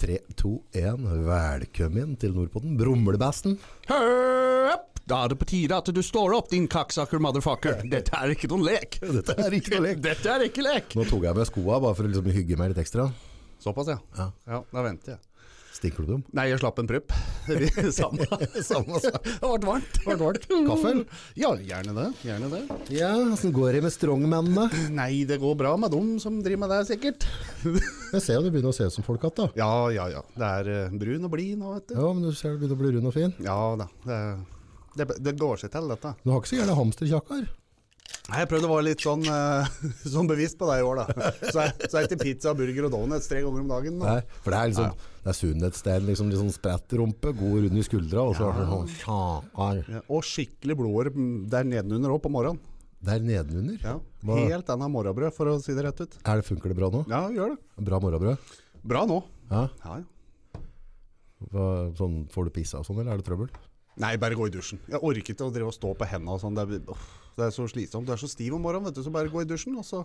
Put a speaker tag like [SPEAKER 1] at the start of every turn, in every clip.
[SPEAKER 1] 3, 2, 1. Velkommen til Nordpotten. Brumlebesten.
[SPEAKER 2] Høp! Da er det på tide at du står opp, din kakksaker motherfucker. Dette er ikke noen lek.
[SPEAKER 1] Dette er ikke noe lek.
[SPEAKER 2] Dette er ikke lek.
[SPEAKER 1] Nå tok jeg med skoa bare for å liksom hygge meg litt ekstra.
[SPEAKER 2] Såpass, ja.
[SPEAKER 1] Ja.
[SPEAKER 2] Ja, Da venter jeg.
[SPEAKER 1] Stinker du dem?
[SPEAKER 2] Nei, jeg slapp en prupp. Det blir Samme.
[SPEAKER 1] Samme sak.
[SPEAKER 2] Det ble varmt.
[SPEAKER 1] Var det varmt? Kaffe? eller?
[SPEAKER 2] Ja, gjerne det. Gjerne det.
[SPEAKER 1] Ja, åssen går det med strongmennene?
[SPEAKER 2] Nei, det går bra med dem som driver med det, sikkert.
[SPEAKER 1] Jeg ser jo du begynner å se ut som folk igjen, da.
[SPEAKER 2] Ja, ja, ja. Det er eh, brun og blid nå, vet du.
[SPEAKER 1] Ja, men du ser du begynner å bli rund og fin.
[SPEAKER 2] Ja da. Det, det, det går seg til, dette.
[SPEAKER 1] Du har ikke så gjerne hamsterkjakkar.
[SPEAKER 2] Nei, Jeg prøvde å være litt sånn, eh, sånn bevisst på det i år, da. Så jeg, så jeg til pizza, burger og donuts tre ganger om dagen. Da.
[SPEAKER 1] Nei, for det er liksom Det er sunnhetstegn, liksom litt sånn spredt rumpe, god rund i skuldra, og så er det sånn kjakkar
[SPEAKER 2] Ja, Og skikkelig blodår der nedenunder òg, på morgenen.
[SPEAKER 1] der nedenunder.
[SPEAKER 2] Ja.
[SPEAKER 1] Hva-
[SPEAKER 2] Helt anna morgenbrød, for å si det rett ut.
[SPEAKER 1] Er det, funker det bra nå?
[SPEAKER 2] Ja, gjør det.
[SPEAKER 1] Bra morgenbrød?
[SPEAKER 2] Bra nå.
[SPEAKER 1] Ja.
[SPEAKER 2] Ja, ja.
[SPEAKER 1] Hva- Sånn, får du pissa og sånn, eller er det trøbbel?
[SPEAKER 2] Nei, bare gå i dusjen. Jeg orker ikke å drive og stå på hendene og sånn. Det, er- uff, det er så slitsomt. Du er så stiv om morgenen, vet du, så bare gå i dusjen, og så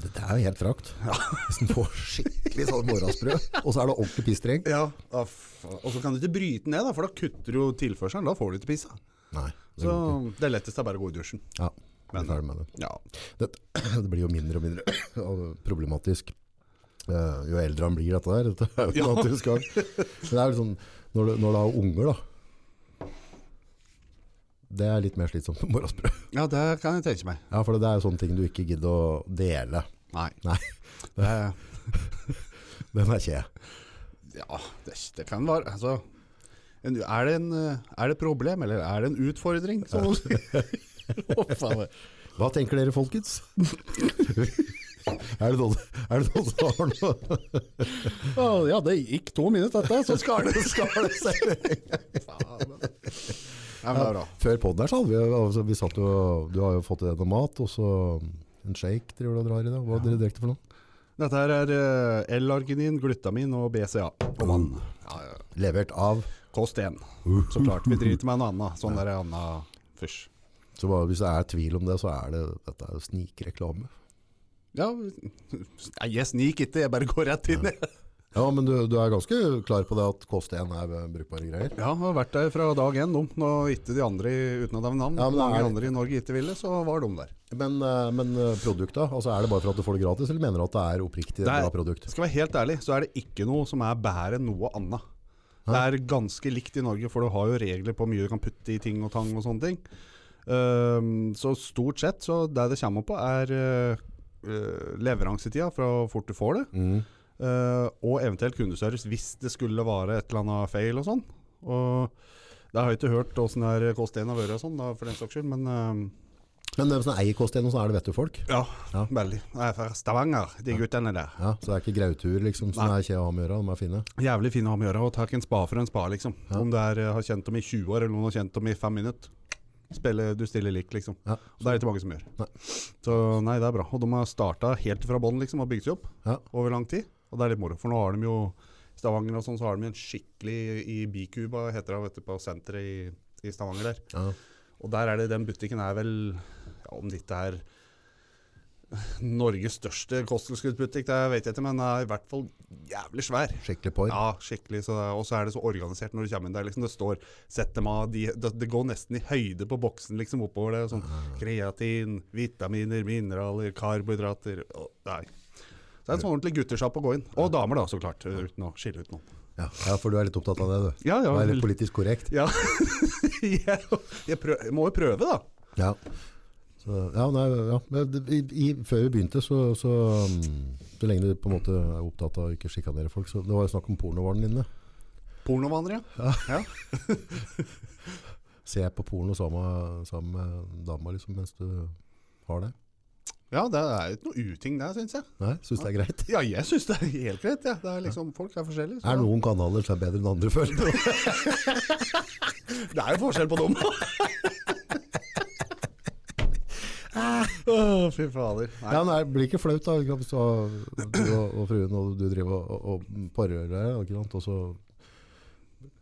[SPEAKER 1] Det, det er jo helt frakt. Hvis en får skikkelig sånn morgensprø, og så er det ordentlig pissdreng.
[SPEAKER 2] Ja. da f- Og så kan du ikke bryte ned, da, for da kutter du jo tilførselen. Da får du ikke pissa.
[SPEAKER 1] Nei. det går ikke.
[SPEAKER 2] Så det letteste er bare å gå i dusjen.
[SPEAKER 1] Ja, vi er ferdig med det.
[SPEAKER 2] Ja.
[SPEAKER 1] det. Det blir jo mindre og mindre og problematisk. eh, jo eldre han blir dette der, dette er jo en
[SPEAKER 2] Ja.
[SPEAKER 1] naturlig gang. Men det er jo sånn, når du, når du har unger da, det er litt mer slitsomt med morgensprø.
[SPEAKER 2] ja, det kan jeg tenke meg.
[SPEAKER 1] Ja, for det er jo sånne ting du ikke gidder å dele.
[SPEAKER 2] Nei.
[SPEAKER 1] Nei,
[SPEAKER 2] Det,
[SPEAKER 1] den er ikke jeg.
[SPEAKER 2] ja, det, det kan være altså, en, er, det en, eh, er det et problem, eller er det en utfordring? Som man sier? Å, faen, det-
[SPEAKER 1] Hva tenker dere, folkens? er det noen er det noen som har noe?
[SPEAKER 2] Å, ja, det gikk to minutter, dette, så skal det, skal det seg. Faen. da. Ja, men det er bra.
[SPEAKER 1] Før podden her, så hadde vi, jo- altså, vi satt jo, du har jo fått i deg noe mat, og så en shake driver du og drar i dag. Hva dere direkte for noe?
[SPEAKER 2] Dette her er eh, L-arginin, glutamin og BCA. Og vann. Ja, ja.
[SPEAKER 1] Levert av.
[SPEAKER 2] Kost 1. Så klart, vi driter med en annen. Sånn der annen fysj.
[SPEAKER 1] Så bare, hvis det er tvil om det, så er det, dette er jo snikreklame.
[SPEAKER 2] Ja, nei, jeg sniker ikke, jeg bare går rett inn.
[SPEAKER 1] Ja, men du, du er ganske klar på det at kost 1 er eh, brukbare greier.
[SPEAKER 2] Ja, jeg har vært der fra dag én, de. Når ikke de andre, i- uten å nevne navn,
[SPEAKER 1] Ja, men det
[SPEAKER 2] mange
[SPEAKER 1] er-
[SPEAKER 2] andre i Norge ikke ville, så var de der.
[SPEAKER 1] Men, eh, men eh, produktet, altså er det bare for at du får det gratis, eller mener du at det er oppriktig
[SPEAKER 2] Det er-
[SPEAKER 1] bra produkt?
[SPEAKER 2] Skal være helt ærlig, så er det ikke noe som er bedre enn noe annet. Det er ganske likt i Norge, for du har jo regler på hvor mye du kan putte i ting og tang og sånne ting. Ehm, så stort sett, så det det kommer på, er eh, eh, leveransetida fra hvor fort du får det,
[SPEAKER 1] Mm.
[SPEAKER 2] eh, og eventuelt kundeservice hvis det skulle være et eller annet feil og sånn. Og da har jeg ikke hørt åssen det er kost 1 har vært og sånn, da, for den saks skyld, men ehm,
[SPEAKER 1] Men hvem som eier kost 1, og så er det vettefolk?
[SPEAKER 2] ja,
[SPEAKER 1] Ja.
[SPEAKER 2] veldig. Jeg er fra Stavanger, de guttene der.
[SPEAKER 1] Ja, så det er ikke grautur liksom, som er kje å ha med å gjøre, de er fine.
[SPEAKER 2] Jævlig fine å ha med å gjøre. Og takk en spa for en spa, liksom. Om du er, eh, har kjent dem i 20 år, eller noen har kjent dem i 5 minutter. Spiller, du stiller lik, liksom.
[SPEAKER 1] Ja.
[SPEAKER 2] Og det er det ikke mange som gjør.
[SPEAKER 1] Nei.
[SPEAKER 2] Så nei, det er bra. Og de har starta helt fra bånn, liksom, og bygd seg opp
[SPEAKER 1] Ja.
[SPEAKER 2] over lang tid. Og det er litt moro, for nå har de jo i Stavanger og sånn, så har de en skikkelig i Bikuba, heter det, vet du, på senteret i, i Stavanger der.
[SPEAKER 1] Ja.
[SPEAKER 2] Og der er det, den butikken er vel, ja, om det ikke er Norges største kosttilskuddsbutikk, det vet jeg ikke, men den er i hvert fall jævlig svær.
[SPEAKER 1] Skikkelig porr.
[SPEAKER 2] Ja, skikkelig. Så det, er- og så er det så organisert når du kommer inn der. Liksom, det står 'sett dem av', de, det, det går nesten i høyde på boksen liksom oppover det. Sånn kreatin, vitaminer, mineraler, karbohydrater og, Nei. Så det er en sånn ordentlig guttesjapp å gå inn. Og damer, da, så klart. Uten å skille ut noen.
[SPEAKER 1] Ja. ja, for du er litt opptatt av det, du.
[SPEAKER 2] Ja, ja,
[SPEAKER 1] Det er litt
[SPEAKER 2] vel.
[SPEAKER 1] politisk korrekt.
[SPEAKER 2] Ja. jeg, jeg, prøv, jeg må jo prøve, da.
[SPEAKER 1] Ja. Så, ja, nei, ja. Men det- I, i, før vi begynte, så, så mm, Så lenge du på en måte er opptatt av å ikke sjikanere folk, så det var jo snakk om pornovaren din. det.
[SPEAKER 2] Pornovanere, ja. ja.
[SPEAKER 1] Se på porno sammen, sammen med dama liksom, mens du har det.
[SPEAKER 2] Ja, det er ikke noe uting der, syns jeg.
[SPEAKER 1] Nei, syns det er greit.
[SPEAKER 2] Ja, jeg syns det er helt greit, jeg. Det er liksom, folk er forskjellige. så-
[SPEAKER 1] Er noen kanaler som er bedre enn andre, føler du?
[SPEAKER 2] Det er jo forskjell på dem. Å, Ah, fy fader. Nei.
[SPEAKER 1] Ja, men det blir ikke flaut da ikke sant, hvis du har- du og, og fruen og du driver og, og- og parer deg, ikke sant, og så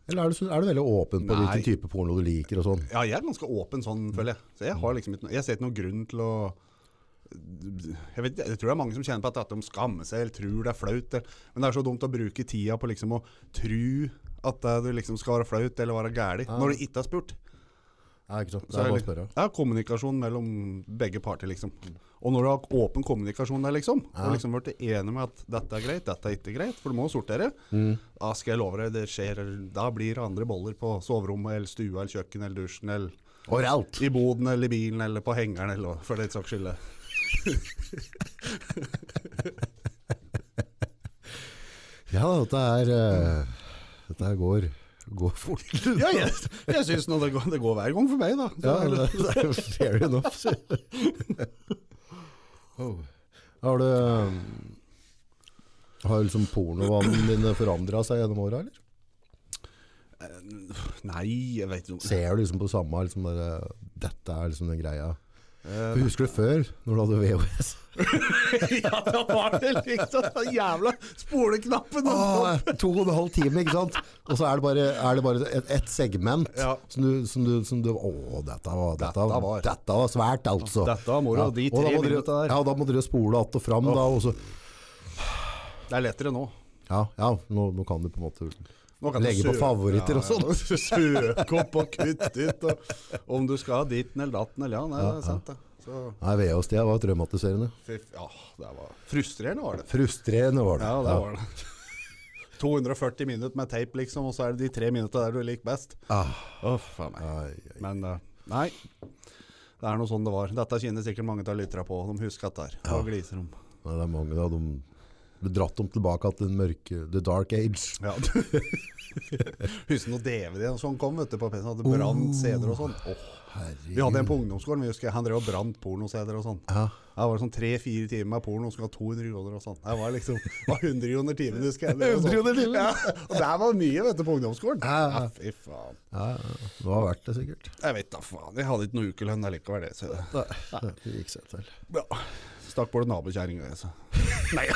[SPEAKER 1] Eller er du, så- er du veldig åpen på
[SPEAKER 2] Nei.
[SPEAKER 1] hvilken type porno du liker og sånn?
[SPEAKER 2] Ja, jeg er ganske åpen sånn, føler jeg. Så jeg har liksom ikke noe Jeg ser ikke noen grunn til å jeg, vet, jeg tror det er mange som kjenner på at, at de skammer seg eller tror det er flaut. eller- Men det er så dumt å bruke tida på liksom å tru at eh, det liksom skal være flaut eller være gæli når du ikke har spurt.
[SPEAKER 1] Nei, ikke sant. Det
[SPEAKER 2] Så
[SPEAKER 1] er bare å
[SPEAKER 2] litt-
[SPEAKER 1] spørre.
[SPEAKER 2] det er kommunikasjon mellom begge parter, liksom. Og når du har åpen kommunikasjon der, liksom, og liksom blitt enig med at dette er greit, dette er ikke greit, for du må sortere, da skal jeg love deg, det skjer Da blir det andre boller på soverommet eller stua eller kjøkkenet eller dusjen eller
[SPEAKER 1] Overalt!
[SPEAKER 2] i boden eller i bilen eller på hengeren eller hva, for det saks skyld.
[SPEAKER 1] Ja, dette er eh, Dette her går, går fort.
[SPEAKER 2] Ja, jeg, jeg syns nå det går, det går hver gang for meg, da. Så
[SPEAKER 1] Ja,
[SPEAKER 2] er det-
[SPEAKER 1] det, det er jo fair enough. sier jeg. oh. Har du eh, Har liksom pornovanene dine forandra seg gjennom åra, eller?
[SPEAKER 2] Nei, jeg vet ikke.
[SPEAKER 1] Ser du liksom på samme liksom der, Dette er liksom den greia.
[SPEAKER 2] Eh,
[SPEAKER 1] For husker du før, når du hadde VHS?
[SPEAKER 2] ja, da var det liksom den jævla spoleknappen.
[SPEAKER 1] Ah, to og en halv time, ikke sant? Og så er det bare, er det bare et, et segment
[SPEAKER 2] Ja.
[SPEAKER 1] som, du, som, du, som du Å, dette var, dette,
[SPEAKER 2] Dette
[SPEAKER 1] var.
[SPEAKER 2] var.
[SPEAKER 1] dette var svært, altså.
[SPEAKER 2] Dette var moro,
[SPEAKER 1] Ja,
[SPEAKER 2] de
[SPEAKER 1] og da må
[SPEAKER 2] tre
[SPEAKER 1] dere-
[SPEAKER 2] minuttene der.
[SPEAKER 1] Ja, da må dere spole att og fram, da. Og så,
[SPEAKER 2] Det er lettere nå.
[SPEAKER 1] ja, ja nå, nå kan du på en måte
[SPEAKER 2] Nå kan du
[SPEAKER 1] Legge på
[SPEAKER 2] søke-
[SPEAKER 1] favoritter og sånn.
[SPEAKER 2] nå kan du Søke opp og kutte ut. Og, om du skal ha ditten eller datten eller ja, nei, det er sant det. Så,
[SPEAKER 1] Nei, VHS-tida var traumatiserende.
[SPEAKER 2] fy f- ja, det var frustrerende var det.
[SPEAKER 1] Frustrerende var det.
[SPEAKER 2] Ja, det var det. 240 minutter med teip liksom, og så er det de tre minutter der du liker best.
[SPEAKER 1] Ah,
[SPEAKER 2] Å, faen meg.
[SPEAKER 1] ai, ai.
[SPEAKER 2] Men eh, nei, det er noe sånn det var. Dette kjenner sikkert mange av lytterne på. De husker dette her. Og gliser om.
[SPEAKER 1] Nei, det er mange da, de ble dratt dem tilbake til den mørke The Dark Age.
[SPEAKER 2] Ja. Husker noe DVD og sånn kom vet du, på PC-en. Hadde brant CD-er og sånn. Åh. Vi
[SPEAKER 1] Herregud.
[SPEAKER 2] hadde en på ungdomsskolen. Vi husker, Han drev og brant porno-CD-er og sånn.
[SPEAKER 1] Ja.
[SPEAKER 2] Det var sånn tre-fire timer med porno som ga 200 kroner og sånn. Det var liksom det var 100 kroner timen, husker jeg. Det var
[SPEAKER 1] 100
[SPEAKER 2] sånn.
[SPEAKER 1] kroner timen?
[SPEAKER 2] Ja, og det her var mye, vet du, på ungdomsskolen.
[SPEAKER 1] Ja, ja.
[SPEAKER 2] Ja, fy faen.
[SPEAKER 1] Ja, ja. det var verdt det, sikkert.
[SPEAKER 2] Jeg vet da faen. Jeg hadde ikke noe ukelønn allikevel, det. Så det.
[SPEAKER 1] Nei, det gikk seg til.
[SPEAKER 2] Ja. Stakk både nabokjerringa og jeg, så. Nei.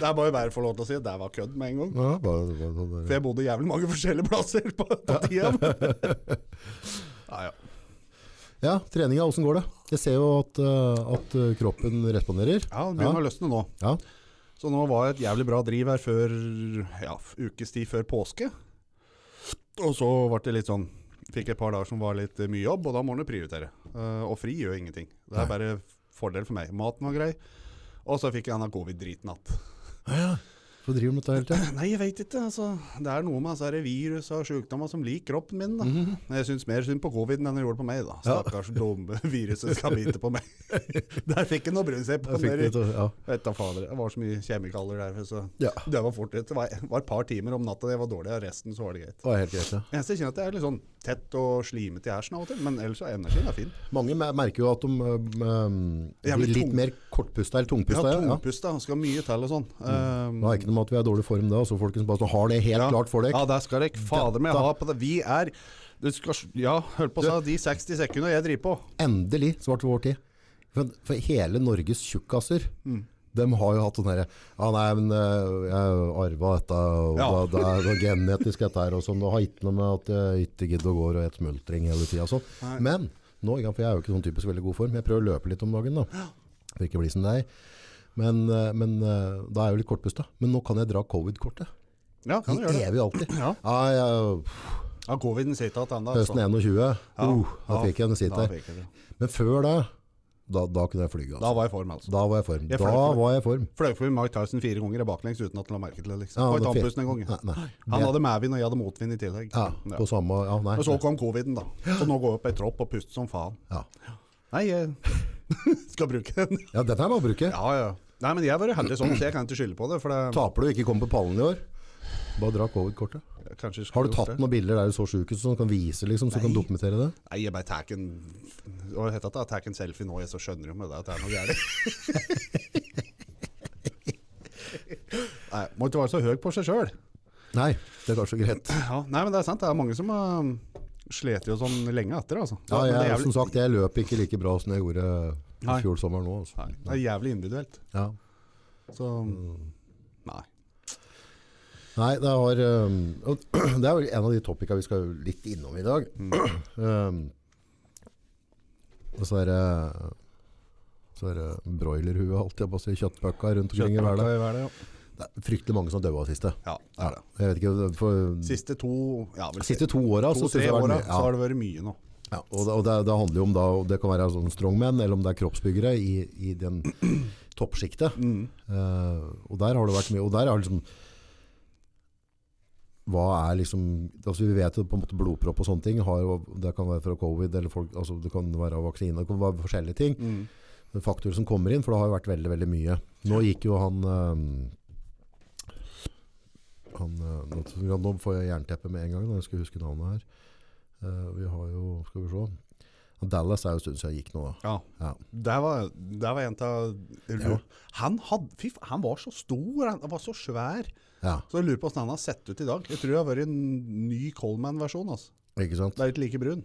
[SPEAKER 2] Det er bare bare å få lov til å si at det var kødd med en gang.
[SPEAKER 1] Ja, bare, bare, bare.
[SPEAKER 2] For jeg bodde jævlig mange forskjellige plasser på, på tida. Ja, ja.
[SPEAKER 1] Ja, treninga, åssen går det? Jeg ser jo at, eh, at eh, kroppen responderer.
[SPEAKER 2] ja den begynner å løsne nå.
[SPEAKER 1] Ja,
[SPEAKER 2] Så nå var det et jævlig bra driv her før ja, ukes tid før påske. Og så ble det litt sånn Fikk et par dager som var litt eh, mye jobb, og da må en jo prioritere. Eh, og fri gjør ingenting. Det er bare fordel for meg. Maten var grei. Og så fikk jeg denne covid-driten att.
[SPEAKER 1] Så driver du med dette hele tida?
[SPEAKER 2] Nei, jeg veit ikke. Altså, det er noe med altså, er det virus og sykdommer som liker kroppen min. Da. Men Jeg syns mer synd på covid-en enn jeg gjorde på meg. da. Stakkars dumme viruset skal bite på meg. Der fikk jeg noe brun seg på.
[SPEAKER 1] Fikk
[SPEAKER 2] Mer.
[SPEAKER 1] litt, eh, ja.
[SPEAKER 2] Vet da fader, det var så mye kjemikalier der. Så
[SPEAKER 1] ja,
[SPEAKER 2] det var fort ut. Det var, var et par timer om natta, det var dårlig. og Resten så var det greit.
[SPEAKER 1] det var helt greit. Ja.
[SPEAKER 2] Eneste jeg kjenner at jeg er litt sånn tett og slimete i hersen av og til, men ellers er energien er fin.
[SPEAKER 1] Mange mer- merker jo at de eh, eh,
[SPEAKER 2] Jævlig
[SPEAKER 1] blir litt
[SPEAKER 2] tung.
[SPEAKER 1] mer kortpusta eller
[SPEAKER 2] Ja,
[SPEAKER 1] tungpusta. Ja, ja.
[SPEAKER 2] tungpusta, han skal mye til og sånn. Um,
[SPEAKER 1] Det er ikke noe med at vi er i dårlig form da, så folkens bare så har det helt
[SPEAKER 2] Ja.
[SPEAKER 1] klart for dere.
[SPEAKER 2] Ja, der skal dere fader meg ha på det. Vi er du skal, Ja, hør på seg, de 60 sekundene jeg driver på.
[SPEAKER 1] Endelig svart vår tid. For, for hele Norges tjukkaser,
[SPEAKER 2] Mm.
[SPEAKER 1] de har jo hatt sånn herre Ja, nei, men eh, jeg arva dette, og
[SPEAKER 2] Ja.
[SPEAKER 1] da- da er det genetisk dette her, og sånn. Det har ikke noe med at jeg ikke gidder å gå og et smultring hele tida. Sånn. Men nå, ikke sant, for jeg er jo ikke sånn typisk veldig god form, jeg prøver å løpe litt om dagen, da. For ikke å bli som deg. Men, eh, men eh, da er jeg jo litt kortpusta. Men nå kan jeg dra covid-kortet.
[SPEAKER 2] Ja, kan
[SPEAKER 1] I
[SPEAKER 2] du gjøre det?
[SPEAKER 1] evig og alltid.
[SPEAKER 2] Ja.
[SPEAKER 1] Ja, jeg,
[SPEAKER 2] ja Coviden sitter igjen ennå.
[SPEAKER 1] høsten 21. uh, da fikk jeg en sitt
[SPEAKER 2] Da,
[SPEAKER 1] her.
[SPEAKER 2] fikk jeg det.
[SPEAKER 1] Men før det, da, da kunne jeg flyge. Altså.
[SPEAKER 2] da var jeg i form, altså.
[SPEAKER 1] Da var jeg i form.
[SPEAKER 2] Jeg
[SPEAKER 1] Da
[SPEAKER 2] fløy for-
[SPEAKER 1] var jeg i form.
[SPEAKER 2] Fløy forbi Mike Tyson fire ganger i baklengs uten at han la merke til det. liksom.
[SPEAKER 1] Ja,
[SPEAKER 2] Var
[SPEAKER 1] det
[SPEAKER 2] ikke
[SPEAKER 1] fe-
[SPEAKER 2] andpusten en gang.
[SPEAKER 1] Nei, nei.
[SPEAKER 2] Han
[SPEAKER 1] Det-
[SPEAKER 2] hadde medvind, og jeg hadde motvind i tillegg.
[SPEAKER 1] ja,
[SPEAKER 2] Ja.
[SPEAKER 1] på samme ja, nei.
[SPEAKER 2] Og så kom coviden, da. Så nå går jeg opp i tropp og puster som faen.
[SPEAKER 1] Ja.
[SPEAKER 2] Nei, jeg skal bruke den.
[SPEAKER 1] ja, den her må jeg bruke.
[SPEAKER 2] Ja, ja. Nei, men jeg har vært heldig sånn, så jeg kan ikke skylde på det. for det...
[SPEAKER 1] Taper du og ikke kommer på pallen i år, bare dra covid-kortet.
[SPEAKER 2] Kanskje jeg skulle
[SPEAKER 1] Har du
[SPEAKER 2] gjort
[SPEAKER 1] tatt
[SPEAKER 2] det.
[SPEAKER 1] noen bilder der du så sjuk ut, som du kan vise, liksom, så du kan dokumentere det?
[SPEAKER 2] Nei, jeg bare tar en Hva heter det? Tar en selfie nå, jeg så skjønner jo med det at det er noe gærent. Nei, må ikke være så høy på seg sjøl.
[SPEAKER 1] Nei, det er kanskje greit.
[SPEAKER 2] Ja, nei, men det er sant. Det er mange som uh, slet jo sånn lenge etter, altså.
[SPEAKER 1] Ja,
[SPEAKER 2] Men det er
[SPEAKER 1] jeg, som
[SPEAKER 2] jævlig,
[SPEAKER 1] sagt, jeg løp ikke like bra som jeg gjorde i
[SPEAKER 2] Nei.
[SPEAKER 1] fjor sommer nå. Altså.
[SPEAKER 2] nei, det er jævlig individuelt.
[SPEAKER 1] Ja.
[SPEAKER 2] Så Mm. Nei.
[SPEAKER 1] Nei, det, har, um, og det er
[SPEAKER 2] Mm.
[SPEAKER 1] jo en av de topicene vi skal litt innom i dag. Um, Ehm, Og så er det så er det broilerhue, holdt jeg på å si, kjøttpøkka rundt omkring i verden.
[SPEAKER 2] Kjøttpakka i verden, ja.
[SPEAKER 1] Det er fryktelig mange som døde av siste.
[SPEAKER 2] Ja, det er det.
[SPEAKER 1] Jeg vet ikke, for
[SPEAKER 2] Siste to ja, vel,
[SPEAKER 1] siste to åra så synes
[SPEAKER 2] to-tre
[SPEAKER 1] jeg det har vært mye.
[SPEAKER 2] åra så
[SPEAKER 1] Ja.
[SPEAKER 2] har det vært mye nå.
[SPEAKER 1] Ja, og det, og det, det handler jo om da, og det kan være sånn strongman, eller om det er kroppsbyggere i, i den toppsjiktet.
[SPEAKER 2] Mm,
[SPEAKER 1] Eh, og der har det vært mye, og der er liksom, hva er liksom, altså vi vet jo på en måte blodpropp og sånne ting, har, jo- det kan være fra covid, eller folk, altså det kan være av vaksiner, det kan være forskjellige ting,
[SPEAKER 2] mm,
[SPEAKER 1] Men faktorer som kommer inn, for det har jo vært veldig, veldig mye. Nå gikk jo han, eh, han eh, nå, nå får jeg jernteppe med en gang, når jeg skal huske navnet her. Eh, vi har jo, skal vi se Dallas er jo en stund siden jeg gikk nå da
[SPEAKER 2] Ja.
[SPEAKER 1] ja.
[SPEAKER 2] Der var, der var en av
[SPEAKER 1] Ja.
[SPEAKER 2] han, had, fy, faen, han var så stor, han han var så svær.
[SPEAKER 1] ja,
[SPEAKER 2] Så jeg lurer på hvordan han har sett ut i dag. Jeg tror det har vært en ny Coleman-versjon. Altså.
[SPEAKER 1] ikke sant?
[SPEAKER 2] Det er ikke like brun.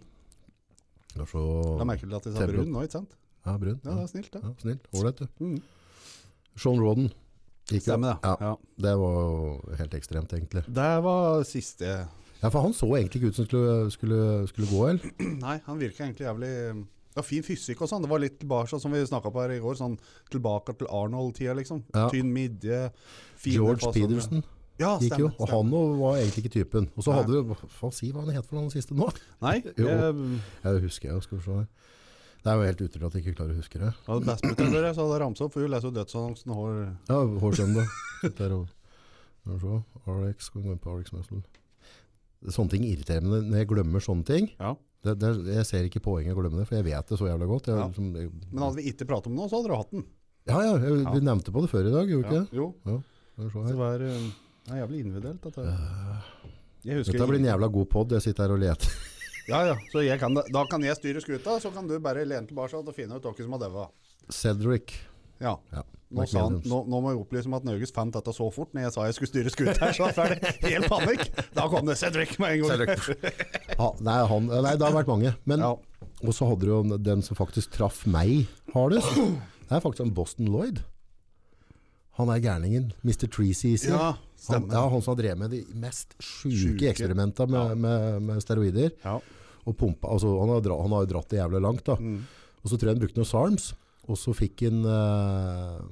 [SPEAKER 1] Det er så
[SPEAKER 2] Da merker du at de sa
[SPEAKER 1] Tempo.
[SPEAKER 2] brun nå, ikke sant?
[SPEAKER 1] ja, brun
[SPEAKER 2] Ja,
[SPEAKER 1] ja,
[SPEAKER 2] det er snilt, det.
[SPEAKER 1] ja, Snill, ålreit du
[SPEAKER 2] Mm.
[SPEAKER 1] Sean Rodden gikk jo.
[SPEAKER 2] Stemmer det.
[SPEAKER 1] ja,
[SPEAKER 2] Ja.
[SPEAKER 1] Det var jo helt ekstremt egentlig
[SPEAKER 2] Det var siste
[SPEAKER 1] Ja, for han så egentlig ikke ut som skulle, skulle, skulle gå eller?
[SPEAKER 2] Nei, han virka egentlig jævlig det var Fin fysikk og sånn. Det var litt tilbake sånn som vi snakka på her i går. Sånn tilbake til Arnold-tida, liksom.
[SPEAKER 1] Ja.
[SPEAKER 2] Tynn midje. fine
[SPEAKER 1] George
[SPEAKER 2] fasonger.
[SPEAKER 1] Pedersen
[SPEAKER 2] ja,
[SPEAKER 1] gikk jo
[SPEAKER 2] stemmer,
[SPEAKER 1] Og han jo var egentlig ikke typen Og så hadde du, hva faen si hva han het for noen siste nå?
[SPEAKER 2] Nei,
[SPEAKER 1] Jo.
[SPEAKER 2] jeg,
[SPEAKER 1] Jeg husker jeg, skal vi se her Det er jo helt utrolig at jeg ikke klarer å huske det
[SPEAKER 2] Ja, det beste mutter dere, så hadde jeg ramset opp, for hun leser jo dødsannonsen hår.
[SPEAKER 1] Ja, hårsøndag. Der og Skal vi se. RX, skal vi gå inn på RX Muscle. Sånne ting irriterer meg når jeg glemmer sånne ting.
[SPEAKER 2] Ja.
[SPEAKER 1] Det, det, jeg ser ikke poenget i å glemme det, for jeg vet det så jævla godt. Jeg,
[SPEAKER 2] Ja.
[SPEAKER 1] liksom, jeg,
[SPEAKER 2] Men hadde vi ikke pratet om noe, så hadde dere hatt den.
[SPEAKER 1] ja, ja, jeg,
[SPEAKER 2] Ja.
[SPEAKER 1] vi nevnte på det før i dag, gjorde vi
[SPEAKER 2] Ja,
[SPEAKER 1] ikke det?
[SPEAKER 2] Jo,
[SPEAKER 1] Skal vi se her.
[SPEAKER 2] så det er, eh, det er jævlig individuelt. Dette. her. Jeg husker
[SPEAKER 1] Eh, Dette blir en jævla god pod, jeg sitter her og leter.
[SPEAKER 2] Ja, ja, så jeg kan, det- da kan jeg styre skuta, så kan du bare lene tilbake og finne ut hvem som har døva.
[SPEAKER 1] Cedric.
[SPEAKER 2] Ja.
[SPEAKER 1] Ja,
[SPEAKER 2] Nå, sa han,
[SPEAKER 1] McMilliams.
[SPEAKER 2] nå, nå må jeg opplyse om at Norges fant dette så fort når jeg sa jeg skulle styre skuta her, så var det helt panikk. Da kom det Cedric med en gang.
[SPEAKER 1] Ja, nei, han, nei, det har vært mange. Men,
[SPEAKER 2] Ja.
[SPEAKER 1] Og så hadde du jo den som faktisk traff meg hardest. Det er faktisk han Boston Lloyd. Han er gærningen. Mr. Treeseasy.
[SPEAKER 2] Ja,
[SPEAKER 1] han,
[SPEAKER 2] stemmer.
[SPEAKER 1] ja, han som har drevet med de mest sjuke
[SPEAKER 2] Sjuke.
[SPEAKER 1] eksperimenta med, med, med steroider.
[SPEAKER 2] Ja.
[SPEAKER 1] Og pumpa, altså, han, har dra, han har jo dratt det jævla langt.
[SPEAKER 2] Mm.
[SPEAKER 1] da. Og så tror jeg han brukte noen SARMS, og så fikk han eh,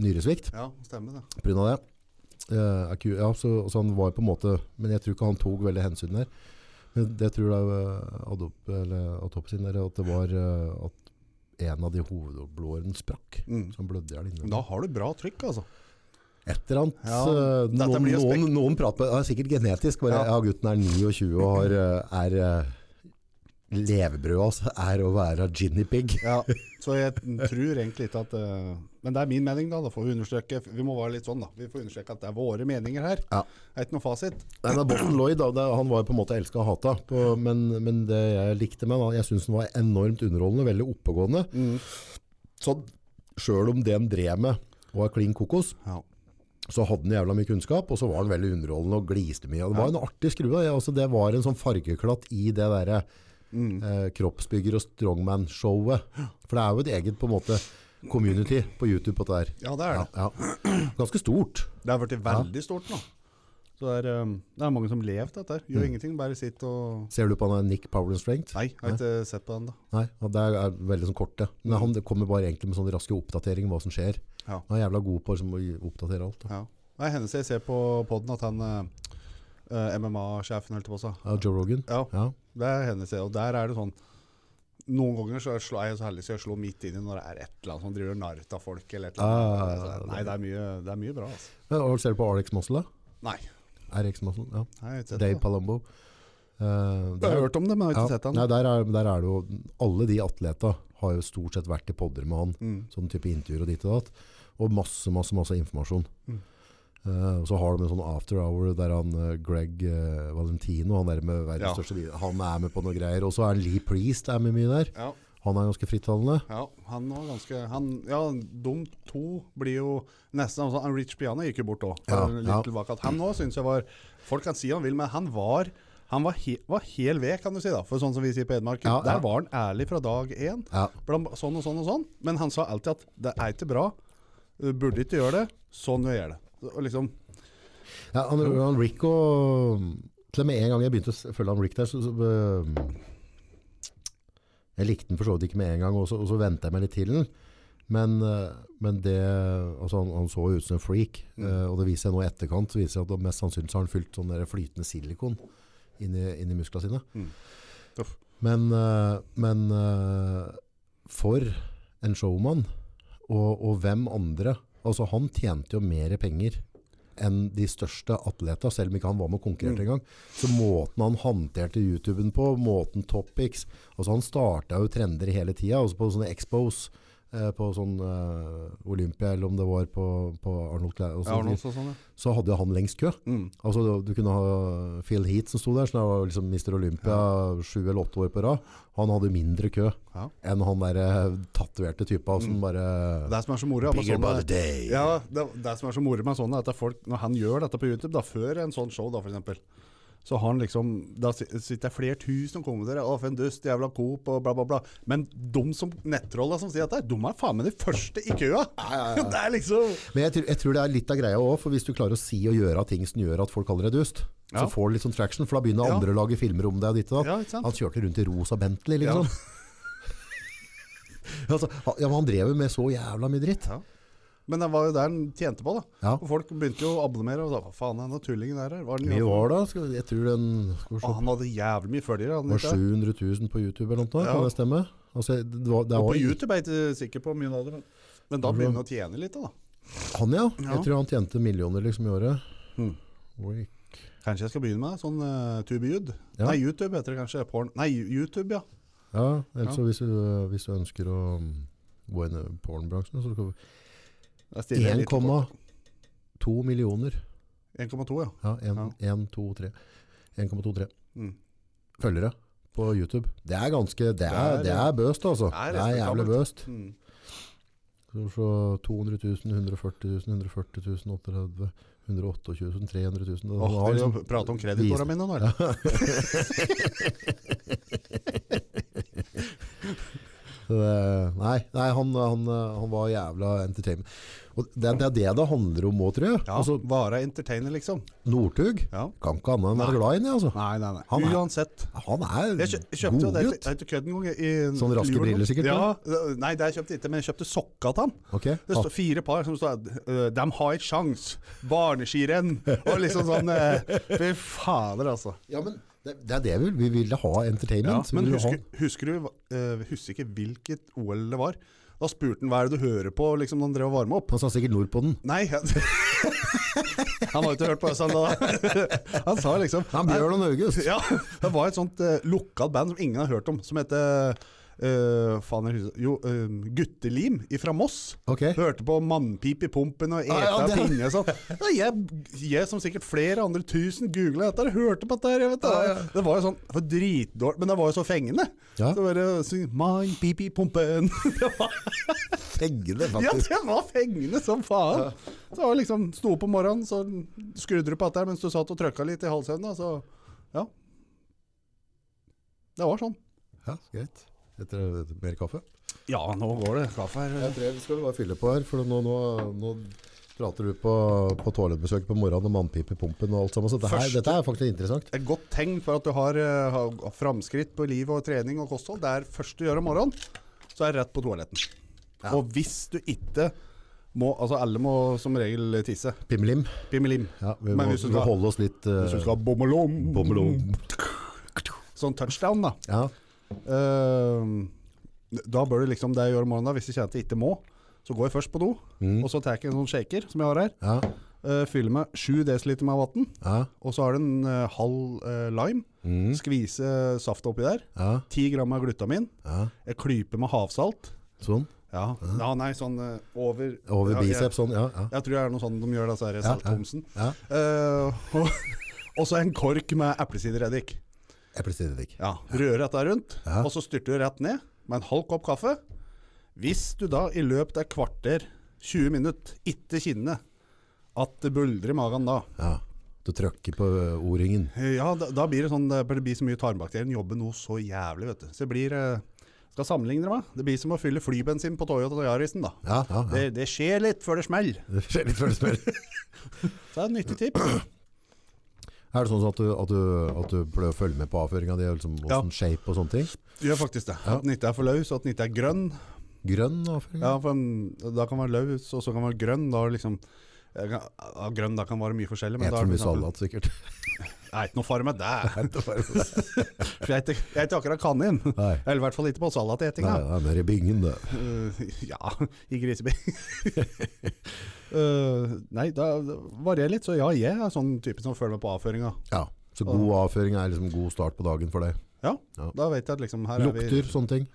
[SPEAKER 1] nyresvikt
[SPEAKER 2] ja, stemmer det.
[SPEAKER 1] på grunn av det. Eh, er ku- ja, så, så han var jo på en måte Men jeg tror ikke han tok veldig hensyn der. Men det tror jeg eh, adop, eller, autopsien der, at det var eh, at en av de hovedblårene sprakk.
[SPEAKER 2] Mm.
[SPEAKER 1] Så han blødde i hjel inni.
[SPEAKER 2] Da har du bra trykk, altså.
[SPEAKER 1] Et eller annet.
[SPEAKER 2] Ja,
[SPEAKER 1] eh,
[SPEAKER 2] dette
[SPEAKER 1] noen,
[SPEAKER 2] blir jo
[SPEAKER 1] noen, noen prater med Det er sikkert genetisk. Bare,
[SPEAKER 2] Ja.
[SPEAKER 1] ja. gutten er 29 og har, eh, er eh, Levebrødet hans er å være Ginny Pig.
[SPEAKER 2] Ja, så jeg tror egentlig ikke at eh, Men det er min mening, da. Da får vi understreke Vi må være litt sånn, da. Vi får understreke at det er våre meninger her.
[SPEAKER 1] Ja.
[SPEAKER 2] Det er ikke noe fasit.
[SPEAKER 1] Nei, men Boston Lloyd da, det, han var jo på en måte elska og hata, på- men, men det jeg likte med han, jeg syns han var enormt underholdende, veldig oppegående. Så sjøl om det han drev med var klin kokos,
[SPEAKER 2] Ja.
[SPEAKER 1] så hadde han jævla mye kunnskap, og så var han veldig underholdende og gliste mye. Og Det var en artig skrue. da. Ja, altså, det var en sånn fargeklatt i det derre eh, kroppsbygger- og strongman-showet. For det er jo et eget på en måte community på YouTube på dette her.
[SPEAKER 2] ja, det er det.
[SPEAKER 1] Ja, ja. Ganske stort.
[SPEAKER 2] Det har blitt veldig stort nå. Så det er, eh, det er mange som lever til dette her. Gjør ingenting, bare sitter og
[SPEAKER 1] Ser du på han der Nick Power and Strength?
[SPEAKER 2] Nei, jeg har ikke sett på den, da.
[SPEAKER 1] Nei, og det er veldig sånn korte. Men han det kommer bare egentlig med sånn raske oppdatering hva som skjer.
[SPEAKER 2] Ja.
[SPEAKER 1] Han er jævla god på liksom, å gi- oppdatere alt. Da.
[SPEAKER 2] Ja. Det er hennes jeg ser på poden, at han eh, MMA-sjefen, holdt jeg på å si.
[SPEAKER 1] Ja, Joe Rogan.
[SPEAKER 2] Ja,
[SPEAKER 1] Ja.
[SPEAKER 2] det er hennes jeg. Og der er det sånn noen ganger så slår jeg så heldig så jeg slår midt inn i når det er et eller annet som driver narr av folk. Eller et eller annet.
[SPEAKER 1] Ah,
[SPEAKER 2] Nei, det er mye, det er mye bra. altså.
[SPEAKER 1] Men, og ser du på RX Muscle da?
[SPEAKER 2] Nei.
[SPEAKER 1] RX Muscle, ja.
[SPEAKER 2] Nei, jeg har ikke sett
[SPEAKER 1] Dave
[SPEAKER 2] det.
[SPEAKER 1] Palumbo. Eh,
[SPEAKER 2] Jeg
[SPEAKER 1] der,
[SPEAKER 2] har hørt om det, men jeg har ikke
[SPEAKER 1] ja,
[SPEAKER 2] sett han.
[SPEAKER 1] nei, der, er, der er det jo Alle de atleta har jo stort sett vært i podder med han.
[SPEAKER 2] Mm.
[SPEAKER 1] Sånn type intervjuer og ditt og datt. Og masse, masse, masse informasjon.
[SPEAKER 2] Mm.
[SPEAKER 1] Eh, og så har de en sånn after hour der han eh, Greg eh, Valentino, han er med verdens
[SPEAKER 2] Ja.
[SPEAKER 1] største video- han er med på noen greier. Og så er Lee Priest er med mye der.
[SPEAKER 2] Ja,
[SPEAKER 1] Han er ganske frittalende.
[SPEAKER 2] ja, han var ganske han, Ja, de to blir jo nesten altså, han Rich Piana gikk jo bort òg.
[SPEAKER 1] Ja, ja.
[SPEAKER 2] Han òg syns jeg var Folk kan si han vil, men han var han var, he, var hel ved, kan du si. da For sånn som vi sier på Edmark,
[SPEAKER 1] Ja, ja.
[SPEAKER 2] der var han ærlig fra dag én.
[SPEAKER 1] Ja.
[SPEAKER 2] Blant, sånn og sånn og sånn. Men han sa alltid at det er ikke bra. Du burde ikke gjøre det. Sånn gjør jeg det. Og liksom,
[SPEAKER 1] Ja, han, han Rick og Til og med en gang jeg begynte å s- følge han Rick der, så, så øh, Jeg likte den for så vidt ikke med en gang, og så, og så ventet jeg meg litt til den. Men, eh, men det, altså han, han så jo ut som en freak, eh, og det viser jeg nå i etterkant, så viser jeg at det mest sannsynlig så har han fylt sånn der flytende silikon inn i, inn i musklene sine.
[SPEAKER 2] Mm. Uff.
[SPEAKER 1] Men, eh, men eh, for en showman, og, og hvem andre, altså han tjente jo mer penger enn de største atleter, selv om ikke han var med og konkurrerte
[SPEAKER 2] Mm.
[SPEAKER 1] engang. Så måten han håndterte YouTuben på, måten Topics, altså han startet jo trender hele tiden, også på sånne expos, eh, på sånn eh, Olympia, eller om det var på, på Arnold Klæ, og
[SPEAKER 2] Ja,
[SPEAKER 1] sånn,
[SPEAKER 2] Arnold sa sånn, ja.
[SPEAKER 1] så hadde jo han lengst kø.
[SPEAKER 2] Mm.
[SPEAKER 1] Altså, du- du kunne ha Phil Heath som sto der, som var liksom Mr. Olympia sju eller åtte år på rad. Han hadde mindre kø
[SPEAKER 2] Ja. Mm.
[SPEAKER 1] enn han der eh, tatuerte typen som bare
[SPEAKER 2] Det som er så moro, sånn er med
[SPEAKER 1] Bigger by the
[SPEAKER 2] sånne,
[SPEAKER 1] day.
[SPEAKER 2] ja, det, det som er så moro med sånne, er at det er folk, når han gjør dette på YouTube, da, før en sånn show, da, for eksempel, så har han liksom, da si- sitter det flere tusen og kommenterer, å, for en dust, jævla Coop, og bla, bla, bla. Men de som nettroller som sier dette, de er faen meg de første i køa. det er liksom...
[SPEAKER 1] Men jeg, tror- jeg tror det er litt av greia òg, for hvis du klarer å si og gjøre ting som gjør at folk kaller deg dust,
[SPEAKER 2] Ja.
[SPEAKER 1] så får du litt sånn traction, for da begynner
[SPEAKER 2] Ja.
[SPEAKER 1] andre å lage filmer om deg og ditt og datt.
[SPEAKER 2] Ja, ikke sant?
[SPEAKER 1] Han kjørte rundt i rosa Bentley,
[SPEAKER 2] Ja.
[SPEAKER 1] liksom. altså, han- ja, men han drev jo med så jævla mye dritt.
[SPEAKER 2] Ja. Men det var jo der den tjente på, da.
[SPEAKER 1] Ja.
[SPEAKER 2] Og folk begynte jo å abonnere. Og da, hva faen er den tullingen der? her? Hva er den
[SPEAKER 1] Mye
[SPEAKER 2] gjør for
[SPEAKER 1] var da, skal, jeg tror den skal vi
[SPEAKER 2] noe?» Å,
[SPEAKER 1] se,
[SPEAKER 2] han hadde jævlig mye følgere.
[SPEAKER 1] det
[SPEAKER 2] Han,
[SPEAKER 1] var
[SPEAKER 2] ikke det?
[SPEAKER 1] 700 000 på YouTube eller noe, sånt,
[SPEAKER 2] Ja.
[SPEAKER 1] kan det stemme? Altså, det var, det var,
[SPEAKER 2] og på YouTube er jeg ikke sikker på hvor mye han hadde. Men, men da begynner han å tjene litt, da.
[SPEAKER 1] han, ja.
[SPEAKER 2] Ja.
[SPEAKER 1] Jeg tror han tjente millioner liksom i året.
[SPEAKER 2] Hmm.
[SPEAKER 1] Oi.
[SPEAKER 2] Kanskje jeg skal begynne med sånn uh, TubeYud?
[SPEAKER 1] Ja.
[SPEAKER 2] Nei, YouTube heter det kanskje. eh, Porn. Nei, YouTube, ja.
[SPEAKER 1] Ja, eller så
[SPEAKER 2] Ja.
[SPEAKER 1] hvis, du- hvis du ønsker å mm, gå inn i pornbransjen, så skal vi
[SPEAKER 2] Jeg stiller litt på-
[SPEAKER 1] 1,2 millioner.
[SPEAKER 2] 1,2, ja.
[SPEAKER 1] Ja, 1, 2, 3. 1,23
[SPEAKER 2] Mm.
[SPEAKER 1] følgere på YouTube. Det er ganske, det
[SPEAKER 2] er-
[SPEAKER 1] er, det er bøst altså.
[SPEAKER 2] Det er
[SPEAKER 1] Det er jævlig
[SPEAKER 2] respektabelt.
[SPEAKER 1] bøst.
[SPEAKER 2] Mm.
[SPEAKER 1] Skal vi se, 200 000, 140 000, 140 000, 38 128 000, 300 000. Det-
[SPEAKER 2] Åh,
[SPEAKER 1] det har
[SPEAKER 2] vi
[SPEAKER 1] liksom-
[SPEAKER 2] må prate om kreditorene mine nå. eller?
[SPEAKER 1] Så det- Nei, nei han, han, han var jævla entertainment. Og det, det er det det handler om òg, tror jeg.
[SPEAKER 2] Ja,
[SPEAKER 1] Altså,
[SPEAKER 2] Vara entertainer, liksom.
[SPEAKER 1] Northug
[SPEAKER 2] Ja.
[SPEAKER 1] kan ikke annet enn være
[SPEAKER 2] Nei.
[SPEAKER 1] glad i ham, altså.
[SPEAKER 2] Nei, nei, nei.
[SPEAKER 1] Han er-
[SPEAKER 2] Uansett.
[SPEAKER 1] Han er
[SPEAKER 2] Jeg kjø jeg kjøpte jo det
[SPEAKER 1] god
[SPEAKER 2] er ikke-
[SPEAKER 1] gutt.
[SPEAKER 2] det er ikke kødd engang. i- i-
[SPEAKER 1] Sånn raske
[SPEAKER 2] jul.
[SPEAKER 1] briller sikkert,
[SPEAKER 2] Ja, Eh, nei, det har jeg kjøpt ikke, men jeg kjøpte sokka til han.
[SPEAKER 1] Ok,
[SPEAKER 2] Det står fire par som står «Øh, De har ikke sjans! Barneskirenn! Og liksom sånn eh, Fy fader, altså.
[SPEAKER 1] Ja, men det, det er det vi vil. Vi ville ha
[SPEAKER 2] Ja,
[SPEAKER 1] entertainment. Vi
[SPEAKER 2] men
[SPEAKER 1] ville
[SPEAKER 2] husker, husker du eh, Husker ikke hvilket OL det var. Da spurte han hva er det du hører på liksom, da han drev og varma opp.
[SPEAKER 1] ha, han sa sikkert nord på den.
[SPEAKER 2] Nei Han har jo ikke hørt på oss, han da. Han sa liksom
[SPEAKER 1] Han Bjørn og August.
[SPEAKER 2] Ja, det var et sånt uh, lokalt band som ingen har hørt om, som heter eh, faen, jeg husker, jo, eh, Guttelim fra Moss.
[SPEAKER 1] Ok.
[SPEAKER 2] Hørte på mannpip i pumpen og eta
[SPEAKER 1] ja, det-
[SPEAKER 2] pinne og sånn. Ja, jeg, jeg, som sikkert flere andre tusen, googla dette og hørte på dette. her, Jeg vet, det.
[SPEAKER 1] Ja, ja.
[SPEAKER 2] Det var jo sånn det var dritdårlig, men det var jo så fengende.
[SPEAKER 1] Ja.
[SPEAKER 2] Så bare syng 'Mannpip i pumpen'. Det var,
[SPEAKER 1] Fengende,
[SPEAKER 2] ja,
[SPEAKER 1] faktisk.
[SPEAKER 2] det var fengende som faen. Så det var liksom, Sto opp om morgenen, så skrudde du på dette her mens du satt og trøkka litt i halshevna, så ja. Det var sånn.
[SPEAKER 1] Ja, greit. Etter mer kaffe.
[SPEAKER 2] Ja, nå går det. Kaffe
[SPEAKER 1] Jeg
[SPEAKER 2] her.
[SPEAKER 1] tror vi skal bare fylle på her, for nå, nå, nå prater du på, på toalettbesøk på morgenen og mannpipe i pumpen og alt sammen. Så dette, her,
[SPEAKER 2] Første-
[SPEAKER 1] dette er faktisk interessant.
[SPEAKER 2] Et godt tegn for at du har, eh, har framskritt på liv og trening og kosthold. Det er først du gjør om morgenen, så er det rett på toaletten. Og hvis du ikke må Altså, alle må som regel tisse.
[SPEAKER 1] Pimmelim.
[SPEAKER 2] Pimmelim.
[SPEAKER 1] Ja, vi må,
[SPEAKER 2] Men hvis du
[SPEAKER 1] vi må
[SPEAKER 2] skal-
[SPEAKER 1] holde oss litt eh,
[SPEAKER 2] Hvis du skal ha bommelom,
[SPEAKER 1] bommelom.
[SPEAKER 2] sånn touchdown, da.
[SPEAKER 1] Ja.
[SPEAKER 2] Ehm, da bør du liksom det jeg gjør om morgenen, da, hvis jeg kjenner at jeg ikke må, så går jeg først på do, og så tar jeg en sånn shaker som jeg har her,
[SPEAKER 1] Mm. Ja.
[SPEAKER 2] eh, fyller med 7 dl med vann,
[SPEAKER 1] Ja.
[SPEAKER 2] og så har du en eh, halv eh, lime,
[SPEAKER 1] Mm.
[SPEAKER 2] skvise saftet oppi der,
[SPEAKER 1] Ja.
[SPEAKER 2] 10 gram av glutamin,
[SPEAKER 1] Ja.
[SPEAKER 2] jeg klyper med havsalt,
[SPEAKER 1] Sånn.
[SPEAKER 2] ja, ja nei, sånn eh, over,
[SPEAKER 1] Over
[SPEAKER 2] ja, jeg-
[SPEAKER 1] biceps, sånn. Ja. Ja.
[SPEAKER 2] Jeg tror det er noe sånn de gjør, disse her salthomsen.
[SPEAKER 1] ja.
[SPEAKER 2] Eh, og, og så en kork med eplesidereddik.
[SPEAKER 1] Eplesidereddik.
[SPEAKER 2] Ja, rører dette rundt,
[SPEAKER 1] Ja.
[SPEAKER 2] og så styrter du rett ned med en halv kopp kaffe. Hvis du da i løpet av et kvarter, 20 minutter, ikke kjenner at det buldrer i magen da,
[SPEAKER 1] Ja. Du trykker på eh, O-ringen.
[SPEAKER 2] ja, da, da blir det sånn, det blir så mye tarmbakterier, den jobber noe så jævlig, vet du. Så det blir, eh, skal sammenligne det med, det blir som å fylle flybensin på Toyota Yarisen da.
[SPEAKER 1] Ja, ja, ja.
[SPEAKER 2] Det, det skjer litt før det smeller.
[SPEAKER 1] Det skjer litt før det smeller.
[SPEAKER 2] Så det er et nyttig tips.
[SPEAKER 1] Er det sånn at du, at du, at du prøver å følge med på avføringa di, og liksom,
[SPEAKER 2] Ja.
[SPEAKER 1] hvordan shape og sånne ting?
[SPEAKER 2] Gjør faktisk det. At den ikke er for løs, og at den ikke er grønn.
[SPEAKER 1] Grønn avføring?
[SPEAKER 2] Ja, for mm, Da kan den være løs, og så kan den være grønn. Da liksom jeg kan- ja, Grønn da kan være mye forskjellig. Men
[SPEAKER 1] Et
[SPEAKER 2] da
[SPEAKER 1] for
[SPEAKER 2] er
[SPEAKER 1] mye
[SPEAKER 2] det for eksempel-
[SPEAKER 1] salat, sikkert.
[SPEAKER 2] Nei, ikke noe fare med det. For jeg er ikke- jeg er ikke akkurat kanin.
[SPEAKER 1] Nei.
[SPEAKER 2] Eller i hvert fall ikke
[SPEAKER 1] Nei,
[SPEAKER 2] på salatetinga.
[SPEAKER 1] det er mer i bingen, det.
[SPEAKER 2] Uh, ja, i Griseby. uh, nei, da da varierer litt. Så ja, jeg er sånn type som føler meg på avføringa.
[SPEAKER 1] Ja. Så god avføring er liksom god start på dagen for deg.
[SPEAKER 2] Ja,
[SPEAKER 1] Ja.
[SPEAKER 2] da vet jeg at liksom her er vi
[SPEAKER 1] Lukter, sånne ting.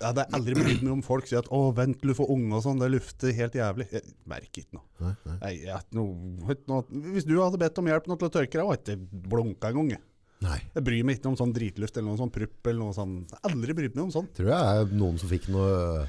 [SPEAKER 2] ja, Det er aldri brydd meg om folk sier at 'å, vent, du får unge' og sånn. Det lufter helt jævlig. Jeg merker ikke noe.
[SPEAKER 1] Nei, nei.
[SPEAKER 2] Nei, jeg har ikke noe, har ikke noe Hvis du hadde bedt om hjelp nå til å tørke deg, hadde jeg ikke blunka engang. jeg.
[SPEAKER 1] nei.
[SPEAKER 2] Jeg bryr meg ikke om sånn dritluft eller noe sånn prupp eller noe sånn. Jeg har Aldri brydd meg om sånn.
[SPEAKER 1] Tror jeg er noen som fikk noe eh,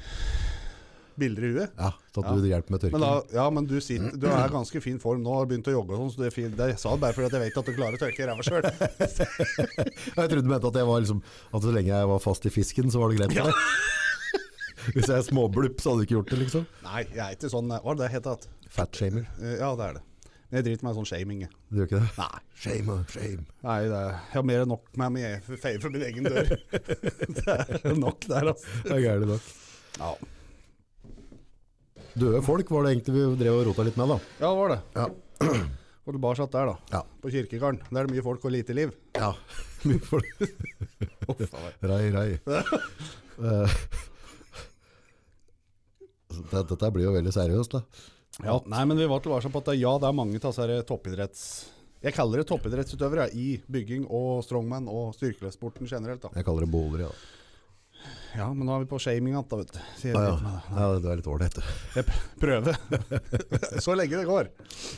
[SPEAKER 2] Bilder i huet.
[SPEAKER 1] Ja, så at du hjelper med
[SPEAKER 2] Men da,
[SPEAKER 1] tørking.
[SPEAKER 2] ja, men du, sitter, du er i ganske fin form nå, har begynt å jogge og sånn, så du er fin. Det jeg sa det bare fordi at jeg vet at du klarer å tørke ræva sjøl.
[SPEAKER 1] Jeg trodde du mente at, jeg var liksom, at så lenge jeg var fast i fisken, så var det greit for deg. Hvis jeg er småblupp, så hadde du ikke gjort det, liksom.
[SPEAKER 2] Nei, jeg er ikke sånn Hva er det det heter at?
[SPEAKER 1] Fatshamer.
[SPEAKER 2] Eh, Ja, det er det. Men jeg driter meg i sånn shaming. jeg.
[SPEAKER 1] Du gjør ikke det?
[SPEAKER 2] Nei.
[SPEAKER 1] Shame, ah, shame.
[SPEAKER 2] Nei, det er, jeg har mer enn nok med meg jeg feier for min egen dør. det er nok der, altså.
[SPEAKER 1] Det er gærent nok.
[SPEAKER 2] Ja,
[SPEAKER 1] Døde folk var det egentlig vi drev og rota litt med, da.
[SPEAKER 2] ja det var det.
[SPEAKER 1] Ja.
[SPEAKER 2] Og tilbake satt der, da.
[SPEAKER 1] Ja.
[SPEAKER 2] På kirkegården. Der er det mye folk og lite liv.
[SPEAKER 1] Ja. Mye folk. Rei, rei. Eh, så det- Dette blir jo veldig seriøst, da.
[SPEAKER 2] Ja, nei, men vi var tilbake på at det- ja, det er mange av disse her toppidretts... Jeg kaller det toppidrettsutøvere jeg, i bygging og strongman og styrkeløssporten generelt. da.
[SPEAKER 1] Jeg kaller det boler, ja.
[SPEAKER 2] Ja, men nå er vi på shaming igjen, da, vet du. Sier
[SPEAKER 1] Ja,
[SPEAKER 2] litt med det.
[SPEAKER 1] ja, det er litt ålreit. det.
[SPEAKER 2] Jeg pr- prøver. Så lenge det går.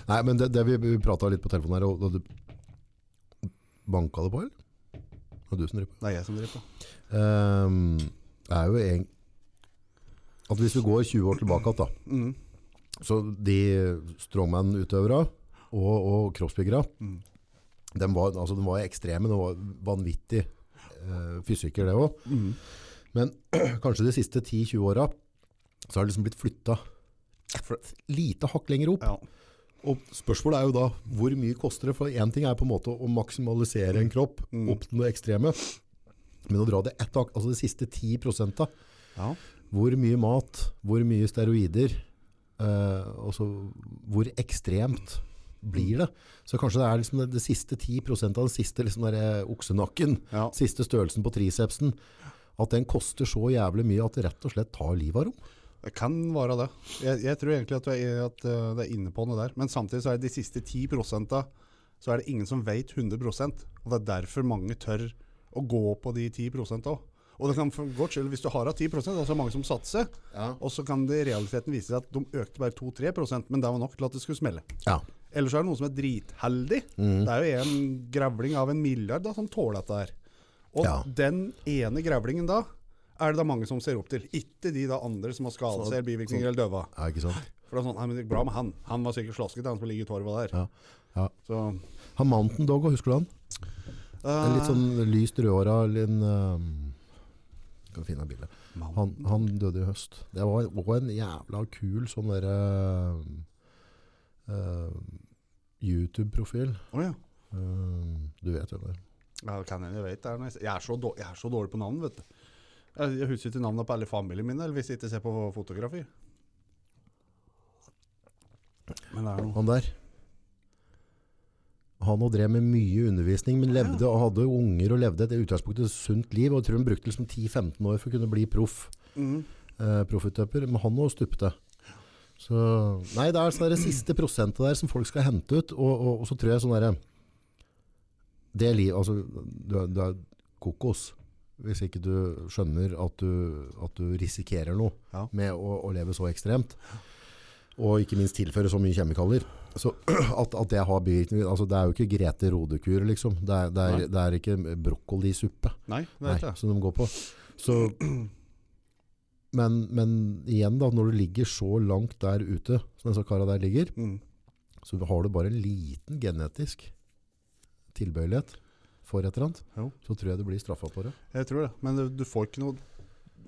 [SPEAKER 1] Nei, men det, det vi, vi prata litt på telefonen her, og, og du banka det på, eller? Det er du som driver på.
[SPEAKER 2] Det er jeg som driver på.
[SPEAKER 1] Ehm, det er jo en, at hvis vi går 20 år tilbake igjen, da,
[SPEAKER 2] Mm.
[SPEAKER 1] så de strongman-utøvere og, og crossbyggere, de var, altså, de var ekstreme, de var vanvittig eh, fysikker det også. Men kanskje de siste 10-20 årene, så har det liksom blitt flyttet lite hakk lenger opp.
[SPEAKER 2] Ja.
[SPEAKER 1] Og spørsmålet er jo da, hvor mye koster det? For en ting er på en måte å maksimalisere en kropp opp til noe ekstreme, men å dra det ett hakk, altså de siste 10 prosentene,
[SPEAKER 2] ja.
[SPEAKER 1] hvor mye mat, hvor mye steroider, eh, altså hvor ekstremt blir det? Så kanskje det er liksom det, det siste 10 av den siste liksom der, eh, oksenakken,
[SPEAKER 2] Ja.
[SPEAKER 1] siste størrelsen på tricepsen, at den koster så jævlig mye at det rett og slett tar livet av rom.
[SPEAKER 2] Det kan være det. Jeg, jeg tror egentlig at, du er, at eh, det er inne på noe der. Men samtidig så er det de siste 10 så er det ingen som vet 100 Og det er derfor mange tør å gå på de 10 òg. Og det kan for godt skyld, hvis du har av 10 det er så mange som satser, og så kan det i realiteten vise seg at de økte bare 2-3 men det var nok til at det skulle smelle.
[SPEAKER 1] Ja.
[SPEAKER 2] Eller så er det noen som er dritheldig.
[SPEAKER 1] Mm.
[SPEAKER 2] Det er jo en grevling av en milliard da, som tåler dette her. Og
[SPEAKER 1] Ja.
[SPEAKER 2] den ene grevlingen da, er det da mange som ser opp til. Ikke de da andre som har skadet seg, eller bivirkninger eller døva.
[SPEAKER 1] Ja, ikke sant?
[SPEAKER 2] For det er sånn, nei, men det gikk bra med han. Han var sikkert slaskete, han som ligger i torva der.
[SPEAKER 1] Ja. ja.
[SPEAKER 2] Så,
[SPEAKER 1] Han Mountain Dog, husker du han?
[SPEAKER 2] eh,
[SPEAKER 1] En litt sånn lyst rødhåra en uh, Skal finne et bilde.
[SPEAKER 2] eh,
[SPEAKER 1] Han, han døde i høst. Det var også en jævla kul sånn ehm, derre YouTube-profil.
[SPEAKER 2] Å ja.
[SPEAKER 1] Eh, du vet hvem det er.
[SPEAKER 2] Ja, det kan hende jeg vet det. er noe- Jeg er så dårlig, jeg er så dårlig på navn, vet du. Jeg jeg husker ikke navnet på alle familiene mine, eller hvis jeg ikke ser på fotografier. Men det er noe.
[SPEAKER 1] Han der. Han og drev med mye undervisning, men levde og hadde unger og levde et i utgangspunktet sunt liv. Og jeg tror han brukte liksom 10-15 år for å kunne bli proff.
[SPEAKER 2] Mhm.
[SPEAKER 1] eh, proffutøper, men han også stupte. Så, nei, det er sånn der siste prosentet der som folk skal hente ut, og, og, og så tror jeg sånn der, det er liv, altså, du er, du er kokos, hvis ikke du skjønner at du, at du risikerer noe
[SPEAKER 2] Ja.
[SPEAKER 1] med å, å leve så ekstremt, og ikke minst tilføre så mye kjemikalier. Så at, at det har bivirkninger, altså det er jo ikke Grete Rodekur liksom, det er, det er, det er ikke brokkolisuppe.
[SPEAKER 2] Nei, det
[SPEAKER 1] Nei,
[SPEAKER 2] vet jeg.
[SPEAKER 1] som de går på. Så, men, men igjen da, når du ligger så langt der ute, som denne kara der ligger,
[SPEAKER 2] Mhm.
[SPEAKER 1] så har du bare en liten genetisk tilbøyelighet for et eller annet,
[SPEAKER 2] Jo.
[SPEAKER 1] så tror jeg du blir straffet på det.
[SPEAKER 2] Jeg tror det, men du, du får ikke noe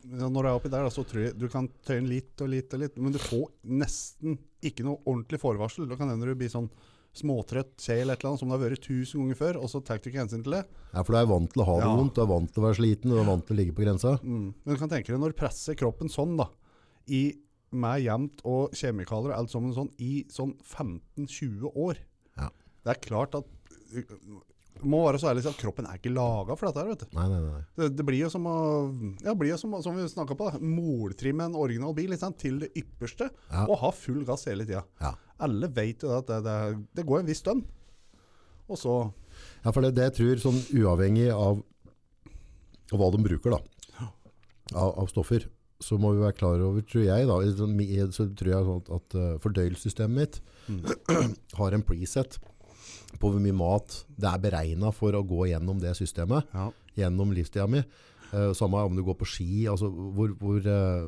[SPEAKER 2] ja, Når du er oppi der, da, så tror jeg du kan tøye den litt og litt og litt, men du får nesten ikke noe ordentlig forvarsel. Da kan det hende du blir sånn småtrøtt kje eller et eller annet som det har vært tusen ganger før, og så tar du ikke hensyn til det.
[SPEAKER 1] Ja, for du er vant til å ha det
[SPEAKER 2] Ja.
[SPEAKER 1] vondt, du er vant til å være sliten, du er vant til å ligge på grensa.
[SPEAKER 2] Mm. Men du kan tenke deg når du presser kroppen sånn da, i, med jevnt og kjemikalier og alt sammen sånn, i sånn 15-20 år.
[SPEAKER 1] Ja.
[SPEAKER 2] Det er klart at, eh, må være så ærlig å si at kroppen er ikke laget for dette her, vet du.
[SPEAKER 1] Nei, nei, nei.
[SPEAKER 2] Det, det blir jo som å, ja, det blir jo som, å- som vi snakket på, da, moltrimme en original bil ikke sant, til det ypperste,
[SPEAKER 1] Ja.
[SPEAKER 2] og ha full gass hele tiden.
[SPEAKER 1] Ja.
[SPEAKER 2] Alle vet jo at det, det, det går en viss stund. Og så,
[SPEAKER 1] Ja, for det, det jeg tror, sånn uavhengig av, av hva de bruker da, av, av stoffer, så må vi være klar over, tror jeg da, i sånn mi- i- så tror jeg sånn at, at eh, fordøyelsessystemet mitt har en preset på hvor mye mat det er beregnet for å gå gjennom det systemet,
[SPEAKER 2] ja.
[SPEAKER 1] gjennom livstida mi. Eh, samme om du går på ski, altså hvor, hvor, eh,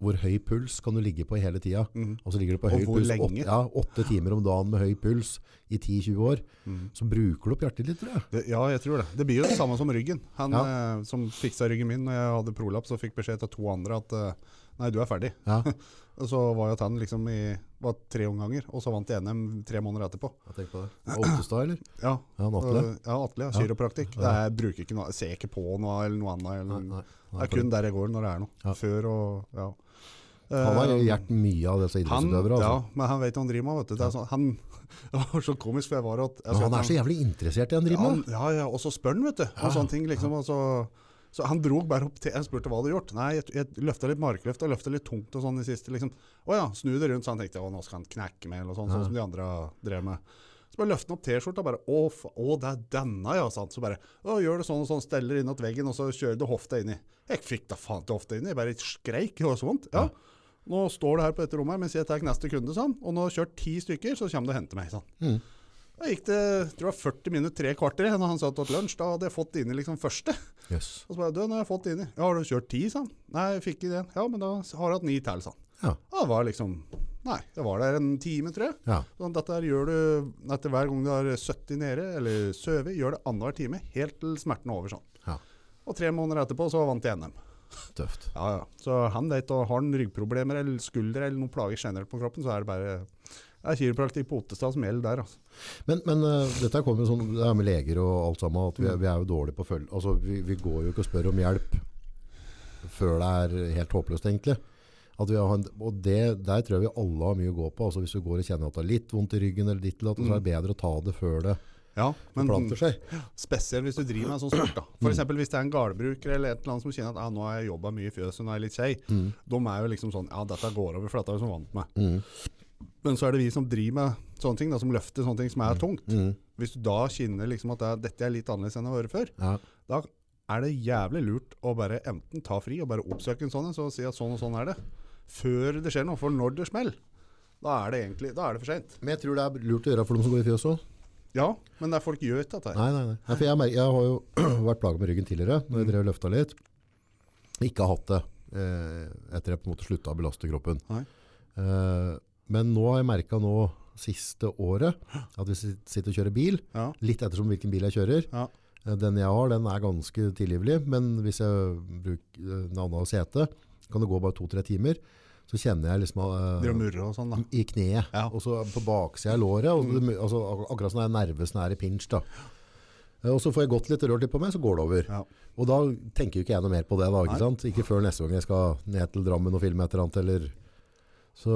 [SPEAKER 1] hvor høy puls kan du ligge på hele tida.
[SPEAKER 2] Mhm.
[SPEAKER 1] Og så ligger du på
[SPEAKER 2] Og
[SPEAKER 1] høy
[SPEAKER 2] hvor
[SPEAKER 1] puls,
[SPEAKER 2] lenge?
[SPEAKER 1] åtte, ja, åtte timer om dagen med høy puls i 10-20 år,
[SPEAKER 2] Mhm.
[SPEAKER 1] så bruker du opp hjertet litt, tror jeg.
[SPEAKER 2] Det, ja, jeg tror det. Det blir jo det samme som ryggen. Han
[SPEAKER 1] Ja.
[SPEAKER 2] eh, som fiksa ryggen min når jeg hadde prolaps og fikk beskjed til to andre at eh, nei, du er ferdig.
[SPEAKER 1] Ja,
[SPEAKER 2] Og så var jo at han liksom i var tre omganger, og så vant jeg NM tre måneder etterpå.
[SPEAKER 1] jeg tenker på det. Ottestad, eller?
[SPEAKER 2] Ja,
[SPEAKER 1] Ja, han
[SPEAKER 2] og-
[SPEAKER 1] Atle.
[SPEAKER 2] ja Atle. Ja, Kiropraktikk. Det er- Jeg bruker ikke noe, jeg ser ikke på noe eller noe annet. Eller,
[SPEAKER 1] Nei, nei,
[SPEAKER 2] det er kun der jeg går når det er noe.
[SPEAKER 1] Ja.
[SPEAKER 2] Før og ja.
[SPEAKER 1] Han har
[SPEAKER 2] Eh,
[SPEAKER 1] gjort mye av disse
[SPEAKER 2] han,
[SPEAKER 1] idrettsutøvere.
[SPEAKER 2] ja,
[SPEAKER 1] Altså.
[SPEAKER 2] men han vet hva han driver med. Vet du. Det, er sånn, han, det var så komisk, for jeg var at jeg
[SPEAKER 1] Men
[SPEAKER 2] så
[SPEAKER 1] han
[SPEAKER 2] at
[SPEAKER 1] er så jævlig interessert i det han
[SPEAKER 2] Ja,
[SPEAKER 1] driver
[SPEAKER 2] han,
[SPEAKER 1] med. Ah.
[SPEAKER 2] ja, ja, og så spør han, vet du. Og sånne ting, liksom. Og så, så han drog bare opp til Jeg spurte hva du hadde gjort. Nei, jeg, jeg løfta litt markløft og løfta litt tungt og sånn i siste, liksom. Å ja, snu det rundt, så han tenkte å, nå skal han knekke meg, eller sånn,
[SPEAKER 1] Ah.
[SPEAKER 2] sånn som de andre drev med. Så bare løfter han opp T-skjorta og bare å, fa- å, det er denne, ja, sant. Så bare å, gjør det sånn og sånn, steller innåt veggen, og så kjører du hofta inni. Jeg fikk da faen til hofta inni, jeg bare skreik, det var så vondt. Ja. Nå står det her på dette rommet her, mens jeg tar neste kunde, sånn. Og nå har jeg kjørt ti stykker, så kommer du og henter meg, sånn.
[SPEAKER 1] Mm.
[SPEAKER 2] Da gikk det tror jeg, 40 minutter, tre kvarter igjen, og han satt åt lunsj. Da hadde jeg fått det inni liksom første.
[SPEAKER 1] Jøss.
[SPEAKER 2] Og så bare du, nå har jeg fått det inni. Ja, har du kjørt ti, sa han. Nei, jeg fikk ikke det. Ja, men da har jeg hatt ni til, sa han.
[SPEAKER 1] Ja.
[SPEAKER 2] Ja, det var liksom Nei, det var der en time, tror jeg.
[SPEAKER 1] Ja.
[SPEAKER 2] Sånn, dette her gjør du etter hver gang du har 70 nede, eller søvet, gjør det annenhver time, helt til smerten er over, sånn.
[SPEAKER 1] ja,
[SPEAKER 2] Og tre måneder etterpå så vant jeg NM.
[SPEAKER 1] tøft.
[SPEAKER 2] Ja, ja. Så han vet, og har han ryggproblemer eller skulder eller noen plager generelt på kroppen, så er det bare det er kiropraktikk på Ottestad som gjelder der, altså.
[SPEAKER 1] Men, men eh, dette kommer jo sånn, det er med leger og alt sammen, at vi, er- vi er jo dårlige på å følge. Altså, vi, vi går jo ikke og spør om hjelp før det er helt håpløst, egentlig. At vi har en, og det, der tror jeg vi alle har mye å gå på. Altså, hvis du går og kjenner at det er litt vondt i ryggen, eller ditt eller datt, så er det bedre å ta det før det
[SPEAKER 2] Ja, men
[SPEAKER 1] planter seg.
[SPEAKER 2] Spesielt hvis du driver med en sånn sport. da. For eksempel hvis det er en gardbruker eller et eller annet som kjenner at ah, nå har jeg jobba mye i fjøset, nå er jeg litt skei. De er jo liksom sånn ja, dette går over, for dette er vi som vant med.
[SPEAKER 1] mm.
[SPEAKER 2] Men så er det vi som driver med sånne ting, da, som løfter sånne ting som er tungt.
[SPEAKER 1] mm,
[SPEAKER 2] Hvis du da kjenner liksom at det er, dette er litt annerledes enn det har vært før,
[SPEAKER 1] Ja.
[SPEAKER 2] da er det jævlig lurt å bare enten ta fri og bare oppsøke en sånn en, så si at sånn og sånn er det. Før det skjer noe. For når det smeller, da er det egentlig da er det for seint.
[SPEAKER 1] Men jeg tror det er lurt å gjøre for dem som går i fjøs også.
[SPEAKER 2] Ja, men det er folk gjør ikke dette. her.
[SPEAKER 1] Nei, nei, nei. nei for jeg, mer- jeg har jo vært plaget med ryggen tidligere, når jeg
[SPEAKER 2] Mm.
[SPEAKER 1] drev og løfta litt. Ikke har hatt det eh, etter jeg på en måte slutta å belaste kroppen.
[SPEAKER 2] Nei.
[SPEAKER 1] Eh, men nå har jeg merka nå siste året at hvis jeg sitter og kjører bil,
[SPEAKER 2] Ja,
[SPEAKER 1] litt ettersom hvilken bil jeg kjører
[SPEAKER 2] ja,
[SPEAKER 1] eh, Den jeg har, den er ganske tilgivelig, men hvis jeg bruker eh, en annen sete, kan det gå bare to-tre timer, så kjenner jeg liksom eh,
[SPEAKER 2] Driver og murrer og sånn, da.
[SPEAKER 1] i kneet,
[SPEAKER 2] Ja.
[SPEAKER 1] og så på baksida av låret. Og det, altså, ak- akkurat som sånn nervesen er i pinsj. da. Eh, Og så får jeg gått litt rørt litt på meg, så går det over.
[SPEAKER 2] Ja.
[SPEAKER 1] Og da tenker jo ikke jeg noe mer på det. da, Ikke, sant? ikke før neste gang jeg skal ned til Drammen og filme et eller annet. Eller. Så,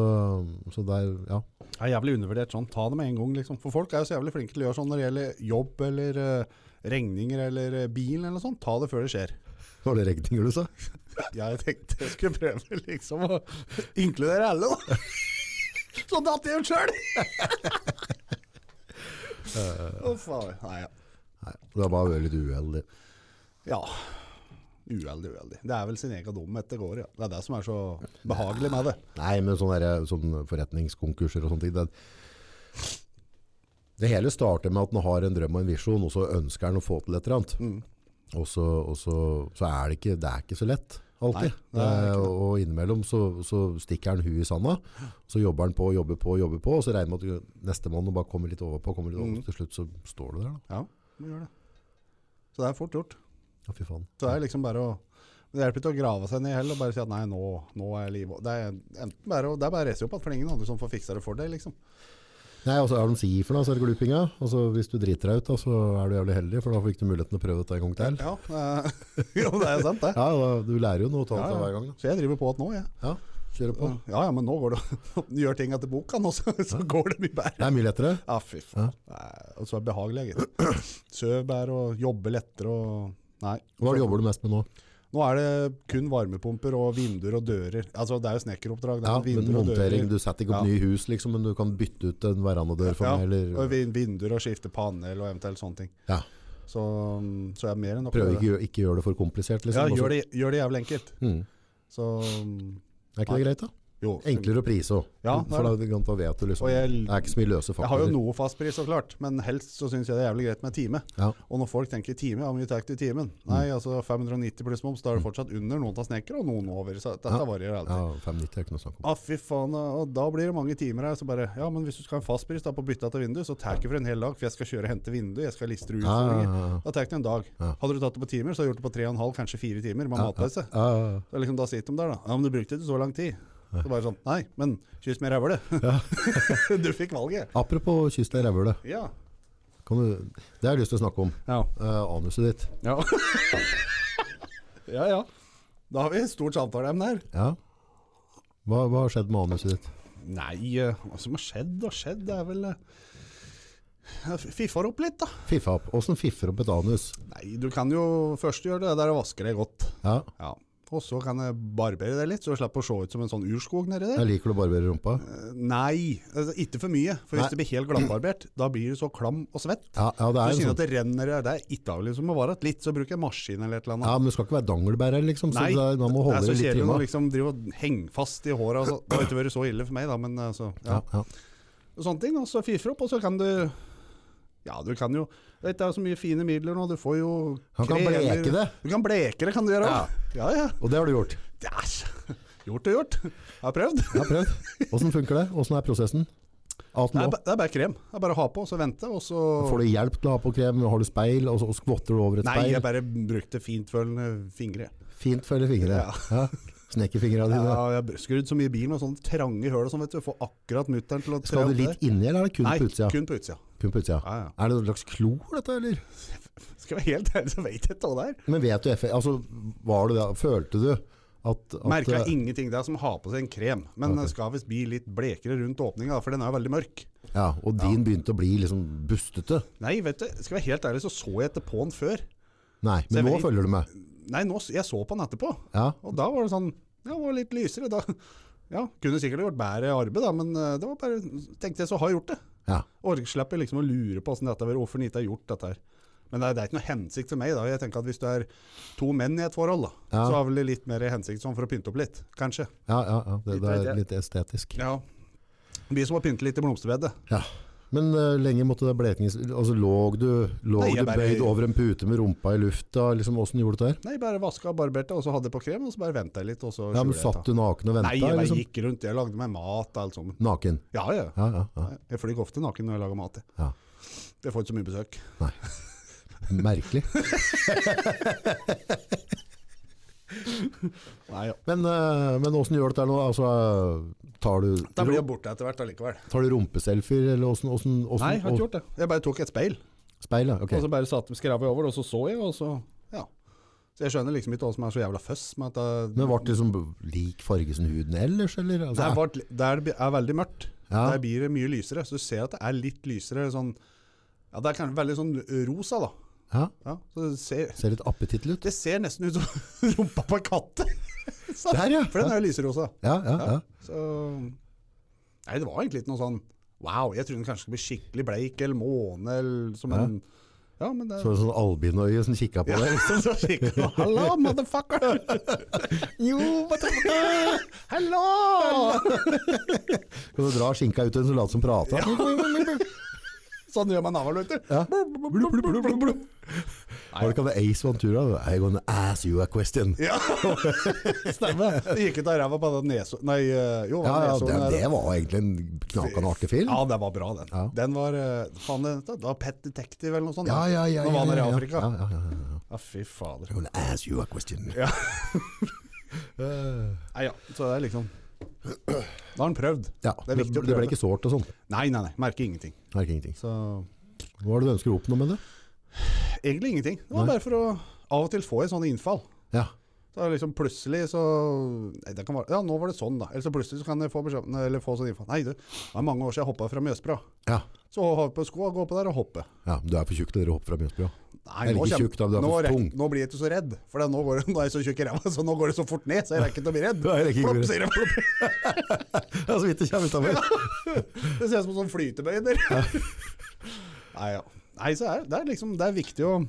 [SPEAKER 1] så der, ja.
[SPEAKER 2] Det er jævlig undervurdert sånn. Ta det med en gang, liksom. For folk er jo så jævlig flinke til å gjøre sånn når det gjelder jobb eller eh, regninger eller eh, bil eller noe sånt. Ta det før det skjer.
[SPEAKER 1] Var det regninger du sa?
[SPEAKER 2] Jeg tenkte jeg skulle prøve liksom å inkludere alle, da. Sånn Så datt jeg ut sjøl! Å, faen. Nei, ja.
[SPEAKER 1] Nei, det har bare vært litt uheldig.
[SPEAKER 2] ja. Uheldig, uheldig. Det er vel sin egen dumhet det går i. Ja. Det er det som er så behagelig med det.
[SPEAKER 1] Nei, men sånne, der, sånne forretningskonkurser og sånne ting, det, det hele starter med at man har en drøm og en visjon, og så ønsker han å få til et eller annet.
[SPEAKER 2] Mm.
[SPEAKER 1] Og, så, og så, så er det ikke, det er ikke så lett,
[SPEAKER 2] Nei, det
[SPEAKER 1] alltid.
[SPEAKER 2] er ikke det.
[SPEAKER 1] Eh, og innimellom så, så stikker han huet i sanda, så jobber han på, jobber på, jobber på, og så regner man at du- neste mann bare kommer litt overpå, kommer litt over,
[SPEAKER 2] Mm.
[SPEAKER 1] til slutt så står du der da.
[SPEAKER 2] Ja, må gjøre det. Så det er fort gjort.
[SPEAKER 1] Ja, fy faen.
[SPEAKER 2] Så det er liksom bare å men Det hjelper ikke å grave seg ned i hell og bare si at nei, nå, nå er livet Det er enten bare å det er bare å reise opp igjen, for det er ingen andre som får fiksa det for deg, liksom.
[SPEAKER 1] Nei, altså er de sier for noe, så er det glupinga. Altså, hvis du driter deg ut, da, så er du jævlig heldig, for da fikk du muligheten til å prøve dette en gang til.
[SPEAKER 2] Ja, eh, jo, det er sant, det.
[SPEAKER 1] Ja, da, du lærer jo noe av dette hver gang. Da.
[SPEAKER 2] Så jeg driver på at nå, jeg.
[SPEAKER 1] Ja, kjøre på.
[SPEAKER 2] Ja, ja, men nå går det Gjør ting etter boka nå, så, så går det mye bedre.
[SPEAKER 1] Det er mye lettere.
[SPEAKER 2] Ja, fy faen. Nei, Og så er det behagelig, gitt. Søv bedre og jobbe lettere og Nei.
[SPEAKER 1] Hva er det jobber du mest med nå?
[SPEAKER 2] Nå er det kun varmepumper og vinduer og dører. Altså, det er jo snekkeroppdrag. Det er
[SPEAKER 1] Ja,
[SPEAKER 2] men
[SPEAKER 1] men
[SPEAKER 2] vinduer og
[SPEAKER 1] montering,
[SPEAKER 2] dører.
[SPEAKER 1] du setter ikke opp
[SPEAKER 2] Ja.
[SPEAKER 1] nye hus, liksom, men du kan bytte ut en verandadør for
[SPEAKER 2] Ja,
[SPEAKER 1] meg,
[SPEAKER 2] og
[SPEAKER 1] eller...
[SPEAKER 2] vin- vinduer og skifte panel og eventuelt sånne ting.
[SPEAKER 1] Ja,
[SPEAKER 2] Så, mm, så jeg er mer enn nok
[SPEAKER 1] prøv
[SPEAKER 2] med det.
[SPEAKER 1] ikke, ikke gjøre det for komplisert,
[SPEAKER 2] Ja,
[SPEAKER 1] liksom.
[SPEAKER 2] gjør det, gjør det jævlig enkelt.
[SPEAKER 1] Mm.
[SPEAKER 2] Så mm,
[SPEAKER 1] Er ikke det greit, da?
[SPEAKER 2] jo.
[SPEAKER 1] Enklere å prise òg.
[SPEAKER 2] Ja, det er
[SPEAKER 1] for da, da vet du liksom
[SPEAKER 2] Og jeg-
[SPEAKER 1] Det er ikke så mye løse
[SPEAKER 2] Jeg har jo
[SPEAKER 1] faktorer.
[SPEAKER 2] noe fastpris, så klart, men helst så syns jeg det er jævlig greit med time.
[SPEAKER 1] Ja.
[SPEAKER 2] Og når folk tenker time, ja, hvor mye tar du i timen?
[SPEAKER 1] Mm.
[SPEAKER 2] Nei, altså 590 pluss moms, da er det fortsatt under noen av snekkere og noen over. Så dette
[SPEAKER 1] Ja.
[SPEAKER 2] varierer alltid.
[SPEAKER 1] Ja, 590 er ikke noe snakk om.
[SPEAKER 2] Ah, fy faen, og da blir det mange timer her. Så bare, ja, men hvis du skal ha en fastpris da, på å bytte til vindu, så tar jeg ikke for en hel dag, for jeg skal kjøre og hente vindu, jeg skal listre ut.
[SPEAKER 1] Ja, ja,
[SPEAKER 2] utfordringer.
[SPEAKER 1] ja, ja.
[SPEAKER 2] Da tar jeg ikke en dag.
[SPEAKER 1] Ja.
[SPEAKER 2] Hadde du tatt det på timer, så hadde du gjort det på tre og en halv, kanskje fire timer med matpause.
[SPEAKER 1] Ja, ja, ja.
[SPEAKER 2] Så liksom, da sitter de der, da. Ja, men du brukte ikke så lang tid. Så bare sånn, nei, men kyss med rævle. du fikk valget.
[SPEAKER 1] Apropos kyss deg i rævhølet.
[SPEAKER 2] Ja.
[SPEAKER 1] Kan du- Det har jeg lyst til å snakke om.
[SPEAKER 2] Ja.
[SPEAKER 1] Eh, anuset ditt.
[SPEAKER 2] Ja. ja, Da har vi et stort samtaleemne her.
[SPEAKER 1] Ja. Hva, hva har skjedd med anuset ditt?
[SPEAKER 2] Nei, eh, hva som har skjedd og skjedd, det er vel eh, jeg f- Fiffer opp litt, da.
[SPEAKER 1] Fiffa opp. Åssen fiffer opp et anus?
[SPEAKER 2] Nei, du kan jo først gjøre det der og vaske det godt.
[SPEAKER 1] Ja.
[SPEAKER 2] Ja. Og så kan jeg barbere det litt, så du slipper å se ut som en sånn urskog nedi der.
[SPEAKER 1] Jeg liker å barbere rumpa.
[SPEAKER 2] Eh, Nei, altså, ikke for mye. For hvis
[SPEAKER 1] Nei.
[SPEAKER 2] det blir helt glattbarbert, da blir du så klam og svett.
[SPEAKER 1] Ja, ja, det
[SPEAKER 2] Du
[SPEAKER 1] er en
[SPEAKER 2] kjenner
[SPEAKER 1] sånn.
[SPEAKER 2] at det renner der. Det er ikke avlig som å vare. Litt så bruker jeg maskin eller et eller annet.
[SPEAKER 1] Ja, men du skal ikke være dangelbærer, liksom. Så
[SPEAKER 2] Nei,
[SPEAKER 1] det er- da må holde
[SPEAKER 2] det er
[SPEAKER 1] det
[SPEAKER 2] så
[SPEAKER 1] litt
[SPEAKER 2] kjedelig når
[SPEAKER 1] trimma.
[SPEAKER 2] du liksom driver og henger fast i håret. Altså. Det har ikke vært så ille for meg, da, men altså, ja.
[SPEAKER 1] Ja, ja.
[SPEAKER 2] sånne ting. Og så fifer opp, og så kan du Ja, du kan jo du vet, Det er jo så mye fine midler nå. Du får jo
[SPEAKER 1] Han kan
[SPEAKER 2] kremer.
[SPEAKER 1] bleke det.
[SPEAKER 2] Du kan bleke det, kan du gjøre òg. Ja. ja,
[SPEAKER 1] Og det har du gjort.
[SPEAKER 2] Yes. Gjort og gjort. Jeg har prøvd.
[SPEAKER 1] Jeg har prøvd. Åssen funker det? Åssen er prosessen? Alt
[SPEAKER 2] Det
[SPEAKER 1] nå?
[SPEAKER 2] er, ba- det er bare krem. Det er bare å ha på og så vente, og så
[SPEAKER 1] Får du hjelp til å ha på krem? Har du speil? Og så og skvotter du over et
[SPEAKER 2] Nei,
[SPEAKER 1] speil?
[SPEAKER 2] jeg bare brukte fintfølende eh, fingre.
[SPEAKER 1] Fint følge fingre.
[SPEAKER 2] Ja.
[SPEAKER 1] Ja. Snekkerfingra dine.
[SPEAKER 2] Ja, jeg har skrudd så mye i bilen og sånne trange høl og sånn, vet du. Får akkurat mutter'n til å tre
[SPEAKER 1] Skal
[SPEAKER 2] opp
[SPEAKER 1] det litt inni, eller er det kun
[SPEAKER 2] Nei,
[SPEAKER 1] på utsida?
[SPEAKER 2] kun på utsida.
[SPEAKER 1] Kun på utsida.
[SPEAKER 2] Ja, ja.
[SPEAKER 1] Er det en slags klor, dette, eller?
[SPEAKER 2] Skal jeg være helt ærlig, så vet jeg ikke hva det er.
[SPEAKER 1] Men vet du, F- altså, var det det? Følte du at, at
[SPEAKER 2] Merka
[SPEAKER 1] eh,
[SPEAKER 2] ingenting. Det er som å ha på seg en krem. Men den skal visst bli litt blekere rundt åpninga, for den er jo veldig mørk.
[SPEAKER 1] Ja, og din begynte å bli liksom bustete?
[SPEAKER 2] Nei, vet du, skal jeg være helt ærlig, så så jeg ikke på den før.
[SPEAKER 1] Nei,
[SPEAKER 2] Så jeg
[SPEAKER 1] men nå
[SPEAKER 2] vet-
[SPEAKER 1] følger du med.
[SPEAKER 2] Nei, nå, s- jeg så på den etterpå.
[SPEAKER 1] Ja,
[SPEAKER 2] Og da var det sånn Ja, det var litt lysere. Da ja, kunne sikkert gjort bedre arbeid, da, men eh, det var bare Tenkte jeg, så har jeg gjort det.
[SPEAKER 1] ja.
[SPEAKER 2] Og slipper liksom å lure på hvordan dette har vært, hvorfor den ikke har gjort dette her. Men det er, det er ikke noe hensikt for meg. da. Jeg tenker at Hvis du er to menn i et forhold, da,
[SPEAKER 1] Ja.
[SPEAKER 2] så har vel det litt mer hensikt sånn for å pynte opp litt, kanskje.
[SPEAKER 1] ja, ja, ja. Det, det
[SPEAKER 2] Det-
[SPEAKER 1] er litt estetisk.
[SPEAKER 2] Ja. Vi som har pyntet litt i blomsterbedet.
[SPEAKER 1] Ja. Men eh, lenge måtte det blekings... Altså, lå du, lå
[SPEAKER 2] Nei, jeg
[SPEAKER 1] du
[SPEAKER 2] bare-
[SPEAKER 1] bøyd over en pute med rumpa i lufta? Liksom, Åssen gjorde du det der?
[SPEAKER 2] Nei, bare vaska og barberte, og så hadde jeg på krem, og så bare venta jeg litt, og så
[SPEAKER 1] Ja, men
[SPEAKER 2] skjulte jeg
[SPEAKER 1] Satt
[SPEAKER 2] det.
[SPEAKER 1] du naken og venta?
[SPEAKER 2] Nei, jeg bare
[SPEAKER 1] liksom?
[SPEAKER 2] gikk rundt, jeg lagde meg mat og alt sammen.
[SPEAKER 1] Naken?
[SPEAKER 2] Ja, ja.
[SPEAKER 1] Ja, ja, ja.
[SPEAKER 2] Jeg flyr ofte naken når jeg lager mat. jeg.
[SPEAKER 1] Ja.
[SPEAKER 2] Jeg får ikke så mye besøk.
[SPEAKER 1] Merkelig.
[SPEAKER 2] Nei, ja.
[SPEAKER 1] Men, eh, men åssen gjør du dette nå? Altså, tar du,
[SPEAKER 2] Da blir jeg borte etter hvert allikevel.
[SPEAKER 1] tar du rumpeselfier, eller åssen åssen- åssen-
[SPEAKER 2] Nei, jeg har ikke gjort Altså- det. Jeg bare tok et speil,
[SPEAKER 1] Speil, ja. ok.
[SPEAKER 2] og så bare satt skrava over, og så så jeg, og så Ja. Så jeg skjønner liksom ikke hva som er så jævla føss med at det
[SPEAKER 1] Men ble det liksom lik farge som huden ellers, eller? Altså,
[SPEAKER 2] Der, var, det- der det er veldig mørkt.
[SPEAKER 1] Ja.
[SPEAKER 2] Der blir det mye lysere. Så du ser at det er litt lysere sånn Ja, det er kanskje veldig sånn rosa, da.
[SPEAKER 1] ja,
[SPEAKER 2] Ja, så det ser,
[SPEAKER 1] ser litt appetittlig ut.
[SPEAKER 2] Det ser nesten ut som rumpa på en katt. Så-
[SPEAKER 1] Der, ja.
[SPEAKER 2] For den er jo lyserosa.
[SPEAKER 1] Ja, ja, ja.
[SPEAKER 2] Ja. Så Nei, det var egentlig ikke noe sånn Wow, jeg trodde den kanskje skulle bli skikkelig bleik eller måne eller som en Ja, men det
[SPEAKER 1] Så var det sånn albinøye som kikket på
[SPEAKER 2] ja,
[SPEAKER 1] deg.
[SPEAKER 2] så skikkelig Hallo, motherfucker!
[SPEAKER 1] Jo,
[SPEAKER 2] Hallo!
[SPEAKER 1] Kan du dra skinka ut i en soldat som prater?
[SPEAKER 2] Sånn gjør man navl, vet du.
[SPEAKER 1] Ja.
[SPEAKER 2] Blub, blub, blub, blub, blub.
[SPEAKER 1] Var det ikke det Ace Ventura? I gonna ask you a question.
[SPEAKER 2] Ja, stemmer. Det gikk ut av ræva på den nesa Nei, eh, jo,
[SPEAKER 1] Ja, ja,
[SPEAKER 2] neshornet
[SPEAKER 1] det,
[SPEAKER 2] der, da.
[SPEAKER 1] det var egentlig en knakende artig film.
[SPEAKER 2] Ja, den var bra, den.
[SPEAKER 1] Ja.
[SPEAKER 2] Den var eh, Faen, den- det var Pet Detective eller noe sånt.
[SPEAKER 1] Ja,
[SPEAKER 2] da.
[SPEAKER 1] ja, ja.
[SPEAKER 2] Nå var
[SPEAKER 1] ja, ja,
[SPEAKER 2] han i
[SPEAKER 1] ja.
[SPEAKER 2] Afrika.
[SPEAKER 1] Ja, ja, ja, ja.
[SPEAKER 2] Ja, fy fader.
[SPEAKER 1] I'm gonna ask you a question. Eh,
[SPEAKER 2] Ja. Nei, ja. Så det er liksom Da har han prøvd.
[SPEAKER 1] Ja,
[SPEAKER 2] er
[SPEAKER 1] det,
[SPEAKER 2] viktig å
[SPEAKER 1] det ble
[SPEAKER 2] prøve.
[SPEAKER 1] ikke sårt og sånn.
[SPEAKER 2] Nei, nei, nei. Merker ingenting.
[SPEAKER 1] Merker ingenting.
[SPEAKER 2] Så
[SPEAKER 1] Hva er det du ønsker å oppnå med det?
[SPEAKER 2] egentlig ingenting. Det var
[SPEAKER 1] Nei.
[SPEAKER 2] bare for å Av og til få jeg sånne innfall.
[SPEAKER 1] Ja,
[SPEAKER 2] Så liksom plutselig så nei, det kan være, Ja, nå var det sånn, da. Eller så plutselig så kan jeg få beskjed Eller få sånn info. Nei, du, det er mange år siden jeg hoppa fra Mjøsbra.
[SPEAKER 1] ja.
[SPEAKER 2] Så hoppe på skoa, gå på der og hoppe.
[SPEAKER 1] ja du er for tjukk til dere hopper fra Mjøsbrua.
[SPEAKER 2] Nei,
[SPEAKER 1] Eller
[SPEAKER 2] nå,
[SPEAKER 1] ikke
[SPEAKER 2] kjem-
[SPEAKER 1] tjukk, da, du er
[SPEAKER 2] nå,
[SPEAKER 1] for
[SPEAKER 2] rek-
[SPEAKER 1] tung.
[SPEAKER 2] nå blir jeg ikke så redd. For da- nå, går, det- nå er jeg så tjukk i ræva, så nå går det så fort ned, så jeg rekker ikke å bli redd.
[SPEAKER 1] Nei, jeg rekker ikke å bli
[SPEAKER 2] Plopp, sier det. Plopp.
[SPEAKER 1] Ja, så vidt det kommer ut av meg.
[SPEAKER 2] Det ser ut som en sånn flytebøyder. Nei, ja. Nei, så er det- det er liksom Det er viktig å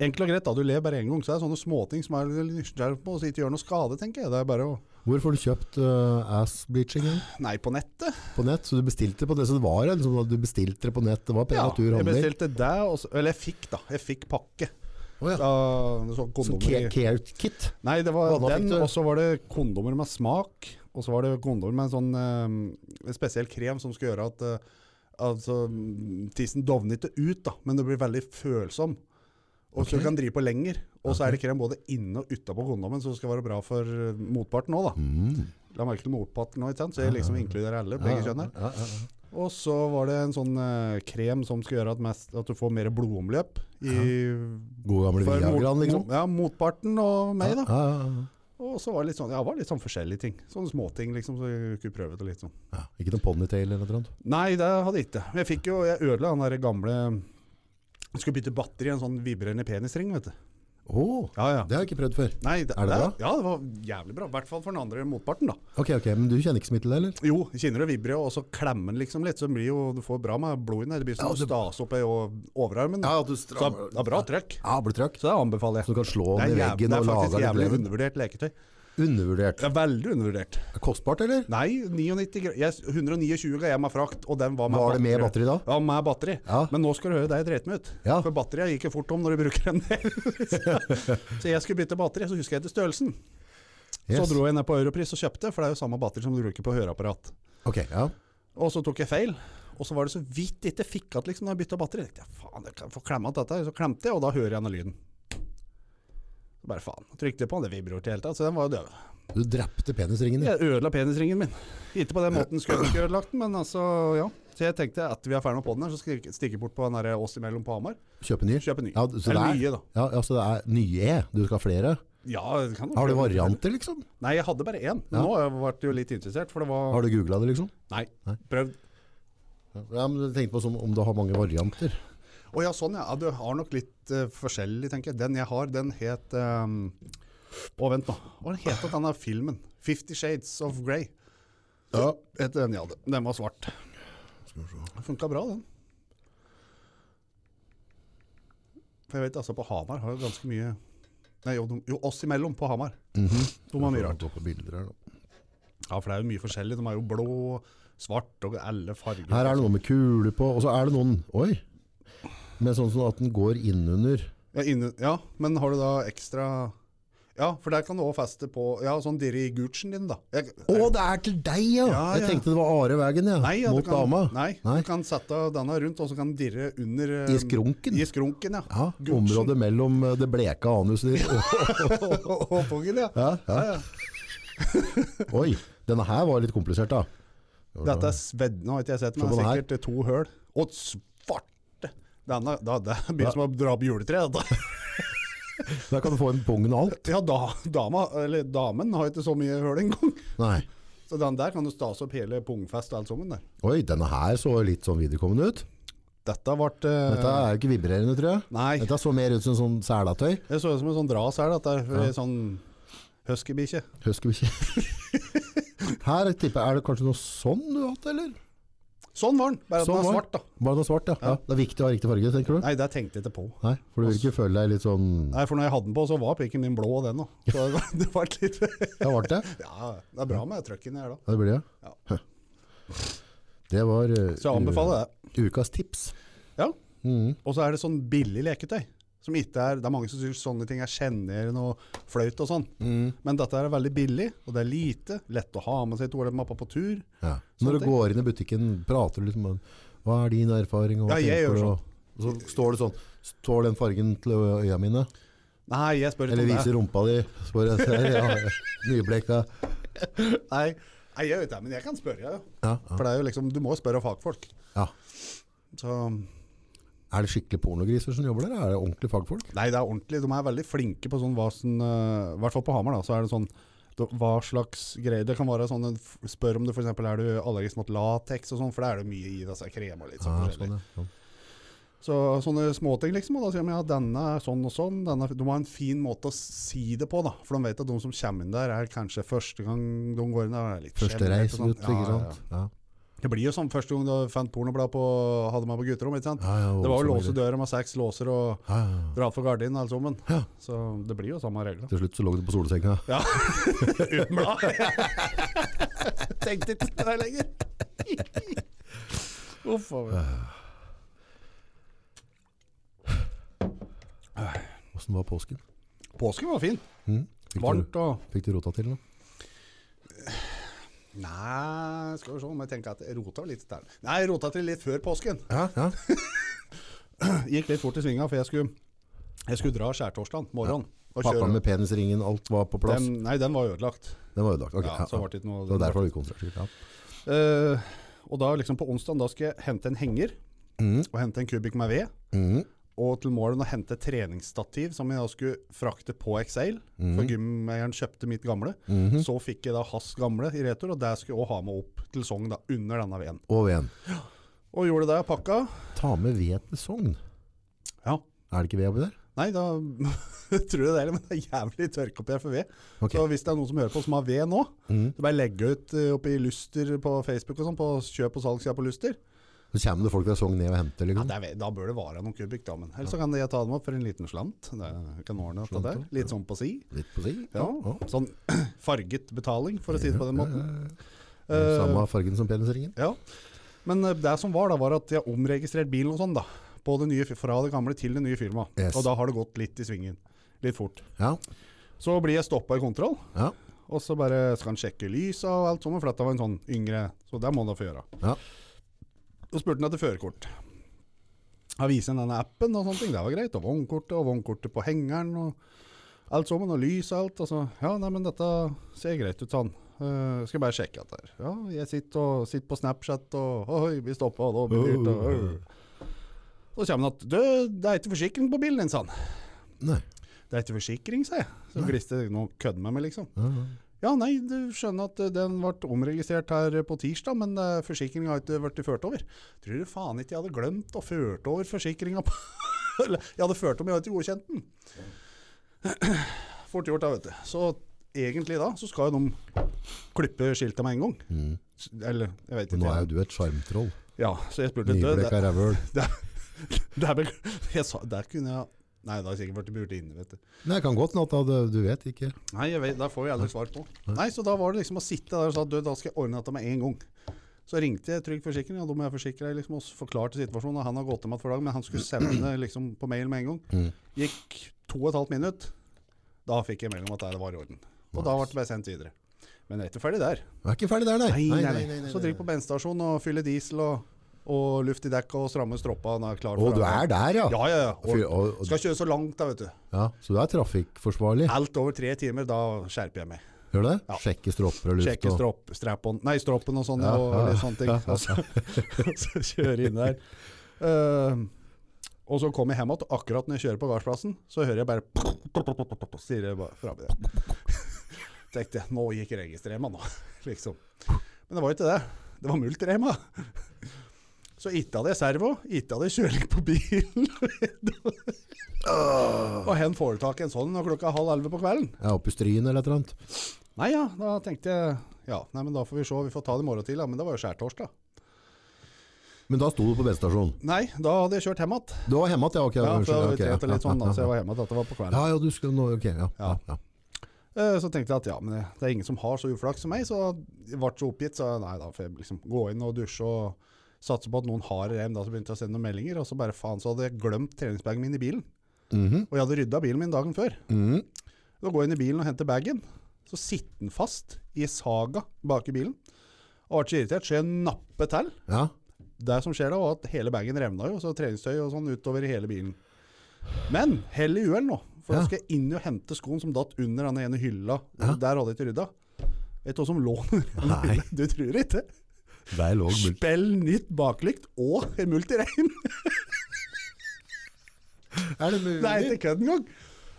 [SPEAKER 2] Enkelt og greit, da. Du ler bare én gang. Så er det sånne småting som er litt nysgjerrig på, så ikke gjør noe skade, tenker jeg. Det er bare å
[SPEAKER 1] Hvor får du kjøpt eh, ass bleaching igjen?
[SPEAKER 2] Nei, på nettet.
[SPEAKER 1] på nett? Så du bestilte det på det, så det var liksom, at du bestilte det på nett, det var
[SPEAKER 2] Ja,
[SPEAKER 1] Predatur
[SPEAKER 2] jeg
[SPEAKER 1] handler.
[SPEAKER 2] bestilte det, og så, eller jeg fikk da, jeg fikk pakke.
[SPEAKER 1] Å ja.
[SPEAKER 2] Da, så
[SPEAKER 1] Som
[SPEAKER 2] kondomer
[SPEAKER 1] care,
[SPEAKER 2] i-
[SPEAKER 1] care kit.
[SPEAKER 2] Nei, det var
[SPEAKER 1] Hva da fikk
[SPEAKER 2] den,
[SPEAKER 1] du?
[SPEAKER 2] og så var det kondomer med smak, og så var det kondomer med en sånn eh, en spesiell krem som skulle gjøre at eh, altså, mm, tissen dovner ikke ut, da, men det blir veldig følsom. Og så
[SPEAKER 1] Ok.
[SPEAKER 2] du kan drive på lenger. Og så er det krem både inne og utapå kondomen, så det skal være bra for eh, motparten òg, da.
[SPEAKER 1] Mm.
[SPEAKER 2] La merke til motparten òg, ikke sant. Så jeg liksom inkluderer alle, begge kjønn her.
[SPEAKER 1] Ja, ja, ja.
[SPEAKER 2] Og så var det en sånn eh, krem som skal gjøre at, mest, at du får mer blodomløp i
[SPEAKER 1] Gode gamle
[SPEAKER 2] for mot-
[SPEAKER 1] Viagraen, liksom.
[SPEAKER 2] mot- Ja, motparten og meg, da.
[SPEAKER 1] Ja, ja, ja.
[SPEAKER 2] Og så var det litt sånn, ja, det var litt sånn forskjellige ting. Sånne småting, liksom, så jeg kunne prøve det litt sånn.
[SPEAKER 1] Ja, ikke noen ponytail eller noe sånt.
[SPEAKER 2] Nei, det hadde jeg ikke. Men Jeg fikk jo, jeg ødela den der gamle Jeg skulle bytte batteri i en sånn vibrerende penisring, vet du.
[SPEAKER 1] Å,
[SPEAKER 2] Ja, ja.
[SPEAKER 1] det har jeg ikke prøvd før.
[SPEAKER 2] Nei, det,
[SPEAKER 1] Er det bra?
[SPEAKER 2] Ja, det var jævlig bra. I hvert fall for den andre motparten, da.
[SPEAKER 1] Ok, ok, men du kjenner ikke smittel, eller?
[SPEAKER 2] Jo, kjenner du vibrer, og så klemmer den liksom litt, så blir jo, du får bra med blod inn der. Det blir som
[SPEAKER 1] Ja,
[SPEAKER 2] å
[SPEAKER 1] det-
[SPEAKER 2] stase opp i o- overarmen.
[SPEAKER 1] Ja, at du
[SPEAKER 2] så det er- det er bra trøkk.
[SPEAKER 1] Ja, blir trøkk.
[SPEAKER 2] Så det anbefaler
[SPEAKER 1] Så
[SPEAKER 2] jeg.
[SPEAKER 1] du kan slå
[SPEAKER 2] Det
[SPEAKER 1] den
[SPEAKER 2] er,
[SPEAKER 1] i
[SPEAKER 2] jævlig,
[SPEAKER 1] veggen
[SPEAKER 2] det er
[SPEAKER 1] og lage
[SPEAKER 2] faktisk
[SPEAKER 1] litt
[SPEAKER 2] jævlig
[SPEAKER 1] leven.
[SPEAKER 2] undervurdert leketøy.
[SPEAKER 1] Undervurdert.
[SPEAKER 2] Det er veldig undervurdert.
[SPEAKER 1] Kostbart, eller?
[SPEAKER 2] Nei, 99 gr- jeg, 129 ga jeg meg frakt, og den var med
[SPEAKER 1] Var det med batteri da?
[SPEAKER 2] Ja, med batteri.
[SPEAKER 1] Ja.
[SPEAKER 2] Men nå skal du høre deg dreit meg ut.
[SPEAKER 1] Ja.
[SPEAKER 2] For batteriet gikk jo fort om når du bruker en del. så jeg skulle bytte batteri, så husker jeg til størrelsen. Så
[SPEAKER 1] Yes.
[SPEAKER 2] dro jeg ned på Europris og kjøpte, for det er jo samme batteri som du bruker på høreapparat.
[SPEAKER 1] Ok, ja.
[SPEAKER 2] Og så tok jeg feil. Og så var det så vidt ikke fikk att liksom, når jeg bytta batteri. Jeg tenkte, ja, faen, jeg kan få klemme att dette. her. Så klemte jeg, og da hører jeg denne lyden. Så bare faen. Trykte jeg på den, det vibrer til hele tatt. Så den var jo døv.
[SPEAKER 1] Du drepte penisringen din.
[SPEAKER 2] Jeg ødela penisringen min. Ikke på den måten skulle jeg ikke ødelagt den, men altså, ja. Så jeg tenkte at vi er ferdig med podden her, så skal jeg stikke bort på den der oss imellom på Hamar.
[SPEAKER 1] Kjøpe ny.
[SPEAKER 2] Kjøpe ny.
[SPEAKER 1] Ja, så det
[SPEAKER 2] Eller
[SPEAKER 1] er-
[SPEAKER 2] nye, da.
[SPEAKER 1] Ja, ja, så det er nye. E. Du skal ha flere.
[SPEAKER 2] Ja, det kan
[SPEAKER 1] Har du varianter, liksom?
[SPEAKER 2] Nei, jeg hadde bare én. Men
[SPEAKER 1] Ja.
[SPEAKER 2] nå har jeg vært jo litt interessert, for det var
[SPEAKER 1] Har du googlet det, liksom?
[SPEAKER 2] Nei,
[SPEAKER 1] Nei.
[SPEAKER 2] prøvd.
[SPEAKER 1] Ja, men jeg tenkte på som om du har mange varianter.
[SPEAKER 2] Å ja, sånn ja. ja. Du har nok litt eh, forskjellig, tenker jeg. Den jeg har, den het ehm, Å, vent nå. Hva het denne filmen? 'Fifty Shades of Grey'.
[SPEAKER 1] Ja.
[SPEAKER 2] Het den jeg hadde. Den var svart.
[SPEAKER 1] Skal vi se.
[SPEAKER 2] Funka bra, den. For jeg vet altså, på Hamar har jo ganske mye Nei, jo, de- jo oss imellom på Hamar.
[SPEAKER 1] Mhm.
[SPEAKER 2] De har mye rart.
[SPEAKER 1] Gå på bilder her, da.
[SPEAKER 2] Ja, for det er jo mye forskjellig. De er jo blå, svart og alle farger.
[SPEAKER 1] her er det noe med kule på, og så er det noen Oi! Med sånn som at den går innunder.
[SPEAKER 2] Ja, inne, ja, men har du da ekstra Ja, for der kan du òg feste på Ja, sånn dirre i Gucci'en din, da. Jeg,
[SPEAKER 1] Å, det er til deg, ja!
[SPEAKER 2] Ja,
[SPEAKER 1] Jeg
[SPEAKER 2] ja.
[SPEAKER 1] tenkte det var Areveien, ja.
[SPEAKER 2] Nei, ja, du
[SPEAKER 1] Mot
[SPEAKER 2] kan,
[SPEAKER 1] dama.
[SPEAKER 2] Nei,
[SPEAKER 1] Nei.
[SPEAKER 2] du kan sette denne rundt, og så kan den dirre under eh,
[SPEAKER 1] I skrunken.
[SPEAKER 2] I skrunken, ja.
[SPEAKER 1] Ja,
[SPEAKER 2] Gucci'en.
[SPEAKER 1] Området mellom eh, det bleka anuset ditt og
[SPEAKER 2] og pungen, ja.
[SPEAKER 1] ja, ja.
[SPEAKER 2] Ja, ja.
[SPEAKER 1] Oi! Denne her var litt komplisert, da.
[SPEAKER 2] Dette er svedd, nå har ikke jeg sett,
[SPEAKER 1] Se
[SPEAKER 2] men det
[SPEAKER 1] på
[SPEAKER 2] er
[SPEAKER 1] den
[SPEAKER 2] sikkert to høl. Og svarte! Denne, da, det blir som å dra opp juletreet. Da.
[SPEAKER 1] Da kan du få en pung og alt.
[SPEAKER 2] Ja, da, dama, eller damen har ikke så mye høl engang.
[SPEAKER 1] Nei.
[SPEAKER 2] Så den der kan du stase opp hele pungfest og alt sammen der.
[SPEAKER 1] Oi, denne her så litt sånn viderekommende ut.
[SPEAKER 2] Dette ble eh,
[SPEAKER 1] Dette er jo ikke vibrerende, tror jeg.
[SPEAKER 2] Nei.
[SPEAKER 1] Dette så mer ut som sånn selatøy.
[SPEAKER 2] Det så ut som en sånn dras her, da, at det er en sånn huskybikkje.
[SPEAKER 1] Huskybikkje. Her tipper jeg, er det kanskje noe sånn du har hatt, eller?
[SPEAKER 2] Sånn var den, bare at
[SPEAKER 1] Sånn
[SPEAKER 2] den er
[SPEAKER 1] var
[SPEAKER 2] svart, da.
[SPEAKER 1] Bare noe svart, ja. ja. Det er viktig å ha riktig farge, tenker du?
[SPEAKER 2] Nei, det tenkte jeg ikke på.
[SPEAKER 1] Nei, for du vil ikke føle deg litt sånn
[SPEAKER 2] Nei, for når jeg hadde den på, så var pikken min blå den òg. Så det var- det var et litt
[SPEAKER 1] Ja, var det det?
[SPEAKER 2] Ja, det er bra med trøkken her da.
[SPEAKER 1] Ja, det blir det, ja.
[SPEAKER 2] Ja.
[SPEAKER 1] Huh. Det var eh,
[SPEAKER 2] Så jeg anbefaler det.
[SPEAKER 1] u- ukas tips.
[SPEAKER 2] Ja.
[SPEAKER 1] Mhm.
[SPEAKER 2] Og så er det sånn billig leketøy. Som ikke er Det er mange som syns sånne ting er sjenerende og flaut og sånn.
[SPEAKER 1] Mm.
[SPEAKER 2] Men dette her er veldig billig, og det er lite. Lett å ha med seg til mappa på tur.
[SPEAKER 1] Ja. Når du
[SPEAKER 2] ting.
[SPEAKER 1] går inn i butikken, prater du liksom om hva er din erfaring? og hva
[SPEAKER 2] Ja, jeg
[SPEAKER 1] tenker
[SPEAKER 2] gjør
[SPEAKER 1] sånn, du, og- og Så står det sånn Står den fargen til øya mine?
[SPEAKER 2] Nei, jeg spør
[SPEAKER 1] Eller
[SPEAKER 2] ikke om
[SPEAKER 1] vise
[SPEAKER 2] det.
[SPEAKER 1] rumpa di, spør jeg selv. Ja, nyblekka.
[SPEAKER 2] Nei, nei, jeg vet det, men jeg kan spørre. jo.
[SPEAKER 1] Ja,
[SPEAKER 2] For det er jo liksom, du må jo spørre fagfolk.
[SPEAKER 1] ja.
[SPEAKER 2] Så,
[SPEAKER 1] Er det skikkelig pornogriser som jobber der? Er det ordentlige fagfolk?
[SPEAKER 2] nei, det er ordentlig. De er veldig flinke på sånn hva som eh, I hvert fall på Hamar, da, så er det sånn da- hva slags greier Det kan være sånn en f- Spør om du f.eks. er du allergisk mot lateks og sånn, for det er det mye i disse krem og litt sånn
[SPEAKER 1] Ja,
[SPEAKER 2] forskjellig.
[SPEAKER 1] sånn, ja. Ja.
[SPEAKER 2] Så sånne småting, liksom. Og da sier de ja, denne er sånn og sånn. Denne, er- de har en fin måte å si det på, da. For de vet at de som kommer inn der, er kanskje første gang de går inn der. er litt
[SPEAKER 1] Første
[SPEAKER 2] sjenert
[SPEAKER 1] reis
[SPEAKER 2] og sånn.
[SPEAKER 1] ut, ikke
[SPEAKER 2] Ja, ja,
[SPEAKER 1] sant? Ja,
[SPEAKER 2] ja. Det blir jo sånn første gang du fant pornoblad på hadde meg på gutterom, ikke sant.
[SPEAKER 1] ja, ja,
[SPEAKER 2] Det var jo
[SPEAKER 1] voldsomme
[SPEAKER 2] låse døra med seks låser og
[SPEAKER 1] greier. Ja, ja.
[SPEAKER 2] dra for gardinen alle sammen.
[SPEAKER 1] Ja.
[SPEAKER 2] Så det blir jo samme regler.
[SPEAKER 1] Til slutt så lå du på solsenga.
[SPEAKER 2] Ja. Uten blad. Tenkte ikke på det lenger. Uff a meg.
[SPEAKER 1] Åssen var påsken?
[SPEAKER 2] Påsken var fin.
[SPEAKER 1] Mm? Fikk, du,
[SPEAKER 2] Varmt og
[SPEAKER 1] fikk du rota til noe?
[SPEAKER 2] Nei, skal vi se om jeg tenker at jeg rota litt der. Nei, jeg rota til litt før påsken.
[SPEAKER 1] Ja, ja.
[SPEAKER 2] Gikk litt fort i svinga, for jeg skulle, jeg skulle dra skjærtorsdag morgen. og
[SPEAKER 1] Pakka
[SPEAKER 2] kjøre.
[SPEAKER 1] med penisringen, alt var på plass.
[SPEAKER 2] Den, nei, den var ødelagt.
[SPEAKER 1] Den var ødelagt. Ok,
[SPEAKER 2] ja,
[SPEAKER 1] ja,
[SPEAKER 2] så
[SPEAKER 1] ja.
[SPEAKER 2] var det ikke noe...
[SPEAKER 1] Det var derfor det var ukonsentrert. sikkert, Ja.
[SPEAKER 2] Eh, og da liksom på onsdag, da skal jeg hente en henger,
[SPEAKER 1] Mm,
[SPEAKER 2] og hente en kubikk med ved,
[SPEAKER 1] mm,
[SPEAKER 2] og til morgen å hente et treningsstativ som jeg da skulle frakte på Excel,
[SPEAKER 1] mm,
[SPEAKER 2] for gymeieren kjøpte mitt gamle.
[SPEAKER 1] mhm.
[SPEAKER 2] Så fikk jeg da hans gamle i retur, og det skulle jeg også ha med opp til Sogn da, under denne veden.
[SPEAKER 1] Og veden.
[SPEAKER 2] Og gjorde det, pakka.
[SPEAKER 1] Ta med ved til Sogn.
[SPEAKER 2] Ja,
[SPEAKER 1] Er det ikke ved oppi der?
[SPEAKER 2] Nei, da tror jeg det, er, men det er jævlig tørke oppi her for ved.
[SPEAKER 1] Ok.
[SPEAKER 2] Så hvis det er noen som hører på som har ved nå,
[SPEAKER 1] Mhm.
[SPEAKER 2] så bare legge ut eh, oppi Luster på Facebook og sånn, på kjøp og salg sida på Luster.
[SPEAKER 1] Så kommer det folk fra Sogn ned og henter.
[SPEAKER 2] Ja,
[SPEAKER 1] Liksom.
[SPEAKER 2] det er, ved- da bør det være noen kubikk, da. Men ellers så kan jeg ta dem opp for en liten slant. Det kan ordne opp
[SPEAKER 1] Slant,
[SPEAKER 2] der.
[SPEAKER 1] ja.
[SPEAKER 2] Litt sånn på si.
[SPEAKER 1] Litt på si.
[SPEAKER 2] Ja.
[SPEAKER 1] ja.
[SPEAKER 2] Sånn farget betaling, for å si det på den måten.
[SPEAKER 1] Eh, Samme
[SPEAKER 2] Eh,
[SPEAKER 1] fargen som penisringen.
[SPEAKER 2] ja. Men eh, det som var, da, var at jeg har omregistrert bilen og sånn, da. På det nye, fi- fra det gamle til det nye firmaet.
[SPEAKER 1] Yes.
[SPEAKER 2] Og da har det gått litt i svingen. Litt fort.
[SPEAKER 1] Ja.
[SPEAKER 2] Så blir jeg stoppa i kontroll.
[SPEAKER 1] Ja.
[SPEAKER 2] Og så bare skal han sjekke lysa og alt sånt, for dette var en sånn yngre, så det må han da få gjøre.
[SPEAKER 1] Ja.
[SPEAKER 2] Så spurte han etter førerkort. Han viser han denne appen og sånne ting, det var greit, og vognkortet, og vognkortet på hengeren, og alt sammen, og lys og alt, og så, ja, nei, men dette ser greit ut, sånn. Uh, skal bare sjekke dette her. Ja, jeg sitter, og, sitter på Snapchat, og oi, vi stopper, og da blir det dyrt, og
[SPEAKER 1] Uh.
[SPEAKER 2] øh. Så kommer han at, du, det er ikke forsikring på bilen din, sa han.
[SPEAKER 1] Nei.
[SPEAKER 2] Det er ikke forsikring, sa jeg. Så glister det, nå kødder med meg, liksom.
[SPEAKER 1] Ja, ja.
[SPEAKER 2] Ja, nei, du skjønner at eh, den ble omregistrert her eh, på tirsdag, men eh, forsikringen har ikke vært ført over. Tror du faen ikke jeg hadde glemt å ført over forsikringen på Eller, Jeg hadde ført om, jeg hadde ikke godkjent den. Fort gjort, da, vet du. Så egentlig da, så skal jo de klippe skiltet med en gang.
[SPEAKER 1] Mm.
[SPEAKER 2] S- Eller, jeg vet
[SPEAKER 1] Men nå
[SPEAKER 2] ikke.
[SPEAKER 1] er jo du et sjarmtroll.
[SPEAKER 2] Ja, så jeg spurte død.
[SPEAKER 1] Nyblekka rævhøl.
[SPEAKER 2] Det er vel Jeg sa Der kunne jeg Nei, da har jeg sikkert vært burde inne, vet du.
[SPEAKER 1] Nei, det kan godt hende at det- du vet ikke.
[SPEAKER 2] Nei, jeg vet, der får jeg aldri svar på. Nei, så da var det liksom å sitte der og sa du, da skal jeg ordne dette med en gang. Så ringte jeg Trygg Forsikring, og da må jeg forsikre deg, liksom, og s- forklarte situasjonen. Og han har gått hjem igjen for dagen, men han skulle sende det liksom på mail med en
[SPEAKER 1] Mm.
[SPEAKER 2] gang. Gikk to og et halvt minutt. Da fikk jeg melding om at det var i orden. Og da ble det bare sendt videre. Men jeg er ikke ferdig der.
[SPEAKER 1] Du er ikke ferdig der, nei.
[SPEAKER 2] Nei, nei, nei. Så driv på bensinstasjonen og fylle diesel og, og luft i dekk og stramme stroppa. og da er jeg klar
[SPEAKER 1] Å,
[SPEAKER 2] for
[SPEAKER 1] du
[SPEAKER 2] arbeid.
[SPEAKER 1] er der, ja.
[SPEAKER 2] Ja, ja, ja.
[SPEAKER 1] Fy,
[SPEAKER 2] Og
[SPEAKER 1] og, og,
[SPEAKER 2] skal kjøre så langt, da, vet du.
[SPEAKER 1] ja. Så du er trafikkforsvarlig.
[SPEAKER 2] Alt over tre timer, da skjerper jeg meg.
[SPEAKER 1] Gjør du det?
[SPEAKER 2] Ja.
[SPEAKER 1] Sjekke stropper og luft.
[SPEAKER 2] Sjekke
[SPEAKER 1] og-
[SPEAKER 2] stropp, strap-on, nei, stroppen og sånn,
[SPEAKER 1] Ja,
[SPEAKER 2] og
[SPEAKER 1] ja,
[SPEAKER 2] litt sånne ting.
[SPEAKER 1] ja, ja.
[SPEAKER 2] Og så, så kjøre inn der. Eh, og så kom jeg hjem igjen, og akkurat når jeg kjører på gardsplassen, så hører jeg bare Stirrer bare fra meg der. Tenkte jeg, nå gikk registrema nå, liksom. Men det var jo ikke det. Det var multrema. Så ikke hadde jeg servo, ikke hadde jeg kjøling på bilen. og hen får du tak i en sånn når klokka er halv elleve på kvelden?
[SPEAKER 1] Ja, oppe i Stryn eller et eller annet.
[SPEAKER 2] Nei ja, da tenkte jeg Ja, nei, men da får vi se, vi får ta det i morgen til, da. Men det var jo skjærtorsdag.
[SPEAKER 1] Men da sto du på bensinstasjonen.
[SPEAKER 2] Nei, da hadde jeg kjørt hjem igjen.
[SPEAKER 1] Du var hjemme igjen, ja? Ok.
[SPEAKER 2] Ja, så
[SPEAKER 1] unnskyld,
[SPEAKER 2] vi
[SPEAKER 1] ok, ja,
[SPEAKER 2] trente litt sånn, da, så jeg
[SPEAKER 1] ja,
[SPEAKER 2] var hjemme igjen. Dette var på
[SPEAKER 1] ja,
[SPEAKER 2] kvelden.
[SPEAKER 1] ja, du skulle nå Ok, ja. ja.
[SPEAKER 2] Ja.
[SPEAKER 1] ja.
[SPEAKER 2] Eh, Så tenkte jeg at ja, men det- det er ingen som har så uflaks som meg, så jeg ble så oppgitt, så nei, da får jeg liksom gå inn og dusje og satse på at noen har rem. Da så begynte jeg å sende noen meldinger, og så bare faen, så hadde jeg glemt treningsbagen min i bilen.
[SPEAKER 1] Mhm,
[SPEAKER 2] Og jeg hadde rydda bilen min dagen før.
[SPEAKER 1] mhm.
[SPEAKER 2] Da går jeg inn i bilen og henter bagen. Så sitter den fast i saga bak i bilen. Og ble så irritert, så jeg napper til.
[SPEAKER 1] Ja.
[SPEAKER 2] Det som skjer da, var at hele bagen revna jo, så treningstøy og sånn utover hele bilen. Men hell i uhell nå, For
[SPEAKER 1] Ja.
[SPEAKER 2] da skal jeg inn og hente skoen som datt under den ene hylla.
[SPEAKER 1] Ja.
[SPEAKER 2] Der hadde jeg ikke rydda. Vet du hva som lå under den
[SPEAKER 1] Nei.
[SPEAKER 2] hylla? Du tror ikke?
[SPEAKER 1] Der lå multen.
[SPEAKER 2] Spill nytt baklykt og multirein!
[SPEAKER 1] Er det mulig?
[SPEAKER 2] Det er ikke kødd engang!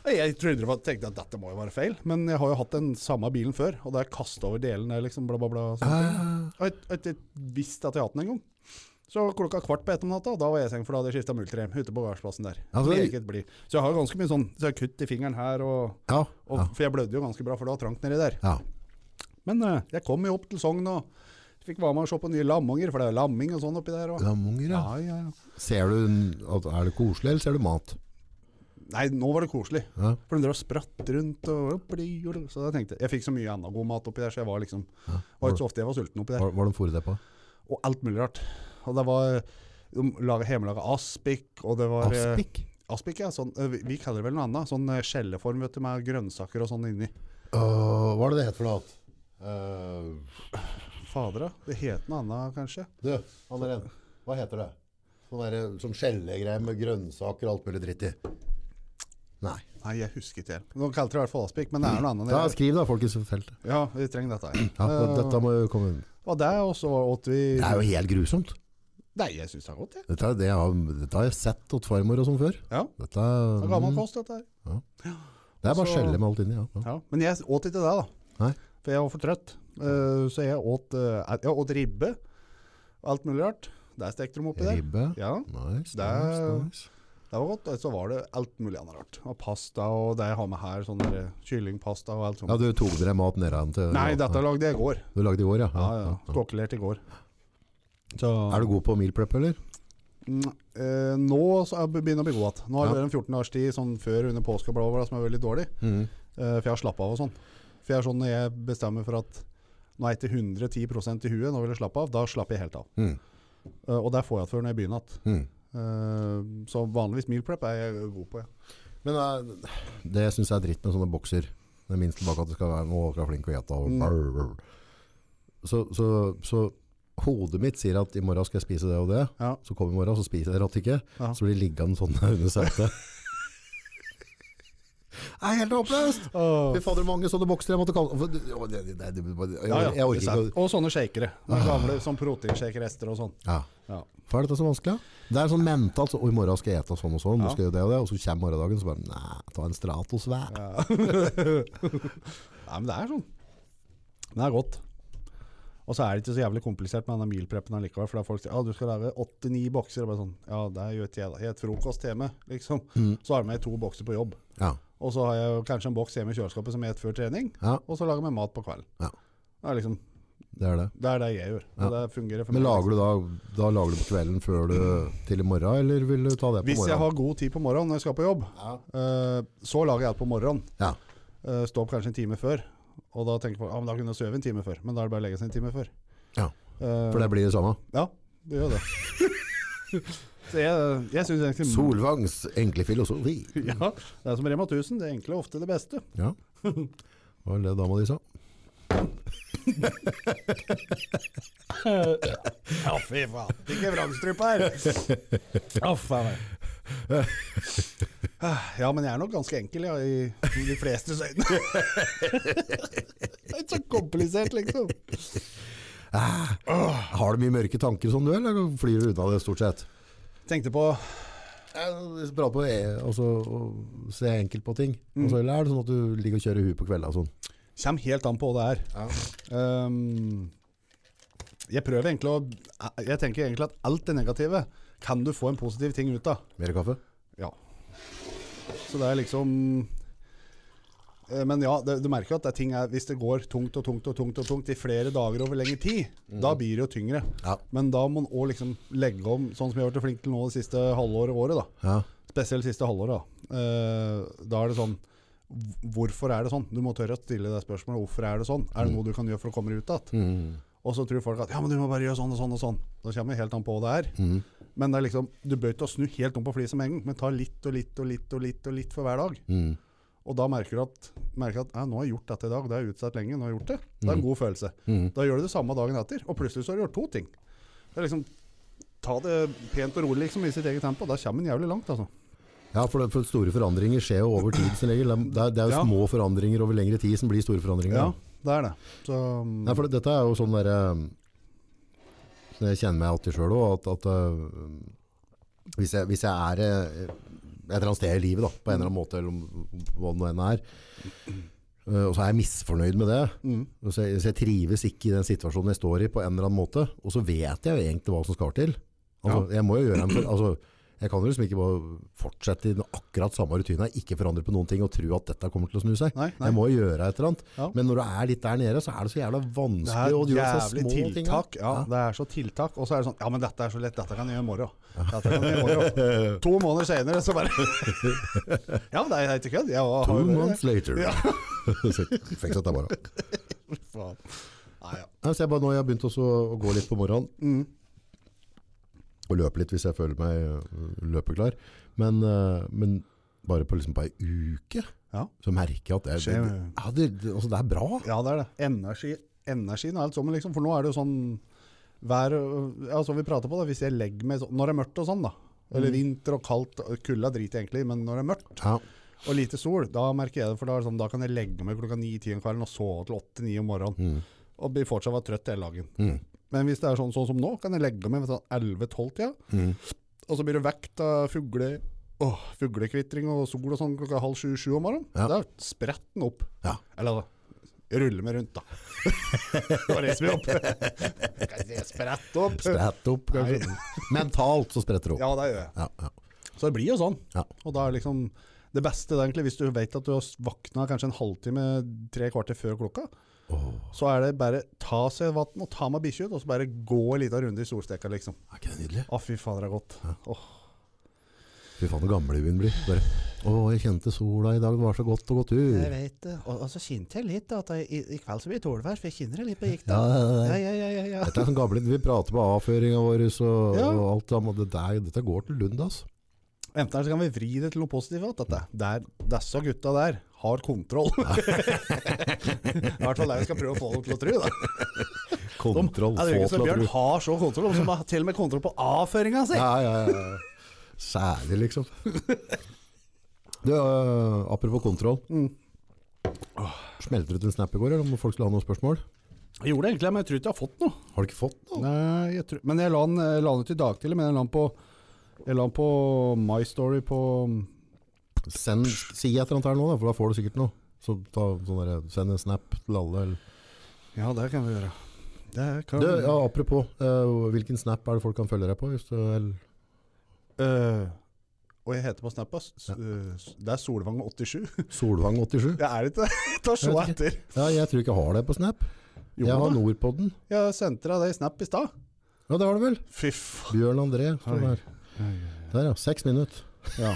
[SPEAKER 2] Jeg trodde det var, tenkte at dette må jo være feil, men jeg har jo hatt den samme bilen før. Og da jeg kasta over delene, liksom, bla, bla, bla.
[SPEAKER 1] Ah,
[SPEAKER 2] Sånn. Og jeg, jeg, jeg visste at jeg hadde den en gang. Så klokka kvart på ett om natta, da var jeg i seng, for da hadde jeg skifta multirem ute på gardsplassen der.
[SPEAKER 1] Ja, så-
[SPEAKER 2] Meget blid. så jeg har jo ganske mye sånn så jeg har kutt i fingeren her, og,
[SPEAKER 1] Ja.
[SPEAKER 2] og,
[SPEAKER 1] Ja.
[SPEAKER 2] for jeg blødde jo ganske bra, for det var trangt nedi der.
[SPEAKER 1] ja.
[SPEAKER 2] Men eh, jeg kom jo opp til Sogn og fikk være med og se på nye lammunger, for det er jo lamming og sånn oppi der. Og,
[SPEAKER 1] Lamunger, ja.
[SPEAKER 2] ja, ja, ja.
[SPEAKER 1] Ser du, en- at- er det koselig, eller ser du mat?
[SPEAKER 2] Nei, nå var det koselig.
[SPEAKER 1] Ja.
[SPEAKER 2] For de drev og spratt rundt og opp, de gjorde- Så jeg tenkte, jeg fikk så mye annen god mat oppi der, så jeg var liksom var ikke så ofte jeg var sulten oppi der.
[SPEAKER 1] Hva, hva de fôrer deg på?
[SPEAKER 2] Og alt mulig rart. Og det var de laget hjemmelaga aspik, og det var eh,
[SPEAKER 1] Aspik?
[SPEAKER 2] Aspik, ja. Sånn, eh, vi- vi kaller det vel noe annet. Sånn eh, skjelleform vet du, med grønnsaker og sånn inni.
[SPEAKER 1] Øh, hva er det det heter for noe? Øh,
[SPEAKER 2] Fader, da. Det het noe annet, kanskje.
[SPEAKER 1] du, Andrén, hva heter det? Sånn der, sånn skjellegreier med grønnsaker og alt mulig dritt i. Nei.
[SPEAKER 2] Nei, jeg husker ikke helt. Nå kalte det i hvert fall aspik, men det er noe annet. enn
[SPEAKER 1] Da,
[SPEAKER 2] det.
[SPEAKER 1] skriv da, folkens i feltet.
[SPEAKER 2] Ja, vi trenger dette her.
[SPEAKER 1] Ja, og dette må jo komme inn.
[SPEAKER 2] Og det, og så åt vi
[SPEAKER 1] Det er jo helt grusomt.
[SPEAKER 2] Nei, jeg syns det er godt, jeg.
[SPEAKER 1] Dette, er det jeg har, dette har jeg sett åt farmor og sånn før.
[SPEAKER 2] Ja.
[SPEAKER 1] Dette,
[SPEAKER 2] Det er gammel kost, dette her.
[SPEAKER 1] Det er bare
[SPEAKER 2] Så-
[SPEAKER 1] skjelle med alt inni. Ja. Ja.
[SPEAKER 2] Ja, men jeg åt ikke det, da.
[SPEAKER 1] Nei.
[SPEAKER 2] For jeg var for trøtt. Eh, så jeg åt, eh, jeg åt ribbe og alt mulig rart. Der stekte de oppi der.
[SPEAKER 1] Ribbe.
[SPEAKER 2] Ja,
[SPEAKER 1] Nice,
[SPEAKER 2] Det
[SPEAKER 1] nice,
[SPEAKER 2] er-
[SPEAKER 1] nice.
[SPEAKER 2] det var godt. Og så var det alt mulig annet rart. Og pasta og det jeg har med her, sånn der kyllingpasta og alt sånt.
[SPEAKER 1] Ja, du tok dere mat nede an til
[SPEAKER 2] Nei, dette lagde jeg i går.
[SPEAKER 1] Du lagde i går, ja.
[SPEAKER 2] Ja, ja. Ståkelert i går. Så,
[SPEAKER 1] Er du god på meal prep, eller?
[SPEAKER 2] Mm, eh, nå så er jeg begynner jeg å bli god igjen. Nå har det vært en 14 dagers tid sånn før under påske og bla, bla, bla, som er veldig dårlig.
[SPEAKER 1] Mm.
[SPEAKER 2] Eh, for jeg har slappet av og sånn. For jeg er sånn når jeg bestemmer for at nå er jeg til 110 i huet, nå vil jeg slappe av, da slapper jeg helt av.
[SPEAKER 1] Mhm.
[SPEAKER 2] Eh, og det får jeg igjen før når jeg begynner igjen.
[SPEAKER 1] Mhm.
[SPEAKER 2] Eh, så vanligvis meal prep er jeg god på, ja.
[SPEAKER 1] Men eh, det jeg synes er dritt med sånne bokser, det er minst tilbake at det skal være noe skal være flink å gjette.
[SPEAKER 2] Mm.
[SPEAKER 1] Og brr, brr. Så, så, så hodet mitt sier at i morgen skal jeg spise det og det,
[SPEAKER 2] Ja.
[SPEAKER 1] så kommer i morgen, så spiser jeg rått ikke,
[SPEAKER 2] Ja.
[SPEAKER 1] så blir det liggende sånn under setet. Det er helt oppløst!
[SPEAKER 2] Åh.
[SPEAKER 1] Fy fader, mange sånne bokser jeg måtte kalle for- det- det- det- det- det- Jeg
[SPEAKER 2] Ja, ja,
[SPEAKER 1] jeg orker
[SPEAKER 2] det er
[SPEAKER 1] ikke å
[SPEAKER 2] sant. Og sånne shakere. Noen Gamle sånn proteinshakerester og sånn.
[SPEAKER 1] ja.
[SPEAKER 2] Ja.
[SPEAKER 1] Hvorfor er dette så vanskelig? da? Det er sånn mentalt, så, «Å, i morgen skal jeg ete sånn og sånn, nå skal jeg gjøre det og det, og så kommer morgendagen, så bare, nei, ta en stratos hver.
[SPEAKER 2] Nei, men det er sånn. Men det er godt. Og så er det ikke så jævlig komplisert med denne mealpreppen allikevel. For det er folk sier ja, du skal lage 8-9 bokser. Og bare sånn, ja, det gjør ikke jeg, da. Jeg har et frokosthjemme, liksom.
[SPEAKER 1] Mm.
[SPEAKER 2] Så har jeg med to bokser på jobb.
[SPEAKER 1] Ja.
[SPEAKER 2] Og så har jeg jo kanskje en boks hjemme i kjøleskapet som jeg spiser før trening.
[SPEAKER 1] Ja.
[SPEAKER 2] Og så lager jeg meg mat på kvelden.
[SPEAKER 1] Ja.
[SPEAKER 2] Det er liksom,
[SPEAKER 1] Det er det.
[SPEAKER 2] det er det jeg gjør. Og det fungerer for
[SPEAKER 1] Men
[SPEAKER 2] meg.
[SPEAKER 1] lager du da, da lager du på kvelden før du til i morgen, eller vil du ta det på
[SPEAKER 2] Hvis jeg
[SPEAKER 1] morgenen?
[SPEAKER 2] har god tid på morgenen når jeg skal på jobb, eh, så lager jeg det på morgenen.
[SPEAKER 1] Ja.
[SPEAKER 2] Eh, Stå opp kanskje en time før. Og da tenker folk ja, men da kunne jeg sove en time før. Men da er det bare å legge seg en time før.
[SPEAKER 1] ja,
[SPEAKER 2] Eh,
[SPEAKER 1] for det blir det samme.
[SPEAKER 2] Ja, det gjør det. Så jeg, jeg synes egentlig
[SPEAKER 1] Solvangs enkle filosofi.
[SPEAKER 2] Ja, det er som Rema 1000, det enkle er ofte det beste.
[SPEAKER 1] Ja. Hva var det dama di sa?
[SPEAKER 2] Ja, fy faen. Ikke vrangstrup her. Ja, faen meg. Ah, Ja, men jeg er nok ganske enkel, ja, i i de fleste øyne. Det er ikke så komplisert, liksom.
[SPEAKER 1] Har du mye mørke tanker som du, eller flyr du unna det stort sett?
[SPEAKER 2] Tenkte på
[SPEAKER 1] Jeg prater på eh, altså, å se enkelt på ting. Altså, eller er det sånn at du ligger og kjører huet på kvelden og sånn?
[SPEAKER 2] Kjem helt an på hva det er. Ehm, jeg prøver egentlig å eh, Jeg tenker egentlig at alt det negative kan du få en positiv ting ut av.
[SPEAKER 1] Mer kaffe?
[SPEAKER 2] Ja. Så det er liksom Eh, Men ja, det, du merker jo at det er ting er, hvis det går tungt og tungt og tungt og tungt i flere dager over lengre tid, da blir det jo tyngre.
[SPEAKER 1] Ja.
[SPEAKER 2] Men da må en òg liksom legge om, sånn som jeg har vært flink til nå det siste halvåret året. da.
[SPEAKER 1] Ja.
[SPEAKER 2] Spesielt siste halvåret. Da Eh, Da er det sånn h- Hvorfor er det sånn? Du må tørre å stille deg spørsmålet. Hvorfor er det sånn? Er det noe du kan gjøre for å komme ut igjen?
[SPEAKER 1] Mm.
[SPEAKER 2] Og så tror folk at ja, men du må bare gjøre sånn og sånn og sånn. Da kommer det helt an på hva det er.
[SPEAKER 1] Mm.
[SPEAKER 2] Men det er liksom, du bør ikke snu helt om på flisa med en gang, men ta litt og litt og litt og litt og litt for hver dag.
[SPEAKER 1] Mm.
[SPEAKER 2] Og da merker du at, merker at ja, nå har jeg gjort dette i dag, det har jeg utsatt lenge, nå har jeg gjort det. Det er en god følelse.
[SPEAKER 1] Mm.
[SPEAKER 2] Da gjør du det samme dagen etter, og plutselig så har du gjort to ting. Det er liksom, ta det pent og rolig liksom, i sitt eget tempo, da kommer en jævlig langt. altså.
[SPEAKER 1] Ja, for, det, for store forandringer skjer jo over tid som regel. Det er, det er jo
[SPEAKER 2] Ja.
[SPEAKER 1] små forandringer over lengre tid som blir store forandringer.
[SPEAKER 2] Ja,
[SPEAKER 1] da.
[SPEAKER 2] det er det. Så, mm,
[SPEAKER 1] Nei, for det, dette er jo sånn derre sånn Jeg kjenner meg alltid sjøl òg, at, at øh, hvis, jeg, hvis jeg er eh, et eller annet sted i livet, da, på en eller annen måte, eller om- hva det nå enn er, øh, og så er jeg misfornøyd med det,
[SPEAKER 2] mm,
[SPEAKER 1] og så, så jeg trives ikke i den situasjonen jeg står i på en eller annen måte, og så vet jeg jo egentlig hva som skal til. Altså, Jeg må jo gjøre en... Altså, jeg kan jo liksom ikke bare fortsette i den akkurat samme rutinen, ikke forandre på noen ting og tro at dette kommer til å snu seg.
[SPEAKER 2] Nei, nei.
[SPEAKER 1] Jeg må jo gjøre et eller annet.
[SPEAKER 2] Ja.
[SPEAKER 1] Men når du er litt der nede, så er det så jævla
[SPEAKER 2] det
[SPEAKER 1] vanskelig
[SPEAKER 2] er
[SPEAKER 1] å gjøre så
[SPEAKER 2] jævlig
[SPEAKER 1] små ting.
[SPEAKER 2] tiltak. Ja, det er så tiltak. Og så er det sånn Ja, men dette er så lett. Dette kan jeg gjøre i morgen. Dette kan jeg gjøre i morgen. To måneder senere, så bare Ja, men det er ikke kødd. Jeg har-
[SPEAKER 1] Two
[SPEAKER 2] har jo det.
[SPEAKER 1] months later.
[SPEAKER 2] Ja.
[SPEAKER 1] så fikk jeg det bare.
[SPEAKER 2] Faen. Nei, ja.
[SPEAKER 1] Nei, så jeg bare nå, jeg har begynt også å gå litt på morgenen.
[SPEAKER 2] Mm.
[SPEAKER 1] Og løpe litt hvis jeg føler meg øh, løpeklar. Men, øh, men bare på liksom på ei uke,
[SPEAKER 2] Ja.
[SPEAKER 1] så merker jeg at det, det,
[SPEAKER 2] Skjer-
[SPEAKER 1] ja, det, det, altså, det er bra.
[SPEAKER 2] Ja, det er det. Energi, energien og alt sammen, liksom. For nå er det jo sånn vær Ja, som vi prater på, da. Hvis jeg legger meg sånn Når det er mørkt og sånn, da.
[SPEAKER 1] Mm.
[SPEAKER 2] Eller vinter og kaldt. og Kulda driter jeg egentlig i, men når det er mørkt
[SPEAKER 1] Ja.
[SPEAKER 2] og lite sol, da merker jeg det. For da, er det sånn, da kan jeg legge meg klokka ni-ti om kvelden og sove til åtte-ni om morgenen.
[SPEAKER 1] Mm.
[SPEAKER 2] Og blir fortsatt være trøtt hele dagen. Men hvis det er sånn, sånn som nå, kan jeg legge meg ved sånn 11-12-tida.
[SPEAKER 1] Mm.
[SPEAKER 2] Og så blir du vekt av fugle, åh, fuglekvittring og sol og sånn klokka halv sju-sju om morgenen.
[SPEAKER 1] Ja.
[SPEAKER 2] Da spretter den opp.
[SPEAKER 1] Ja.
[SPEAKER 2] Eller ruller meg rundt, da. Og reiser meg opp. Kan ikke Sprett opp.
[SPEAKER 1] Sprett opp.
[SPEAKER 2] Nei.
[SPEAKER 1] Mentalt så spretter det opp.
[SPEAKER 2] Ja, det gjør jeg.
[SPEAKER 1] Ja, ja.
[SPEAKER 2] Så det blir jo sånn.
[SPEAKER 1] Ja.
[SPEAKER 2] Og da er liksom det beste det er egentlig, hvis du vet at du har våkna kanskje en halvtime, tre kvarter før klokka, så er det bare ta seg vann og ta med bikkja ut, og så bare gå en liten runde i solsteka, liksom.
[SPEAKER 1] Er ikke det nydelig?
[SPEAKER 2] Å, fy fader, det er godt. Åh.
[SPEAKER 1] Fy faen, hvor gamle hun blir. Bare, å, jeg kjente sola i dag, det var så godt å gå tur.
[SPEAKER 3] Jeg vet det. Og, og så kjente jeg litt da, at jeg, i, i kveld så blir det tålvær, for jeg kjenner det litt på gikk da.
[SPEAKER 1] Ja, ja, ja, ja.
[SPEAKER 3] Ja, ja, ja, ja, ja.
[SPEAKER 1] Dette er sånn gamle, vi prater på avføringen vår og,
[SPEAKER 2] Ja.
[SPEAKER 1] og alt sammen. og Det der, dette går til Lund, altså.
[SPEAKER 2] Enten her så kan vi vri det til noe positivt, at dette, der, disse gutta der har kontroll. I hvert fall det vi skal prøve å få dem til å tro, da.
[SPEAKER 1] Kontroll,
[SPEAKER 2] Ja,
[SPEAKER 1] få
[SPEAKER 2] det virker
[SPEAKER 1] til
[SPEAKER 2] som
[SPEAKER 1] å
[SPEAKER 2] Bjørn
[SPEAKER 1] tro.
[SPEAKER 2] har så kontroll, og så har han til og med kontroll på avføringa si.
[SPEAKER 1] Ja, ja, ja. Særlig, liksom. Du, øh, apropos kontroll. Åh, Smelte du til en snap i går, eller om folk skulle ha noen spørsmål?
[SPEAKER 2] Jeg gjorde det egentlig, men jeg tror ikke jeg har fått noe.
[SPEAKER 1] Har du ikke fått noe?
[SPEAKER 2] Nei, jeg tror, men jeg la den, jeg la den ut i dag tidlig, men jeg la den på, jeg la den på My Story på
[SPEAKER 1] Send, si et eller annet her nå, da, for da får du sikkert noe. Så ta, sånn der, send en snap til alle. Eller.
[SPEAKER 2] Ja, det kan vi gjøre. Det kan
[SPEAKER 1] Du, ja, apropos, øh, hvilken snap er det folk kan følge deg på? Hvis du, eller,
[SPEAKER 2] Øh, og jeg heter på Snappa, det er Solvang87.
[SPEAKER 1] Solvang87?
[SPEAKER 2] Jeg er ikke det. Ta se
[SPEAKER 1] Jeg vet ikke.
[SPEAKER 2] etter.
[SPEAKER 1] Ja, jeg tror ikke jeg har det på snap.
[SPEAKER 2] Jo,
[SPEAKER 1] jeg har
[SPEAKER 2] da.
[SPEAKER 1] Nordpodden.
[SPEAKER 2] Jeg sendte deg det i Snap i stad.
[SPEAKER 1] Ja, det har du vel.
[SPEAKER 2] Fy faen.
[SPEAKER 1] Bjørn André. står
[SPEAKER 2] Oi.
[SPEAKER 1] Der. der, ja. Seks minutter.
[SPEAKER 2] Ja.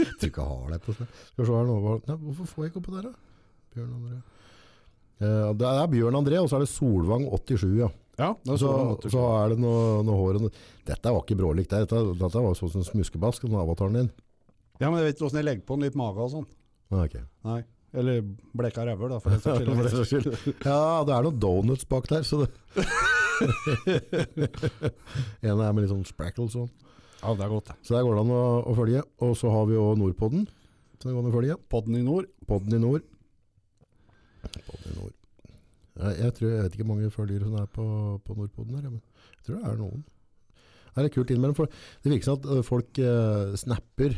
[SPEAKER 1] Jeg tror ikke jeg har det på snap. Skal vi se her nå. hva- Nei, hvorfor får jeg ikke opp det der, da? Bjørn André. Eh, det er Bjørn André, og så er det Solvang87, ja.
[SPEAKER 2] ja det
[SPEAKER 1] Og
[SPEAKER 2] er
[SPEAKER 1] Så,
[SPEAKER 2] Solvang87.
[SPEAKER 1] så er det noe, noe hår og noe. Dette var ikke brålikt, det. dette, dette var sånn som smuskebask, den avataren din.
[SPEAKER 2] Ja, men jeg vet ikke åssen jeg legger på den, litt mage og sånn.
[SPEAKER 1] Ah, ok.
[SPEAKER 2] Nei. Eller bleka rævhøl, da, for den
[SPEAKER 1] For det
[SPEAKER 2] saks
[SPEAKER 1] saks
[SPEAKER 2] skyld.
[SPEAKER 1] skyld. Ja, det er noen donuts bak der, så det... en er med litt sånn sprackles sånn.
[SPEAKER 2] Ja, det er godt, det.
[SPEAKER 1] Så der går det an å, å følge. Og så har vi jo Nordpodden. Så det går an å følge.
[SPEAKER 2] Podden i nord.
[SPEAKER 1] Podden i nord. Podden i nord. Jeg, jeg, tror, jeg vet ikke hvor mange følgere som er på, på Nordpodden her, men jeg tror det er noen. Det er litt kult innimellom, for det virker som at øh, folk eh, snapper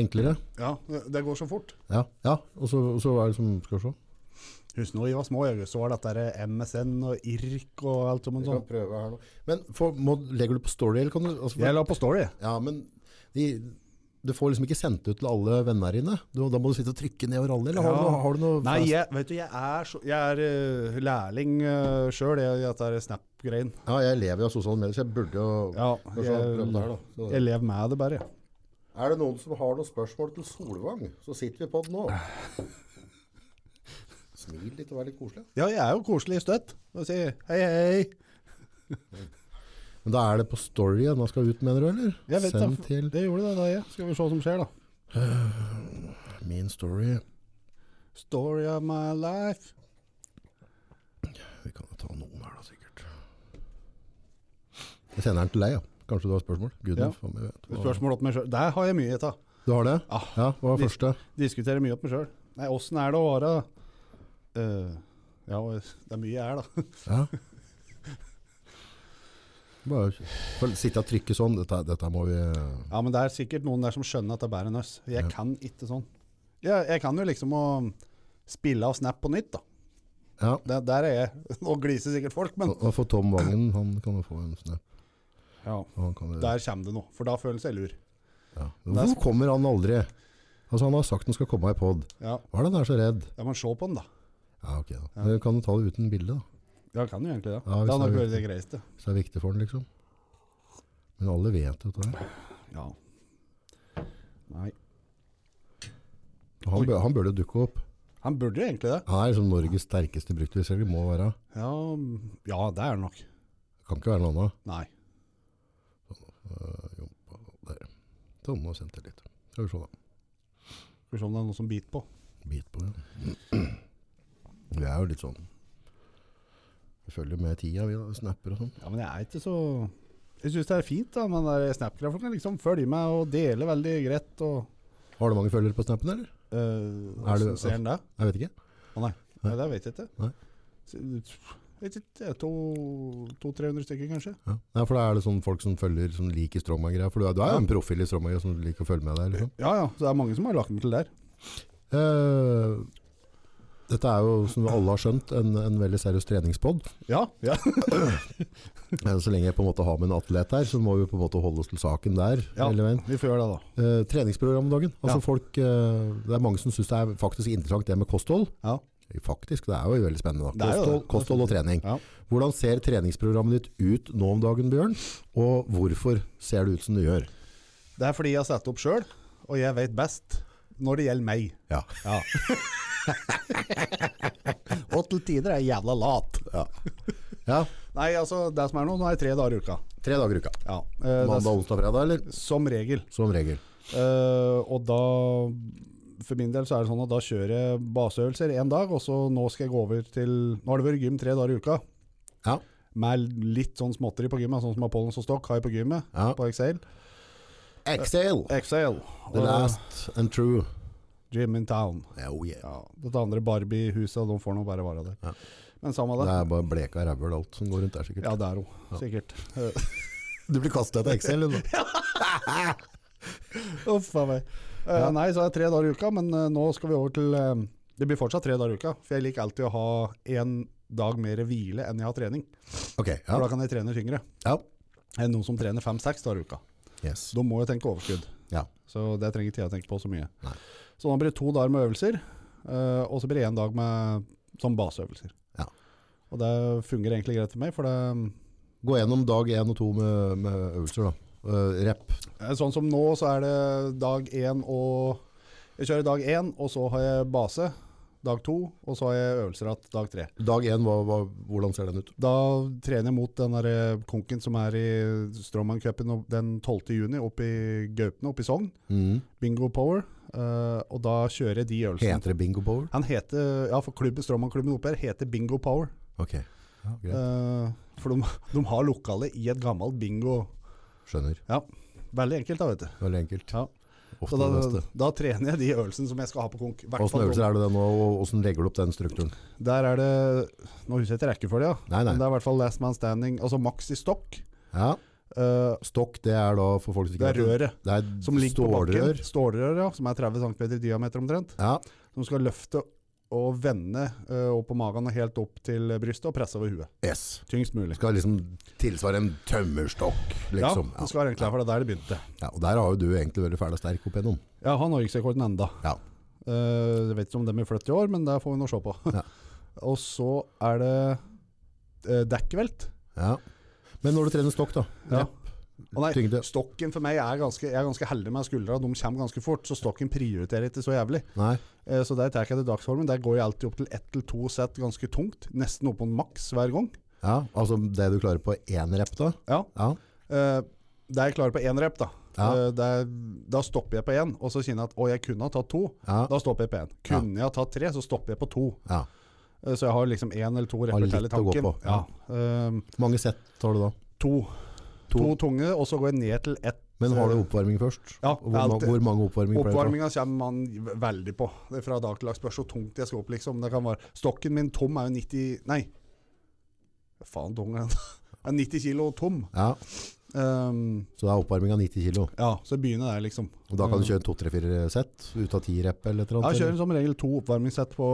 [SPEAKER 1] enklere.
[SPEAKER 2] Ja, det går så fort.
[SPEAKER 1] Ja, ja. Og, så, og så er det som, skal vi se.
[SPEAKER 2] Husker når vi var små, jeg så var dette der MSN og IRK og alt som en sånn.
[SPEAKER 1] prøve her nå. Men for, må, legger du på story, eller kan du? Altså, for-
[SPEAKER 2] Jeg la på story.
[SPEAKER 1] Ja, men de, du får liksom ikke sendt ut til alle venner dine. Du, da må du sitte og trykke nedover alle, eller har,
[SPEAKER 2] Ja.
[SPEAKER 1] du, noe- har du noe?
[SPEAKER 2] Nei, jeg, vet du, jeg er, så, jeg er eh, lærling uh, sjøl i i dette her Snap-greien.
[SPEAKER 1] Ja, jeg lever jo av sosiale medier, så jeg burde jo
[SPEAKER 2] Ja,
[SPEAKER 1] Kanskje jeg har prøvd det her,
[SPEAKER 2] jeg,
[SPEAKER 1] da. Så-
[SPEAKER 2] jeg lever med det bare. jeg.
[SPEAKER 1] Er det noen som har noen spørsmål til Solvang, så sitter vi på det nå. Smil litt og vær litt koselig.
[SPEAKER 2] Ja, jeg er jo koselig i støtt. Og sier hei, hei.
[SPEAKER 1] Men da er det på story den skal ut, mener du, eller?
[SPEAKER 2] Jeg vet
[SPEAKER 1] Send
[SPEAKER 2] da,
[SPEAKER 1] til
[SPEAKER 2] Det gjorde det da, jeg. Skal vi se hva som skjer, da.
[SPEAKER 1] min story.
[SPEAKER 2] Story of my life.
[SPEAKER 1] Vi kan jo ta noen her da, sikkert. Jeg sender den til deg, ja. Kanskje du har spørsmål? Gud,
[SPEAKER 2] Ja.
[SPEAKER 1] faen, jeg vet. hva-
[SPEAKER 2] Spørsmål opp meg selv. Der har jeg mye av.
[SPEAKER 1] Du har det?
[SPEAKER 2] Ah,
[SPEAKER 1] Ja, hva var
[SPEAKER 2] Hvis-
[SPEAKER 1] første?
[SPEAKER 2] Diskuterer mye opp meg sjøl. Nei, åssen er det å være eh, Ja, det er mye jeg er, da.
[SPEAKER 1] Ja. Bare føl- sitte og trykke sånn. Dette, dette må vi
[SPEAKER 2] Ja, men det er sikkert noen der som skjønner at det er bedre enn oss. Jeg
[SPEAKER 1] Ja.
[SPEAKER 2] kan ikke sånn. Jeg, jeg kan jo liksom å spille av Snap på nytt, da.
[SPEAKER 1] Ja.
[SPEAKER 2] Der, der er jeg. Nå gliser sikkert folk, men
[SPEAKER 1] Og og for Tom Vangen, han kan jo få en snap.
[SPEAKER 2] ja,
[SPEAKER 1] og Han kan,
[SPEAKER 2] der kommer det noe. For da føles jeg lur.
[SPEAKER 1] ja. Men Hvorfor kommer han aldri? Altså, han har sagt han skal komme i pod.
[SPEAKER 2] Ja,
[SPEAKER 1] Hva er det han er så redd?
[SPEAKER 2] ja men se på den, da.
[SPEAKER 1] Ja, ok da. Men Kan du ta det uten bilde, da?
[SPEAKER 2] Ja, kan jo egentlig det.
[SPEAKER 1] Ja, hvis
[SPEAKER 2] det hadde
[SPEAKER 1] det
[SPEAKER 2] nok
[SPEAKER 1] er
[SPEAKER 2] vært det greieste.
[SPEAKER 1] Hvis det er viktig for han, liksom. Men alle vet jo dette. her.
[SPEAKER 2] Ja. Nei.
[SPEAKER 1] Og Han, bør- han burde dukke opp.
[SPEAKER 2] Han burde jo egentlig det.
[SPEAKER 1] Han er liksom Norges sterkeste bruktbilselger, må være.
[SPEAKER 2] Ja, ja, det er han nok.
[SPEAKER 1] Kan ikke være noe annet.
[SPEAKER 2] Nei.
[SPEAKER 1] Øh, jumpa, der. Sånn, nå sendte jeg litt. Skal vi se, da.
[SPEAKER 2] Skal vi se om det er noen som biter på.
[SPEAKER 1] Bit på, ja. Vi er jo litt sånn Vi følger med tida, vi da. Snapper og sånn.
[SPEAKER 2] Ja, men jeg er ikke så Jeg syns det er fint, da, men der Snap-grafikken liksom følger med og deler veldig greit. og...
[SPEAKER 1] Har du mange følgere på snappen, eller?
[SPEAKER 2] Uh,
[SPEAKER 1] Er
[SPEAKER 2] er
[SPEAKER 1] du-
[SPEAKER 2] Ser han det?
[SPEAKER 1] Jeg vet ikke.
[SPEAKER 2] Å nei. nei, det vet jeg ikke.
[SPEAKER 1] Nei.
[SPEAKER 2] Så, Jeg vet ikke, 200-300 stykker kanskje?
[SPEAKER 1] Ja. Nei, for da er det sånn folk som følger, som liker Strongman-greia. For du er, du er jo en profil i Strongman som liker å følge med deg. Liksom.
[SPEAKER 2] Ja ja, så det er mange som har lagt meg til der.
[SPEAKER 1] Eh, dette er jo, som alle har skjønt, en, en veldig seriøs treningspod.
[SPEAKER 2] Ja, ja.
[SPEAKER 1] Eh, Så lenge jeg på en måte har med en atlet her, så må vi på en måte holde oss til saken der.
[SPEAKER 2] ja.
[SPEAKER 1] hele veien.
[SPEAKER 2] Vi får gjøre det, da.
[SPEAKER 1] Eh, treningsprogram om dagen. Altså
[SPEAKER 2] Ja.
[SPEAKER 1] folk, eh, det er mange som syns det er faktisk interessant det med kosthold.
[SPEAKER 2] Ja.
[SPEAKER 1] Faktisk, det er jo veldig spennende.
[SPEAKER 2] Det
[SPEAKER 1] Da.
[SPEAKER 2] er
[SPEAKER 1] Kosthold,
[SPEAKER 2] jo det.
[SPEAKER 1] kosthold og trening.
[SPEAKER 2] Ja.
[SPEAKER 1] Hvordan ser treningsprogrammet ditt ut nå om dagen, Bjørn? Og hvorfor ser det ut som det gjør?
[SPEAKER 2] Det er fordi jeg har satt opp sjøl, og jeg vet best når det gjelder meg.
[SPEAKER 1] Ja.
[SPEAKER 2] Ja. og til tider er jeg jævla lat.
[SPEAKER 1] ja.
[SPEAKER 2] Nei, altså, det som er nå, nå er jeg tre dager i uka.
[SPEAKER 1] Tre dager i uka.
[SPEAKER 2] Ja. eh, det er
[SPEAKER 1] Mandag, onsdag, fredag, eller?
[SPEAKER 2] s- som regel.
[SPEAKER 1] Som regel.
[SPEAKER 2] Eh, og da For min del så er det sånn at da kjører jeg baseøvelser én dag, og så nå skal jeg gå over til Nå har det vært gym tre dager i uka.
[SPEAKER 1] Ja.
[SPEAKER 2] Med litt sånn småtteri på gymmet, sånn som Apollons og Stokk har jeg på gymmet.
[SPEAKER 1] Ja.
[SPEAKER 2] På Excel.
[SPEAKER 1] Exhale!
[SPEAKER 2] Excel.
[SPEAKER 1] The last and true.
[SPEAKER 2] Gym in town.
[SPEAKER 1] Oh, yeah.
[SPEAKER 2] Ja, Dette andre Barbie-huset, de får nå bare være der.
[SPEAKER 1] Ja.
[SPEAKER 2] Men samme
[SPEAKER 1] Det
[SPEAKER 2] det.
[SPEAKER 1] er bare bleka rævhøl alt som går rundt der, sikkert.
[SPEAKER 2] Ja, det er hun. Sikkert. Eh,
[SPEAKER 1] Du blir kasta etter Excel, du.
[SPEAKER 2] Uff a meg. Eh, Nei, så er det tre dager i uka, men eh, nå skal vi over til eh, Det blir fortsatt tre dager i uka, for jeg liker alltid å ha én dag mer hvile enn jeg har trening.
[SPEAKER 1] Ok, ja.
[SPEAKER 2] For da kan jeg trene tyngre
[SPEAKER 1] ja.
[SPEAKER 2] enn noen som trener fem-seks dager i uka.
[SPEAKER 1] Yes.
[SPEAKER 2] Da må jeg tenke overskudd.
[SPEAKER 1] Ja.
[SPEAKER 2] Så det trenger ikke jeg å tenke på så mye.
[SPEAKER 1] Nei.
[SPEAKER 2] Så da blir det to dager med øvelser, eh, og så blir det én dag med sånn baseøvelser.
[SPEAKER 1] Ja.
[SPEAKER 2] Og det fungerer egentlig greit for meg, for det
[SPEAKER 1] Gå gjennom dag én og to med, med øvelser, da. Eh, rep.
[SPEAKER 2] eh, sånn som nå, så er det dag én og Jeg kjører dag én, og så har jeg base dag to, og så har jeg øvelser igjen dag tre.
[SPEAKER 1] Dag én, hva, hva, hvordan ser den ut?
[SPEAKER 2] Da trener jeg mot den der eh, konken som er i Stråmanncupen den 12. juni oppe i Gaupne, oppe i Sogn. Bingo Power. eh, og da kjører jeg de øvelsene.
[SPEAKER 1] Heter det bingo power?
[SPEAKER 2] Han heter, ja, for klubben, Stråmannklubben oppe her heter Bingo Power.
[SPEAKER 1] Ok. Ja, greit.
[SPEAKER 2] Eh, for de, de har lokale i et gammelt bingo.
[SPEAKER 1] Skjønner.
[SPEAKER 2] Veldig enkelt, da, vet du.
[SPEAKER 1] Veldig enkelt.
[SPEAKER 2] Ja. Så
[SPEAKER 1] Ofte
[SPEAKER 2] da,
[SPEAKER 1] det beste.
[SPEAKER 2] da trener jeg de øvelsene som jeg skal ha på konk. hvert
[SPEAKER 1] Åssen
[SPEAKER 2] fall.
[SPEAKER 1] øvelser er det nå, og åssen legger du opp den strukturen?
[SPEAKER 2] Der er det Nå husker jeg ikke rekkefølgen, ja.
[SPEAKER 1] Nei, nei.
[SPEAKER 2] men det er i hvert fall Last Man Standing. Altså maks i stokk.
[SPEAKER 1] Ja.
[SPEAKER 2] eh,
[SPEAKER 1] Stokk, det er da for folk som
[SPEAKER 2] det
[SPEAKER 1] ikke
[SPEAKER 2] er røret
[SPEAKER 1] Det er
[SPEAKER 2] som ligger på
[SPEAKER 1] stålrør.
[SPEAKER 2] bakken. Stålrør, ja. Som er 30 cm i diameter omtrent.
[SPEAKER 1] Ja.
[SPEAKER 2] Som skal løfte og vende eh, opp på magen og helt opp til brystet og presse over huet.
[SPEAKER 1] S.
[SPEAKER 2] Tyngst mulig.
[SPEAKER 1] Skal liksom tilsvare en tømmerstokk, liksom.
[SPEAKER 2] Ja, det skal egentlig være, for det er der det begynte.
[SPEAKER 1] Ja, og der har jo du egentlig vært fæl og sterk opp igjennom.
[SPEAKER 2] Ja, har norgesrekorden enda.
[SPEAKER 1] Ja.
[SPEAKER 2] Eh, jeg vet ikke om den blir flyttet i år, men det får vi nå se på.
[SPEAKER 1] Ja.
[SPEAKER 2] og så er det eh, dekkvelt.
[SPEAKER 1] Ja. Men når du trener stokk, da.
[SPEAKER 2] Ja. Å nei,
[SPEAKER 1] Tyngde.
[SPEAKER 2] Stokken for meg er ganske, jeg er ganske heldig med skuldra, de kommer ganske fort, så stokken prioriterer ikke så jævlig.
[SPEAKER 1] Nei.
[SPEAKER 2] Eh, så der tar jeg det dagsformen, der går jeg alltid opp til ett til to sett ganske tungt, nesten opp på en maks hver gang.
[SPEAKER 1] Ja, altså det du klarer på én rep, da.
[SPEAKER 2] Ja.
[SPEAKER 1] Ja.
[SPEAKER 2] Eh, der jeg klarer på én rep da.
[SPEAKER 1] Ja.
[SPEAKER 2] Eh, der, da stopper jeg på én, og så kjenner jeg at å, jeg kunne ha tatt to.
[SPEAKER 1] Ja.
[SPEAKER 2] Da stopper jeg på én. Kunne jeg ha tatt tre, så stopper jeg på to.
[SPEAKER 1] ja.
[SPEAKER 2] Eh, Så jeg har liksom én eller to
[SPEAKER 1] Har
[SPEAKER 2] repper
[SPEAKER 1] litt
[SPEAKER 2] til i
[SPEAKER 1] å gå
[SPEAKER 2] tanken.
[SPEAKER 1] på,
[SPEAKER 2] Ja.
[SPEAKER 1] ja.
[SPEAKER 2] Ehm,
[SPEAKER 1] Mange sett tar du da?
[SPEAKER 2] to. to tunge, og så går jeg ned til ett.
[SPEAKER 1] Men har du oppvarming først?
[SPEAKER 2] Eh, Ja,
[SPEAKER 1] Hvor,
[SPEAKER 2] det er
[SPEAKER 1] ma-
[SPEAKER 2] alltid-
[SPEAKER 1] hvor mange oppvarming pleier du å ta?
[SPEAKER 2] Oppvarminga kommer man v- veldig på. Det er fra dag til dag spørs hvor tungt jeg skal opp. liksom. Det kan være, Stokken min tom er jo 90 Nei, Hva faen tung er den? Den er 90 kilo tom.
[SPEAKER 1] Ja,
[SPEAKER 2] Ehm,
[SPEAKER 1] så det er oppvarminga 90 kilo.
[SPEAKER 2] ja, så begynner der, liksom.
[SPEAKER 1] Og da kan du kjøre 2-3-4 sett ut av 10 rep eller et eller
[SPEAKER 2] Ja,
[SPEAKER 1] annet?
[SPEAKER 2] Jeg kjører
[SPEAKER 1] eller?
[SPEAKER 2] som regel to oppvarmingssett på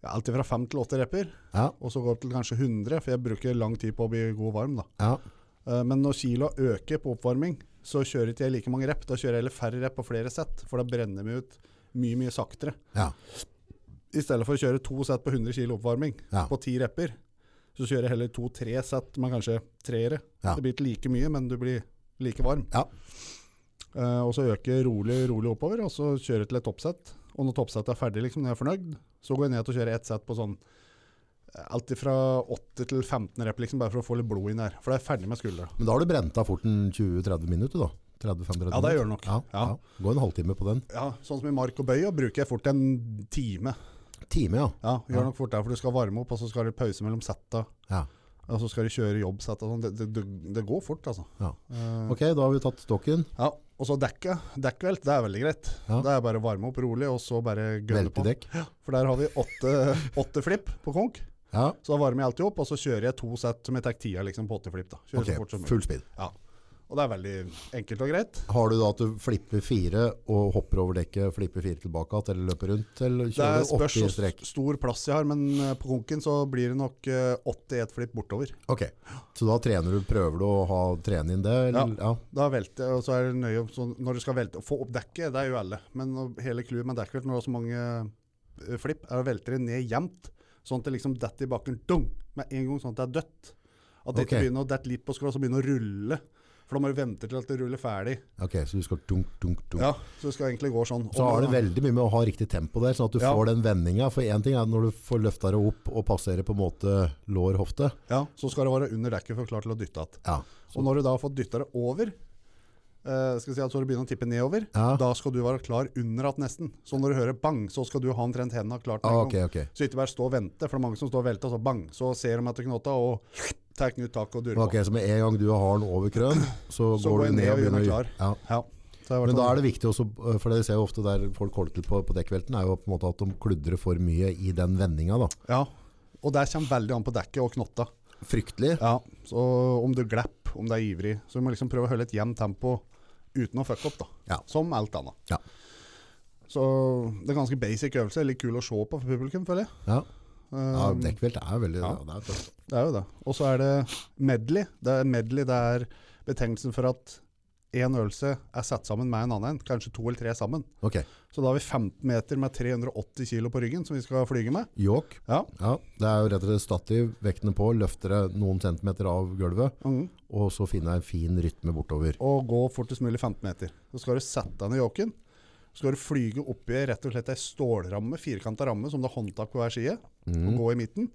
[SPEAKER 2] ja, alltid fra fem til åtte repper.
[SPEAKER 1] Ja,
[SPEAKER 2] Og så går jeg opp til kanskje 100, for jeg bruker lang tid på å bli god varm. da.
[SPEAKER 1] ja.
[SPEAKER 2] Eh, Men når kilo øker på oppvarming, så kjører ikke jeg like mange rep. Da kjører jeg heller færre rep på flere sett, for da brenner vi ut mye, mye saktere.
[SPEAKER 1] ja.
[SPEAKER 2] I stedet for å kjøre to sett på 100 kilo oppvarming
[SPEAKER 1] Ja.
[SPEAKER 2] på ti repper, så kjører jeg heller to-tre sett med kanskje treere.
[SPEAKER 1] Ja.
[SPEAKER 2] Det blir ikke like mye, men du blir like varm.
[SPEAKER 1] Ja.
[SPEAKER 2] Eh, og så øker rolig, rolig oppover, og så kjører jeg til et toppsett. Og når toppsettet er ferdig, liksom, når jeg er fornøyd, så går jeg ned til å kjøre ett sett på sånn eh, alt fra 8 til 15 rep, liksom, bare for å få litt blod inn der. For da er jeg ferdig med skuldra.
[SPEAKER 1] Men da har du brent av fort en 20-30 minutter, da. 35-30
[SPEAKER 2] Ja, det gjør det nok.
[SPEAKER 1] Ja, ja.
[SPEAKER 2] Ja.
[SPEAKER 1] Gå en halvtime på den.
[SPEAKER 2] Ja, sånn som i mark og bøya bruker jeg fort en time.
[SPEAKER 1] Time, ja.
[SPEAKER 2] Ja, gjør
[SPEAKER 1] Ja.
[SPEAKER 2] nok fort der, for du skal varme opp, og så skal du pause mellom setta.
[SPEAKER 1] ja.
[SPEAKER 2] Og så Altså, skal de kjøre jobbsett og sånn. Det, det, det- det går fort, altså.
[SPEAKER 1] Ja.
[SPEAKER 2] Eh,
[SPEAKER 1] Ok, da har vi tatt stokken.
[SPEAKER 2] ja. Og så dekka. Dekkvelt, det er veldig greit.
[SPEAKER 1] Ja.
[SPEAKER 2] Det er bare å varme opp rolig, og så bare gønne på.
[SPEAKER 1] Veltedekk.
[SPEAKER 2] For der har vi åtte, åtte flipp på konk.
[SPEAKER 1] Ja,
[SPEAKER 2] Så da varmer jeg alltid opp, og så kjører jeg to sett som jeg tar tida liksom, på åtte flipp. da. Kjører
[SPEAKER 1] ok.
[SPEAKER 2] så fort som mulig.
[SPEAKER 1] Full speed.
[SPEAKER 2] Ja. Og det er veldig enkelt og greit.
[SPEAKER 1] Har du da at du flipper fire og hopper over dekket, flipper fire tilbake igjen, eller løper rundt, eller
[SPEAKER 2] Det er
[SPEAKER 1] kjører du
[SPEAKER 2] spørs
[SPEAKER 1] 80 i
[SPEAKER 2] hvor
[SPEAKER 1] strekk?
[SPEAKER 2] stor plass jeg har, men eh, på konken så blir det nok eh, 81 flipp bortover.
[SPEAKER 1] Ok, så da trener du, prøver du å ha, trene inn det? Eller? Ja.
[SPEAKER 2] Da velter jeg, og så er det nøye om- så når du skal velte. Få opp dekket, det er jo alle. Men når- hele clouet med dekkvelt når det er så mange eh, flipp, er å velte det ned jevnt. Sånn at det liksom detter i bakken dung, med en gang, sånn at det er dødt. At det ikke
[SPEAKER 1] Ok.
[SPEAKER 2] begynner å dette litt på skrå, så begynner det å rulle. For da må du vente til at det ruller ferdig.
[SPEAKER 1] Ok, så du skal dunk, dunk, dunk.
[SPEAKER 2] Ja, Så det skal egentlig gå sånn.
[SPEAKER 1] Så har det veldig mye med å ha riktig tempo der, sånn at du
[SPEAKER 2] Ja.
[SPEAKER 1] får den vendinga. For én ting er når du får løfta det opp og passerer på en måte lår-hofte.
[SPEAKER 2] ja, så skal det være under dekket for klar til å dytte att.
[SPEAKER 1] Ja.
[SPEAKER 2] Og når du da har fått dytta det over, eh, skal vi si at så du begynner å tippe nedover,
[SPEAKER 1] Ja.
[SPEAKER 2] da skal du være klar under att nesten. Så når du hører bang, så skal du ha omtrent henda klart. med
[SPEAKER 1] Ah,
[SPEAKER 2] en
[SPEAKER 1] ok,
[SPEAKER 2] gang.
[SPEAKER 1] ok.
[SPEAKER 2] Så ikke bare stå og vente, for det er mange som står og velter, og så bang, så ser de etter knotta og tar nytt tak og durer
[SPEAKER 1] Ok, Så med en gang du har den over krøn, så,
[SPEAKER 2] Så
[SPEAKER 1] går du ned og
[SPEAKER 2] gjør
[SPEAKER 1] begynner
[SPEAKER 2] meg
[SPEAKER 1] å
[SPEAKER 2] klar.
[SPEAKER 1] Ja.
[SPEAKER 2] på. Ja. Så det har vært
[SPEAKER 1] Men da
[SPEAKER 2] sånn-
[SPEAKER 1] er det viktig også, eh, for det ser jo ofte der folk holder til på, på dekkvelten, er jo på en måte at de kludrer for mye i den vendinga. da.
[SPEAKER 2] Ja. Og der kommer veldig an på dekket og knotta.
[SPEAKER 1] Fryktelig.
[SPEAKER 2] Ja, så om du glapper, om du er ivrig. Så du må liksom prøve å holde et jevnt tempo uten å fucke opp, da.
[SPEAKER 1] Ja.
[SPEAKER 2] Som alt annet.
[SPEAKER 1] Ja.
[SPEAKER 2] Så det er ganske basic øvelse. Litt kul å se på for publikum, føler jeg.
[SPEAKER 1] Ja, ja
[SPEAKER 2] Um,
[SPEAKER 1] Dekkvelt er veldig ja.
[SPEAKER 2] ja.
[SPEAKER 1] det er tøft.
[SPEAKER 2] Det er jo det. Og så er det medley. Det er medley, det er betegnelsen for at én øvelse er satt sammen med en annen, kanskje to eller tre sammen.
[SPEAKER 1] Ok.
[SPEAKER 2] Så da har vi 15 meter med 380 kilo på ryggen som vi skal flyge med.
[SPEAKER 1] York.
[SPEAKER 2] Ja.
[SPEAKER 1] Ja, det er jo rett og slett stativ, vektene på, løfter det noen centimeter av gulvet,
[SPEAKER 2] Mhm.
[SPEAKER 1] og så finner jeg en fin rytme bortover.
[SPEAKER 2] Og gå fortest mulig 15 meter. Så skal du sette deg ned i yoken. Så skal du flyge oppi rett og slett ei stålramme, firkanta ramme, som det er håndtak på hver side.
[SPEAKER 1] Mm.
[SPEAKER 2] Og gå i midten.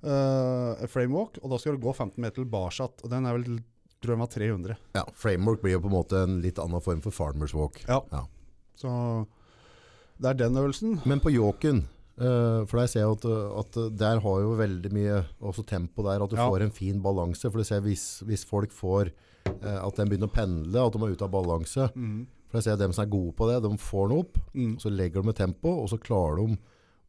[SPEAKER 2] Eh, framewalk. Og da skal du gå 15 meter tilbake igjen. Og den er vel tror jeg den var 300.
[SPEAKER 1] Ja, framework blir jo på en måte en litt annen form for farmers walk.
[SPEAKER 2] Ja.
[SPEAKER 1] Ja.
[SPEAKER 2] Så det er den øvelsen.
[SPEAKER 1] Men på yoken, eh, for der ser jeg at, at der har jo veldig mye også tempo der, at du
[SPEAKER 2] Ja.
[SPEAKER 1] får en fin balanse, for du ser hvis, hvis folk får eh, at de begynner å pendle, at de er ute av balanse, for jeg ser at dem som er gode på det, de får noe opp, Mm.
[SPEAKER 2] Mm.
[SPEAKER 1] så legger de med tempo, og så klarer de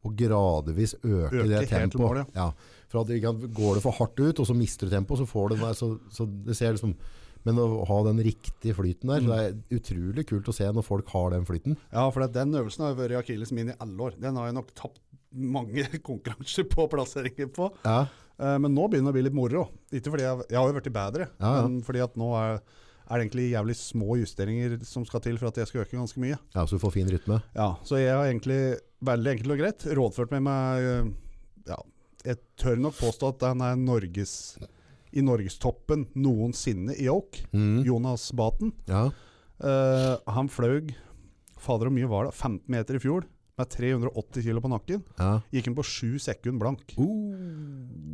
[SPEAKER 1] å gradvis øke,
[SPEAKER 2] Øke
[SPEAKER 1] det
[SPEAKER 2] helt til
[SPEAKER 1] tempoet.
[SPEAKER 2] målet,
[SPEAKER 1] ja. For at det ikke- går det for hardt ut, og så mister du tempo, så får du den der, så, så det ser liksom... Men å ha den riktige flyten der,
[SPEAKER 2] Mm.
[SPEAKER 1] så det er utrolig kult å se når folk har den flyten.
[SPEAKER 2] Ja, for at den øvelsen har vært akillesen min i alle år. Den har jeg nok tapt mange konkurranser på plasseringer på.
[SPEAKER 1] Ja,
[SPEAKER 2] Eh, Men nå begynner det å bli litt moro. Ikke fordi jeg, jeg har jo blitt bedre,
[SPEAKER 1] Ja, ja.
[SPEAKER 2] men fordi at nå er, er det egentlig jævlig små justeringer som skal til for at jeg skal øke ganske mye.
[SPEAKER 1] ja så du får fin rytme.
[SPEAKER 2] Ja, Så jeg har egentlig, veldig enkelt og greit, rådført meg med eh, Ja, jeg tør nok påstå at han er Norges, i norgestoppen noensinne i yoke.
[SPEAKER 1] Mm.
[SPEAKER 2] Jonas Baten.
[SPEAKER 1] Ja.
[SPEAKER 2] Eh, han fløy Fader, hvor mye var det? 15 meter i fjor, med 380 kilo på nakken.
[SPEAKER 1] Ja.
[SPEAKER 2] Gikk han på 7 sekunder blank.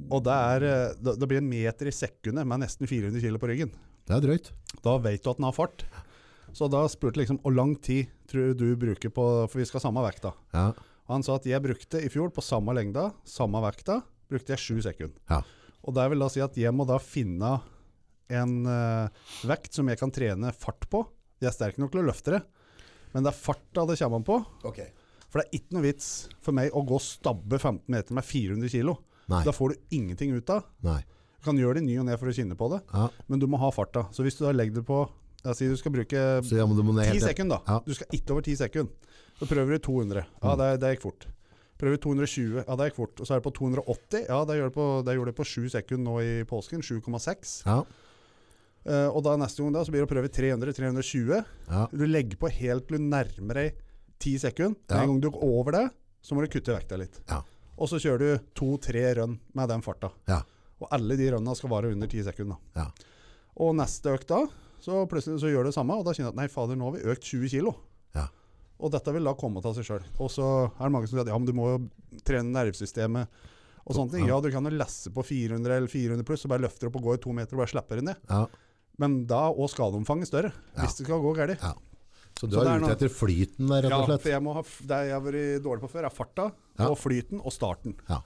[SPEAKER 2] Og det, er, eh, det, det blir en meter i sekundet med nesten 400 kilo på ryggen.
[SPEAKER 1] Det er drøyt.
[SPEAKER 2] Da vet du at den har fart. Så da spurte jeg liksom hvor lang tid tror du du bruker på For vi skal ha samme vekta.
[SPEAKER 1] Ja.
[SPEAKER 2] Og han sa at jeg brukte i fjor på samme lengda, samme vekta, brukte jeg 7 sekunder.
[SPEAKER 1] Ja.
[SPEAKER 2] Og det vil da si at jeg må da finne en eh, vekt som jeg kan trene fart på. Jeg er sterk nok til å løfte det, men det er farta det kommer an på.
[SPEAKER 1] Ok.
[SPEAKER 2] For det er ikke noe vits for meg å gå og stabbe 15 meter med 400 kilo.
[SPEAKER 1] Nei.
[SPEAKER 2] Da får du ingenting ut av.
[SPEAKER 1] Nei.
[SPEAKER 2] Du kan gjøre det i ny og ne for å kjenne på det,
[SPEAKER 1] Ja.
[SPEAKER 2] men du må ha farta. Så hvis du da legger det på Jeg sier du skal bruke
[SPEAKER 1] Så ja, men du må ned
[SPEAKER 2] 10
[SPEAKER 1] helt ned.
[SPEAKER 2] sekunder,
[SPEAKER 1] Ja.
[SPEAKER 2] da.
[SPEAKER 1] Mm.
[SPEAKER 2] Du skal ikke over 10 sekunder. Så prøver du 200. Ja, det, det gikk fort. Prøver 220. Ja, det gikk fort. Og så er det på 280. Ja, det gjør det på, det gjorde det på 7 sekunder nå i påsken. 7,6.
[SPEAKER 1] Ja.
[SPEAKER 2] Eh, og da neste gang da, så blir det å prøve 300, 320.
[SPEAKER 1] Ja.
[SPEAKER 2] Du legger på helt til du nærmer deg 10 sekunder. Med
[SPEAKER 1] Ja.
[SPEAKER 2] En gang du går over det, så må du kutte vekta litt.
[SPEAKER 1] Ja.
[SPEAKER 2] Og så kjører du to-tre rønn med den farta.
[SPEAKER 1] Ja.
[SPEAKER 2] Og alle de rønna skal vare under 10 sekunder. da.
[SPEAKER 1] Ja.
[SPEAKER 2] Og neste økt da, så plutselig så gjør du det samme, og da kjenner du at nei, fader, nå har vi økt 20 kilo.
[SPEAKER 1] Ja.
[SPEAKER 2] Og dette vil da komme av seg sjøl. Og så er det mange som sier at ja, men du må jo trene nervesystemet og sånne ting.
[SPEAKER 1] Ja.
[SPEAKER 2] Ja, du kan jo lesse på 400 eller 400 pluss, og bare løfter opp og går to meter og bare slapper det ned.
[SPEAKER 1] ja.
[SPEAKER 2] Men da er også skadeomfanget større,
[SPEAKER 1] Ja.
[SPEAKER 2] hvis det skal gå galt.
[SPEAKER 1] Så du
[SPEAKER 2] Så det
[SPEAKER 1] er
[SPEAKER 2] er
[SPEAKER 1] ute
[SPEAKER 2] noe-
[SPEAKER 1] etter flyten der, rett
[SPEAKER 2] Ja,
[SPEAKER 1] og slett?
[SPEAKER 2] for jeg må ha, f- det jeg har vært dårlig på før, er farta
[SPEAKER 1] Ja.
[SPEAKER 2] og flyten og starten.
[SPEAKER 1] Ja.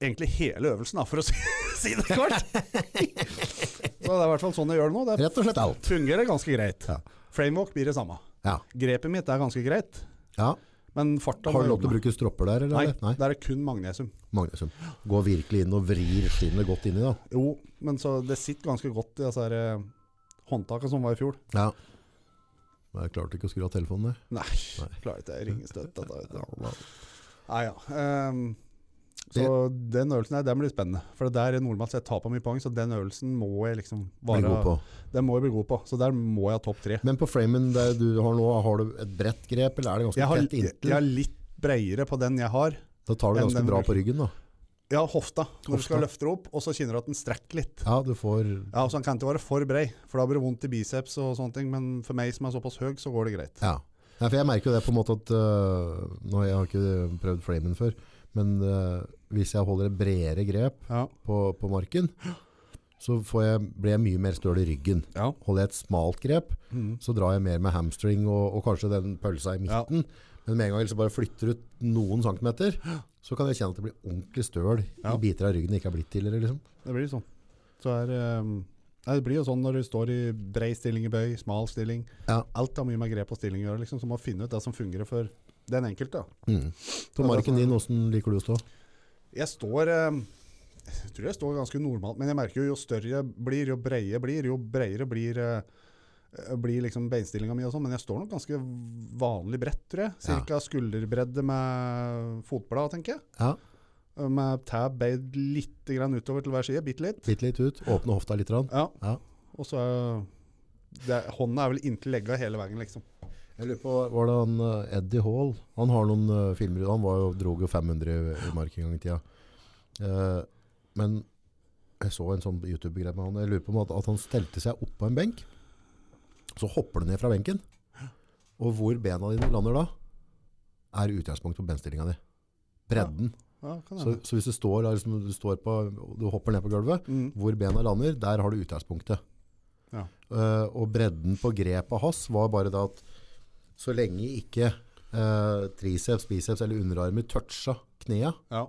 [SPEAKER 2] Egentlig hele øvelsen, da, for å si, si det kort. Så det er i hvert fall sånn jeg gjør det nå. Det
[SPEAKER 1] Rett og slett alt.
[SPEAKER 2] fungerer ganske greit.
[SPEAKER 1] Ja.
[SPEAKER 2] Framewalk blir det samme.
[SPEAKER 1] Ja.
[SPEAKER 2] Grepet mitt er ganske greit,
[SPEAKER 1] ja.
[SPEAKER 2] men farta
[SPEAKER 1] Har
[SPEAKER 2] må
[SPEAKER 1] du lov til å
[SPEAKER 2] jeg jobbe med.
[SPEAKER 1] bruke stropper der, eller?
[SPEAKER 2] Nei, der er det kun magnesium.
[SPEAKER 1] Magnesium. Gå virkelig inn og vrir skinnet godt inni, da.
[SPEAKER 2] Jo, men så det sitter ganske godt i disse her, eh, håndtakene som var i fjor.
[SPEAKER 1] Ja. Jeg klarte ikke å skru av telefonen, jeg.
[SPEAKER 2] Nei, klarer ikke jeg ringer støtt. dette vet du. Nei, Ah, ja. ehm, så den øvelsen her, den blir spennende. For der er normalt sett taper mye poeng, så den øvelsen må jeg liksom
[SPEAKER 1] Bli
[SPEAKER 2] være,
[SPEAKER 1] god på.
[SPEAKER 2] Den må jeg bli god på. Så der må jeg ha topp tre.
[SPEAKER 1] Men på framen der du har nå, har du et bredt grep, eller er det ganske
[SPEAKER 2] Jeg har,
[SPEAKER 1] tett inntil?
[SPEAKER 2] jeg har litt bredere på den jeg har.
[SPEAKER 1] da tar du
[SPEAKER 2] enn
[SPEAKER 1] ganske
[SPEAKER 2] den
[SPEAKER 1] bra
[SPEAKER 2] bruker.
[SPEAKER 1] på ryggen, da.
[SPEAKER 2] Ja, hofta. Når du skal
[SPEAKER 1] Hofta.
[SPEAKER 2] løfte opp, og så kjenner du at den strekker litt.
[SPEAKER 1] Ja, du får
[SPEAKER 2] Ja, så Den kan ikke være for brei, for da blir det vondt i biceps og sånne ting. Men for meg som er såpass høy, så går det greit.
[SPEAKER 1] Ja. Nei, for jeg merker jo det på en måte at øh, Nå jeg har ikke prøvd framen før, men øh, hvis jeg holder et bredere grep
[SPEAKER 2] Ja.
[SPEAKER 1] på, på marken, så får jeg, blir jeg mye mer støl i ryggen.
[SPEAKER 2] Ja.
[SPEAKER 1] Holder jeg et smalt grep,
[SPEAKER 2] Mhm.
[SPEAKER 1] så drar jeg mer med hamstring og, og kanskje den pølsa i
[SPEAKER 2] Ja.
[SPEAKER 1] midten. Men med en gang jeg liksom bare flytter ut noen centimeter, så kan jeg kjenne at det blir ordentlig støl
[SPEAKER 2] Ja.
[SPEAKER 1] i biter av ryggen jeg ikke har blitt tidligere. Liksom.
[SPEAKER 2] Det blir sånn. Så er, ehm, nei, det blir jo sånn når du står i brei stilling i bøy, smal stilling.
[SPEAKER 1] Ja.
[SPEAKER 2] Alt har mye med grep og stilling å gjøre, liksom, så må finne ut det som fungerer for den enkelte. da.
[SPEAKER 1] Mm.
[SPEAKER 2] Ja,
[SPEAKER 1] På marken
[SPEAKER 2] det er
[SPEAKER 1] din, hvordan liker du å stå?
[SPEAKER 2] Jeg står ehm, Jeg tror jeg står ganske normalt, men jeg merker jo jo større jeg blir, jo breiere jeg blir, jo breiere blir, eh, eh, blir liksom beinstillinga mi og sånn. Men jeg står nok ganske vanlig bredt, tror jeg.
[SPEAKER 1] Ja.
[SPEAKER 2] Cirka skulderbredde med fotblad, tenker jeg.
[SPEAKER 1] Ja,
[SPEAKER 2] Eh, Med tæ beid litt grann utover til hver side, bitte litt.
[SPEAKER 1] Bitte litt ut, åpne hofta litt. Rann.
[SPEAKER 2] Ja.
[SPEAKER 1] Ja.
[SPEAKER 2] Og så er det, Hånda er vel inntil legga hele veien, liksom.
[SPEAKER 1] Jeg lurer på, var det han eh, Eddie Hall? Han har noen eh, filmer, han var jo, drog jo 500 i mark en gang i tida. Eh, men jeg så en sånn YouTube-greie med han, jeg lurer på om at, at han stelte seg opp på en benk, så hopper du ned fra benken, og hvor bena dine lander da, er utgangspunkt på benstillingen din. Bredden.
[SPEAKER 2] Ja, kan
[SPEAKER 1] Så,
[SPEAKER 2] hende.
[SPEAKER 1] så hvis du står, der, liksom, du, står på, du hopper ned på gulvet,
[SPEAKER 2] Mm.
[SPEAKER 1] hvor bena lander, der har du utgangspunktet.
[SPEAKER 2] Ja.
[SPEAKER 1] Eh, og bredden på grepet hans var bare det at så lenge ikke eh, triceps, biceps eller underarmer toucha knea,
[SPEAKER 2] ja.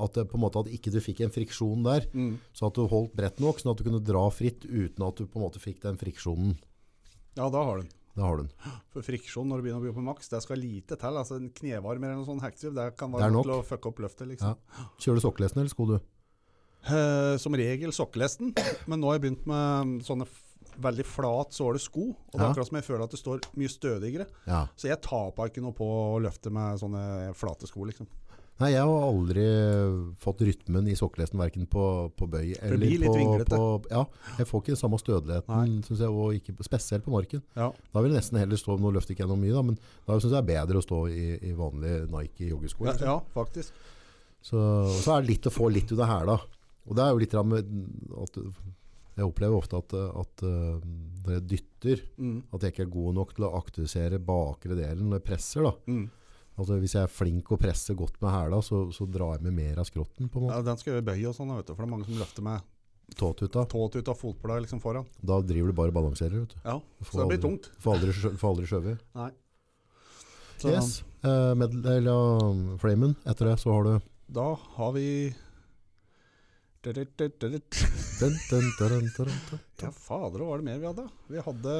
[SPEAKER 1] at, det, på en måte, at ikke du fikk en friksjon der,
[SPEAKER 2] Mm.
[SPEAKER 1] så at du holdt bredt nok, sånn at du kunne dra fritt uten at du på en måte fikk den friksjonen.
[SPEAKER 2] ja, da har du den.
[SPEAKER 1] Det har du den.
[SPEAKER 2] For friksjon når du begynner å bli på maks, det skal lite til. Altså En knevarmer eller noe sånt hektiv, det kan
[SPEAKER 1] Det
[SPEAKER 2] være
[SPEAKER 1] er nok.
[SPEAKER 2] nok til å fucke opp løftet, liksom.
[SPEAKER 1] Ja. Kjører du sokkelesten eller sko du?
[SPEAKER 2] Eh, som regel sokkelesten, men nå har jeg begynt med sånne f- veldig flat såle sko. Og det er
[SPEAKER 1] Ja.
[SPEAKER 2] akkurat som jeg føler at det står mye stødigere.
[SPEAKER 1] Ja.
[SPEAKER 2] Så jeg taper ikke noe på å løfte med sånne flate sko, liksom.
[SPEAKER 1] Nei, jeg har aldri fått rytmen i sokkelesten, hverken på, på bøy
[SPEAKER 2] det blir litt
[SPEAKER 1] på,
[SPEAKER 2] vinglete.
[SPEAKER 1] på... Ja, jeg får ikke den samme stødeligheten, synes jeg, og ikke, spesielt på marken.
[SPEAKER 2] Ja.
[SPEAKER 1] Da vil jeg nesten heller stå, nå løfter ikke jeg noe mye da, men da synes jeg det er bedre å stå i, i vanlige Nike joggesko.
[SPEAKER 2] Ja,
[SPEAKER 1] liksom.
[SPEAKER 2] ja, faktisk.
[SPEAKER 1] Så, og så er det litt å få litt ut av her da. Og det er jo litt grann med at jeg opplever ofte at, at eh, når jeg dytter,
[SPEAKER 2] Mm.
[SPEAKER 1] at jeg ikke er god nok til å aktivisere bakre delen når jeg presser da.
[SPEAKER 2] Mm.
[SPEAKER 1] Altså hvis jeg er flink og presser godt med her da, så, så drar jeg med mer av skrotten på en måte.
[SPEAKER 2] Ja, den skal jo i bøy og sånn, vet du. For det er mange som løfter med
[SPEAKER 1] Tåtuta.
[SPEAKER 2] tåt ut av fotbladet liksom foran.
[SPEAKER 1] Da driver du bare og balanserer, vet du.
[SPEAKER 2] Ja,
[SPEAKER 1] Du
[SPEAKER 2] så det blir
[SPEAKER 1] aldri-
[SPEAKER 2] tungt.
[SPEAKER 1] Får aldri, skjø- får aldri skjøvet.
[SPEAKER 2] Nei. Så
[SPEAKER 1] Yes, eh, med, eller, um, flamen. Etter det så har du
[SPEAKER 2] da har vi
[SPEAKER 1] Dun, dun, dun, dun, dun, dun.
[SPEAKER 2] Ja, fader, hva var det mer vi hadde? Vi hadde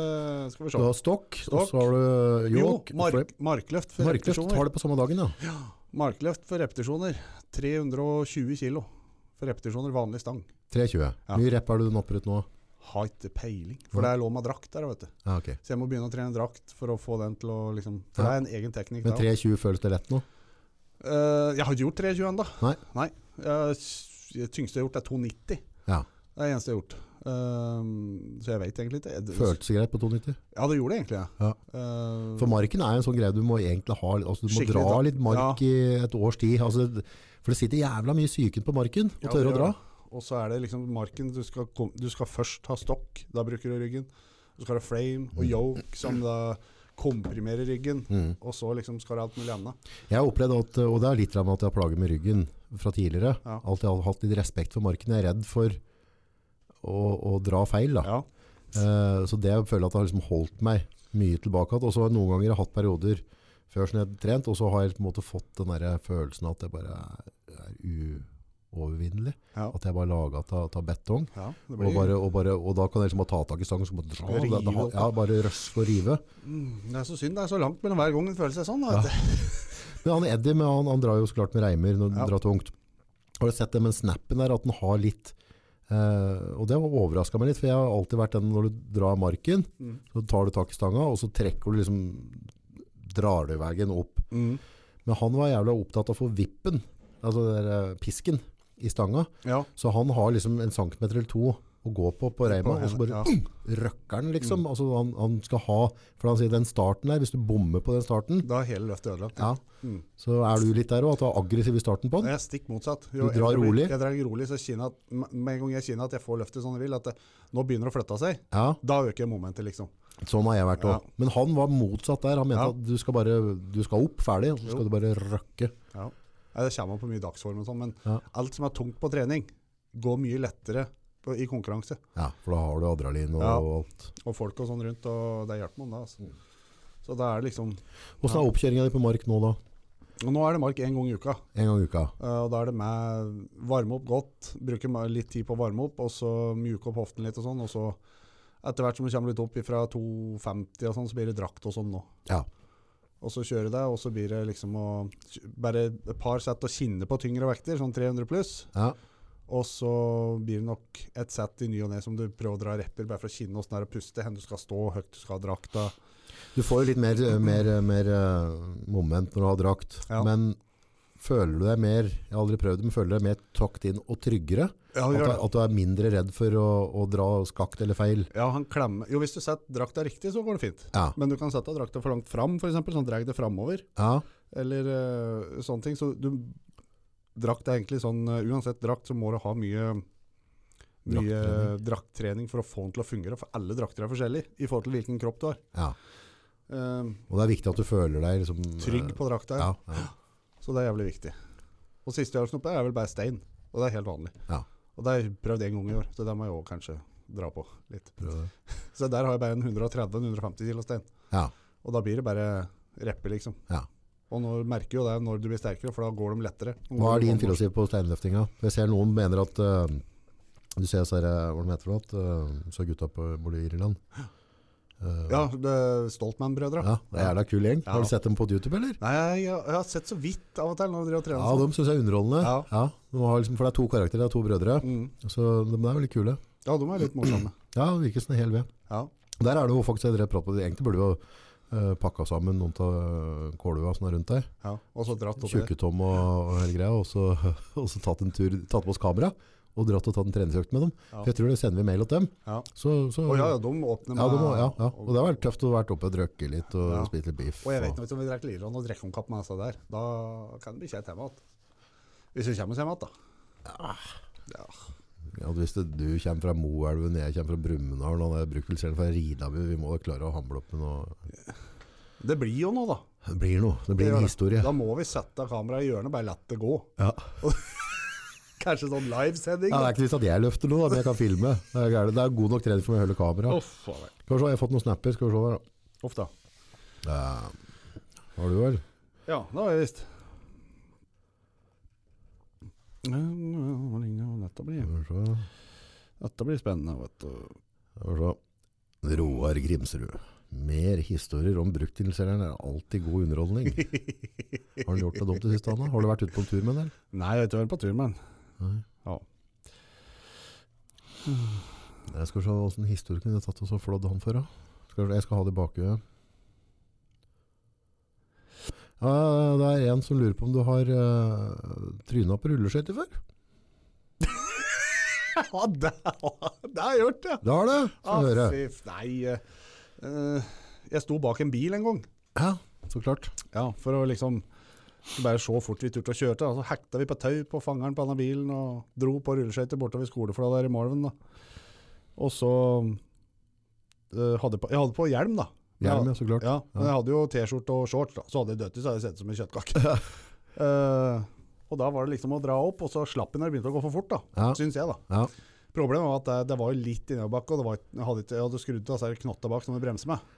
[SPEAKER 2] Skal vi
[SPEAKER 1] Du
[SPEAKER 2] se.
[SPEAKER 1] har stokk, og
[SPEAKER 2] Stokk.
[SPEAKER 1] så har du
[SPEAKER 2] Jo,
[SPEAKER 1] jåk.
[SPEAKER 2] mark, markløft for
[SPEAKER 1] Markløft
[SPEAKER 2] repetisjoner.
[SPEAKER 1] har det på samme dagen, ja.
[SPEAKER 2] Markløft for repetisjoner. 320 kilo for repetisjoner, vanlig stang.
[SPEAKER 1] 3,20.
[SPEAKER 2] Ja.
[SPEAKER 1] Mye rep er det du napper ut nå?
[SPEAKER 2] Har ikke peiling. For det er lov med drakt der, vet du.
[SPEAKER 1] Ja, Ah, ok.
[SPEAKER 2] Så jeg må begynne å trene drakt for å få den til å liksom For det er en egen teknikk.
[SPEAKER 1] Men
[SPEAKER 2] da.
[SPEAKER 1] 3,20 føles det lett nå?
[SPEAKER 2] Eh, jeg har ikke gjort 320 ennå.
[SPEAKER 1] Nei.
[SPEAKER 2] Eh, s- det tyngste jeg har gjort, er 290.
[SPEAKER 1] Ja.
[SPEAKER 2] Det er det eneste jeg har gjort. Eh, så jeg vet egentlig ikke. Jeg-
[SPEAKER 1] Føltes det greit på 2,90?
[SPEAKER 2] Ja, det gjorde det egentlig,
[SPEAKER 1] Ja.
[SPEAKER 2] Eh,
[SPEAKER 1] For marken er en sånn greie du må egentlig ha litt- altså Du må
[SPEAKER 2] Skikkelig
[SPEAKER 1] dra
[SPEAKER 2] da-
[SPEAKER 1] litt mark i et års tid. Altså, det- for det sitter jævla mye psyken på marken og
[SPEAKER 2] Ja, det
[SPEAKER 1] tørre å
[SPEAKER 2] gjør
[SPEAKER 1] dra.
[SPEAKER 2] det. Og så er det liksom marken du skal, kom, du skal først ha stokk, da bruker du ryggen. Så skal du ha frame og yoke, som da komprimerer ryggen.
[SPEAKER 1] Mm.
[SPEAKER 2] Og så liksom skal du ha alt mulig annet.
[SPEAKER 1] Jeg har opplevd at, og det er litt med at jeg har plaget med ryggen fra tidligere,
[SPEAKER 2] Ja.
[SPEAKER 1] alltid har hatt litt respekt for marken. Jeg er redd for å, å dra feil. Da.
[SPEAKER 2] Ja.
[SPEAKER 1] Eh, så det jeg føler at det har liksom holdt meg mye tilbake. igjen. Og så har jeg noen ganger hatt perioder før som jeg har trent, og så har jeg på en måte fått den der følelsen at jeg bare er, er uovervinnelig.
[SPEAKER 2] Ja.
[SPEAKER 1] At jeg bare laget ta, ta betong.
[SPEAKER 2] ja det
[SPEAKER 1] Og,
[SPEAKER 2] blir,
[SPEAKER 1] bare, og, bare, og da kan jeg liksom bare ta tak i stangen så bare dra.
[SPEAKER 2] Rive
[SPEAKER 1] Det, det, har-
[SPEAKER 2] opp, da.
[SPEAKER 1] ja, bare røske og rive.
[SPEAKER 2] mm, det er så synd det er så langt mellom hver gang en føler seg sånn. Da,
[SPEAKER 1] Ja.
[SPEAKER 2] vet du.
[SPEAKER 1] Men han Eddie, men han, han drar jo så klart med reimer når han
[SPEAKER 2] Ja.
[SPEAKER 1] drar tungt. Har du sett det med snappen der, at den har litt eh, Og det overraska meg litt, for jeg har alltid vært den når du drar marken,
[SPEAKER 2] Mm.
[SPEAKER 1] så tar du tak i stanga, og så trekker du liksom Drar du veien opp.
[SPEAKER 2] Mm.
[SPEAKER 1] Men han var jævla opptatt av å få vippen, altså den der, eh, pisken, i stanga.
[SPEAKER 2] Ja.
[SPEAKER 1] Så han har liksom en centimeter eller to å gå på på reima, og så bare
[SPEAKER 2] ja. Mm.
[SPEAKER 1] røkker han liksom. Altså han, han skal ha For han sier den starten der, hvis du bommer på den starten,
[SPEAKER 2] Da er hele løftet ødelagt.
[SPEAKER 1] ja,
[SPEAKER 2] Mm.
[SPEAKER 1] så er du litt der òg, at du er aggressiv i starten på
[SPEAKER 2] Og
[SPEAKER 1] den.
[SPEAKER 2] Jeg er stikk motsatt.
[SPEAKER 1] Du drar
[SPEAKER 2] jeg,
[SPEAKER 1] rolig?
[SPEAKER 2] Jeg drar rolig, så kjenner jeg at- med en gang jeg kjenner at jeg får løftet som jeg vil, at det, nå begynner det å flytte seg,
[SPEAKER 1] Ja,
[SPEAKER 2] da øker momentet, liksom.
[SPEAKER 1] sånn har jeg vært òg. Men han var motsatt der. Han mente
[SPEAKER 2] Ja.
[SPEAKER 1] at du skal bare du skal opp, ferdig, og så
[SPEAKER 2] Jo.
[SPEAKER 1] skal du bare røkke.
[SPEAKER 2] Ja. Nei, Det kommer an på mye dagsform og sånn, men
[SPEAKER 1] Ja.
[SPEAKER 2] alt som er tungt på trening, går mye lettere på, i konkurranse.
[SPEAKER 1] Ja, for da har du adrenalin og,
[SPEAKER 2] Ja.
[SPEAKER 1] og alt.
[SPEAKER 2] Og folk og sånn rundt, og det hjelper man da. Altså. Så da er det liksom
[SPEAKER 1] Åssen er oppkjøringa di på mark nå, da?
[SPEAKER 2] og Nå er det mark én gang i uka,
[SPEAKER 1] En gang i uka?
[SPEAKER 2] eh, og da er det med varme opp godt, bruke ma- litt tid på å varme opp, og så mjuke opp hoften litt og sånn, og så etter hvert som du kommer litt opp fra 2,50 og sånn, så blir det drakt og sånn nå.
[SPEAKER 1] Ja.
[SPEAKER 2] Og så kjøre det, og så blir det liksom å Bare et par sett å kinne på tyngre vekter, sånn 300 pluss.
[SPEAKER 1] ja.
[SPEAKER 2] Og så blir det nok et sett i ny og ne som du prøver å dra repper, bare for å kjenne åssen det er å puste, hvor du skal stå, hvor høyt du skal ha drakta.
[SPEAKER 1] Du får jo litt mer, mer, mer eh, moment når du har drakt,
[SPEAKER 2] Ja.
[SPEAKER 1] men føler du deg mer Jeg har aldri prøvd det, men føler du deg mer takt inn og tryggere?
[SPEAKER 2] Ja,
[SPEAKER 1] At,
[SPEAKER 2] gjør
[SPEAKER 1] du-
[SPEAKER 2] det.
[SPEAKER 1] at du er mindre redd for å, å dra skakt eller feil?
[SPEAKER 2] ja, han klemmer Jo, hvis du setter drakta riktig, så går det fint.
[SPEAKER 1] Ja.
[SPEAKER 2] Men du kan sette drakta for langt fram, f.eks., sånn drar det framover,
[SPEAKER 1] ja.
[SPEAKER 2] eller eh, sånne ting. Så du Drakt er egentlig sånn eh, Uansett drakt, så må du ha mye mye
[SPEAKER 1] Drakttrening.
[SPEAKER 2] drakttrening for å få den til å fungere. For alle drakter er forskjellige i forhold til hvilken kropp du har.
[SPEAKER 1] ja.
[SPEAKER 2] Eh,
[SPEAKER 1] Og det er viktig at du føler deg liksom,
[SPEAKER 2] trygg
[SPEAKER 1] eh,
[SPEAKER 2] på drakta.
[SPEAKER 1] Ja, ja.
[SPEAKER 2] Så det er jævlig viktig. Og siste jeg har snoppet er vel bare stein, og det er helt vanlig.
[SPEAKER 1] Ja.
[SPEAKER 2] Og det har jeg prøvd en gang i år, så det må jeg også kanskje dra på litt.
[SPEAKER 1] Prøv det.
[SPEAKER 2] Så der har jeg bare en 130-150 kilo stein,
[SPEAKER 1] Ja,
[SPEAKER 2] og da blir det bare reppe liksom.
[SPEAKER 1] ja.
[SPEAKER 2] Og nå merker jo det når du blir sterkere, for da går de lettere.
[SPEAKER 1] Hva er din filosofi på steinløftinga? For Jeg ser noen mener at eh, Du ser så her, eh, hva de heter for noe? eh, så gutta på bor i Irland. Eh,
[SPEAKER 2] Ja, det er Stoltman-brødre.
[SPEAKER 1] ja, det er da kul gjeng.
[SPEAKER 2] Ja.
[SPEAKER 1] Har du sett dem på YouTube, eller?
[SPEAKER 2] Nei, jeg, jeg har sett så vidt av og til når de har
[SPEAKER 1] Ja,
[SPEAKER 2] trenet.
[SPEAKER 1] de synes jeg er underholdende. Ja.
[SPEAKER 2] Ja.
[SPEAKER 1] de har liksom, for det er to karakterer, det er to brødre.
[SPEAKER 2] sånn. Mm.
[SPEAKER 1] Så de er veldig kule.
[SPEAKER 2] ja, de er litt morsomme.
[SPEAKER 1] Ja, det virker som en hel ved.
[SPEAKER 2] Ja.
[SPEAKER 1] Der er det jo faktisk en prat på det. Egentlig burde vi jo eh, pakka sammen noen av eh, kålua som er rundt der.
[SPEAKER 2] Ja, og så dratt opp det.
[SPEAKER 1] Tjukketom og, og hele greia. Og så, og så tatt, en tur, tatt med oss kamera og dratt og tatt en treningsøkt med dem.
[SPEAKER 2] Ja.
[SPEAKER 1] For jeg tror det sender vi mail til dem.
[SPEAKER 2] Ja.
[SPEAKER 1] Så, så,
[SPEAKER 2] Å ja, ja, de åpner
[SPEAKER 1] Ja, det må, ja, ja. Og det har vært tøft å ha vært oppe og drøkke litt og
[SPEAKER 2] Ja.
[SPEAKER 1] spise litt biff.
[SPEAKER 2] Og jeg vet nå ikke om vi drikker Liron og drikker omkapp med disse der. Da kan det bli kjent hjemme igjen. Hvis vi kommer oss hjem igjen, da.
[SPEAKER 1] Ja, hvis det, du kommer fra Moelven, jeg kommer fra Brumunddal, og jeg bruker vel selv fra Ridabu, vi må da klare å hamle opp med noe.
[SPEAKER 2] Det blir jo noe, da.
[SPEAKER 1] Det blir noe. Det blir
[SPEAKER 2] gjør
[SPEAKER 1] en historie.
[SPEAKER 2] Da må vi sette kameraet i hjørnet og bare la det gå.
[SPEAKER 1] Ja.
[SPEAKER 2] Kanskje sånn livesending.
[SPEAKER 1] Ja, det
[SPEAKER 2] da.
[SPEAKER 1] er ikke visst at jeg løfter noe, da, men jeg kan filme. Det er, gærent. det er god nok trening for meg å holde kamera.
[SPEAKER 2] Uff a meg.
[SPEAKER 1] Skal vi se, jeg har fått noen snapper. Skal vi se der, da.
[SPEAKER 2] Uff da.
[SPEAKER 1] Eh, har du vel?
[SPEAKER 2] Ja, det har jeg visst. Dette blir,
[SPEAKER 1] Skal vi se.
[SPEAKER 2] dette blir spennende, vet du.
[SPEAKER 1] Skal vi se. Roar Grimsrud. Mer historier om bruktilselgeren er alltid god underholdning. Har han gjort det dumt det siste, Anna? Har du vært ute på en tur med den?
[SPEAKER 2] Nei, jeg har ikke vært på tur med den.
[SPEAKER 1] Nei.
[SPEAKER 2] Ja.
[SPEAKER 1] Jeg skal se hvordan historie kunne jeg tatt og så flådd han for. da. Skal vi se, jeg skal ha det i bakhuet. Ja, det er en som lurer på om du har uh, tryna på rulleskøyter før?
[SPEAKER 2] Ja, det har det har jeg gjort, ja.
[SPEAKER 1] Det har du! Skal vi høre.
[SPEAKER 2] Ah, fy f- Nei, eh, eh, jeg sto bak en bil en gang.
[SPEAKER 1] Ja, så klart.
[SPEAKER 2] Ja, for å liksom skulle bare se hvor fort vi turte å kjøre til. da. Så hekta vi på tau på fangeren på denne bilen og dro på rulleskøyter bortover skoleflata der i Malven. da. Og så eh, hadde jeg på, jeg hadde på hjelm, da.
[SPEAKER 1] Ja, ja, så klart.
[SPEAKER 2] Ja, men jeg hadde jo T-skjorte og shorts, da. så hadde jeg dødd i, så hadde jeg sett ut som en kjøttkake. Eh, og da var det liksom å dra opp, og så slapp jeg når det begynte å gå for fort, da.
[SPEAKER 1] Ja.
[SPEAKER 2] Syns jeg, da.
[SPEAKER 1] Ja.
[SPEAKER 2] Problemet var at det, det var jo litt innoverbakke, og det var, ikke- jeg, hadde ikke, jeg hadde skrudd av disse knotta bak som jeg bremser med.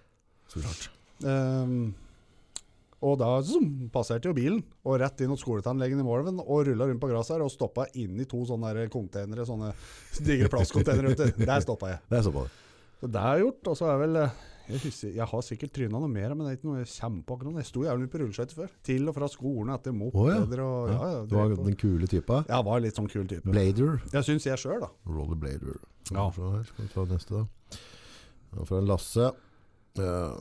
[SPEAKER 1] Så klart.
[SPEAKER 2] Ehm, og da zoom, passerte jo bilen, og rett inn hos skoletannlegen i Morven, og rulla rundt på gresset her, og stoppa inni to sånne der containere, sånne digre plastcontainere ute. Der stoppa jeg.
[SPEAKER 1] Det er såpass.
[SPEAKER 2] Så det er gjort, og så er vel eh, jeg, husker, jeg har sikkert tryna noe mer, men det er ikke noe jeg kommer på akkurat nå. Jeg sto jævlig mye på rulleskøyter før. Til og fra skolen etter mopeder og ja, ja,
[SPEAKER 1] Du var
[SPEAKER 2] drev på.
[SPEAKER 1] den kule typa.
[SPEAKER 2] Jeg var litt sånn kul type.
[SPEAKER 1] Blader.
[SPEAKER 2] Jeg syns jeg sjøl, da.
[SPEAKER 1] Rollerblader. Skal
[SPEAKER 2] Ja.
[SPEAKER 1] vi se her, Skal vi ta neste, da. Ja, Fra en Lasse. Eh,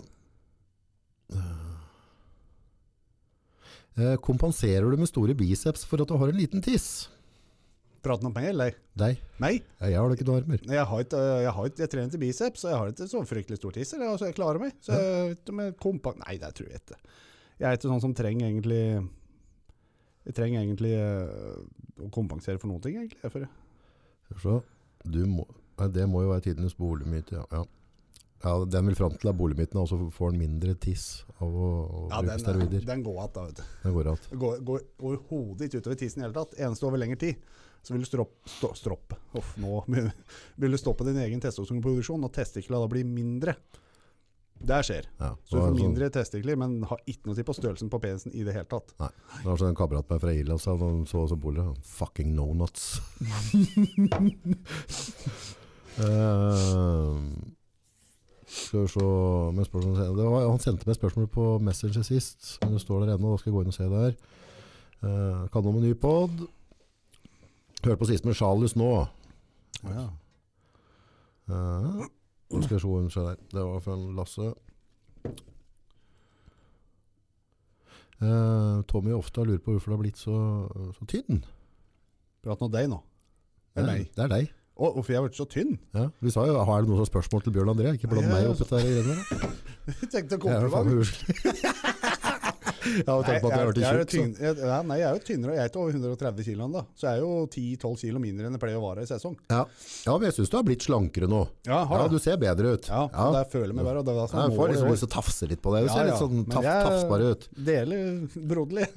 [SPEAKER 1] eh, kompenserer du med store biceps for at du har en liten tiss?
[SPEAKER 2] Praten om meg, eller?
[SPEAKER 1] Nei,
[SPEAKER 2] Nei,
[SPEAKER 1] ja, jeg har da ikke noen armer.
[SPEAKER 2] jeg, har ikke, jeg, har ikke, jeg trener til biceps, så jeg har ikke så fryktelig stor tisser. Jeg, altså, jeg klarer meg. Så jeg, vet ikke om jeg kompa Nei, det tror jeg ikke. Jeg er ikke sånn som trenger egentlig Jeg trenger egentlig eh, å kompensere for noen ting, egentlig. jeg, For
[SPEAKER 1] Skal vi se. Du må, nei, det må jo være tidenes boligmyte. Ja. Ja. Ja, den vil fram til er boligmyten, og så får den mindre tiss av å, å
[SPEAKER 2] ja,
[SPEAKER 1] bruke
[SPEAKER 2] den, eh,
[SPEAKER 1] steroider.
[SPEAKER 2] den går igjen, da, vet du.
[SPEAKER 1] Det går alt.
[SPEAKER 2] Det går, går overhodet ikke utover tissen i det hele tatt. Eneste over lengre tid. Så vil du stropp, stå, stropp. Uff, nå vil du stoppe din egen testosteronproduksjon, og testiklene da blir mindre. Det skjer.
[SPEAKER 1] Ja.
[SPEAKER 2] Så du
[SPEAKER 1] det
[SPEAKER 2] får
[SPEAKER 1] var sånn-
[SPEAKER 2] mindre testikler, men har ikke noe å si på størrelsen på penisen i det hele tatt.
[SPEAKER 1] Nei. Det var sånn en kamerat med fra Irland sa da han så oss på bordet. Fucking no nuts. Ehm, Eh, skal vi se men spørsmålet senere- det var, Han sendte meg spørsmål på Messenger sist, men det står der ennå. Da skal jeg gå inn og se der. Uh, kan om en ny pod. Hørte på sist med Charles nå.
[SPEAKER 2] Ja.
[SPEAKER 1] Eh, Nå skal jeg se hvem som er der. Det var fra Lasse. Eh, Tommy ofte lurer på hvorfor det har blitt så, så tynn.
[SPEAKER 2] Prat nå deg nå. Det er
[SPEAKER 1] Nei,
[SPEAKER 2] meg.
[SPEAKER 1] Det er deg.
[SPEAKER 2] Å, hvorfor jeg har vært så tynn?
[SPEAKER 1] Ja. Vi sa jo, har du noen som har spørsmål til Bjørn André? Ikke bland
[SPEAKER 2] Nei,
[SPEAKER 1] meg
[SPEAKER 2] jeg-
[SPEAKER 1] opp i dette her greiene der.
[SPEAKER 2] Jeg tenkte
[SPEAKER 1] Jeg er jo faen
[SPEAKER 2] kompliment.
[SPEAKER 1] meg uskyldig. Jeg har jo
[SPEAKER 2] Nei,
[SPEAKER 1] tenkt på at jeg har
[SPEAKER 2] jeg,
[SPEAKER 1] vært
[SPEAKER 2] er jo
[SPEAKER 1] tjukk.
[SPEAKER 2] tynn- jeg, nei, nei, jeg er jo tynnere, og jeg er ikke over 130 kilo ennå. Så jeg er jo 10-12 kilo mindre enn jeg pleier å være i sesong.
[SPEAKER 1] så- Ja. ja, men jeg syns du har blitt slankere nå.
[SPEAKER 2] Ja, jeg har
[SPEAKER 1] Ja,
[SPEAKER 2] det.
[SPEAKER 1] du ser bedre ut.
[SPEAKER 2] Ja, det føler jeg meg bare. og Det er det
[SPEAKER 1] Ja,
[SPEAKER 2] som er
[SPEAKER 1] jeg får
[SPEAKER 2] målet i
[SPEAKER 1] liksom
[SPEAKER 2] år.
[SPEAKER 1] lyst til å tafse litt på deg. Du
[SPEAKER 2] Ja,
[SPEAKER 1] ser
[SPEAKER 2] ja,
[SPEAKER 1] litt sånn
[SPEAKER 2] men
[SPEAKER 1] taf,
[SPEAKER 2] jeg-
[SPEAKER 1] tafsbar ut.
[SPEAKER 2] Deler broderlig.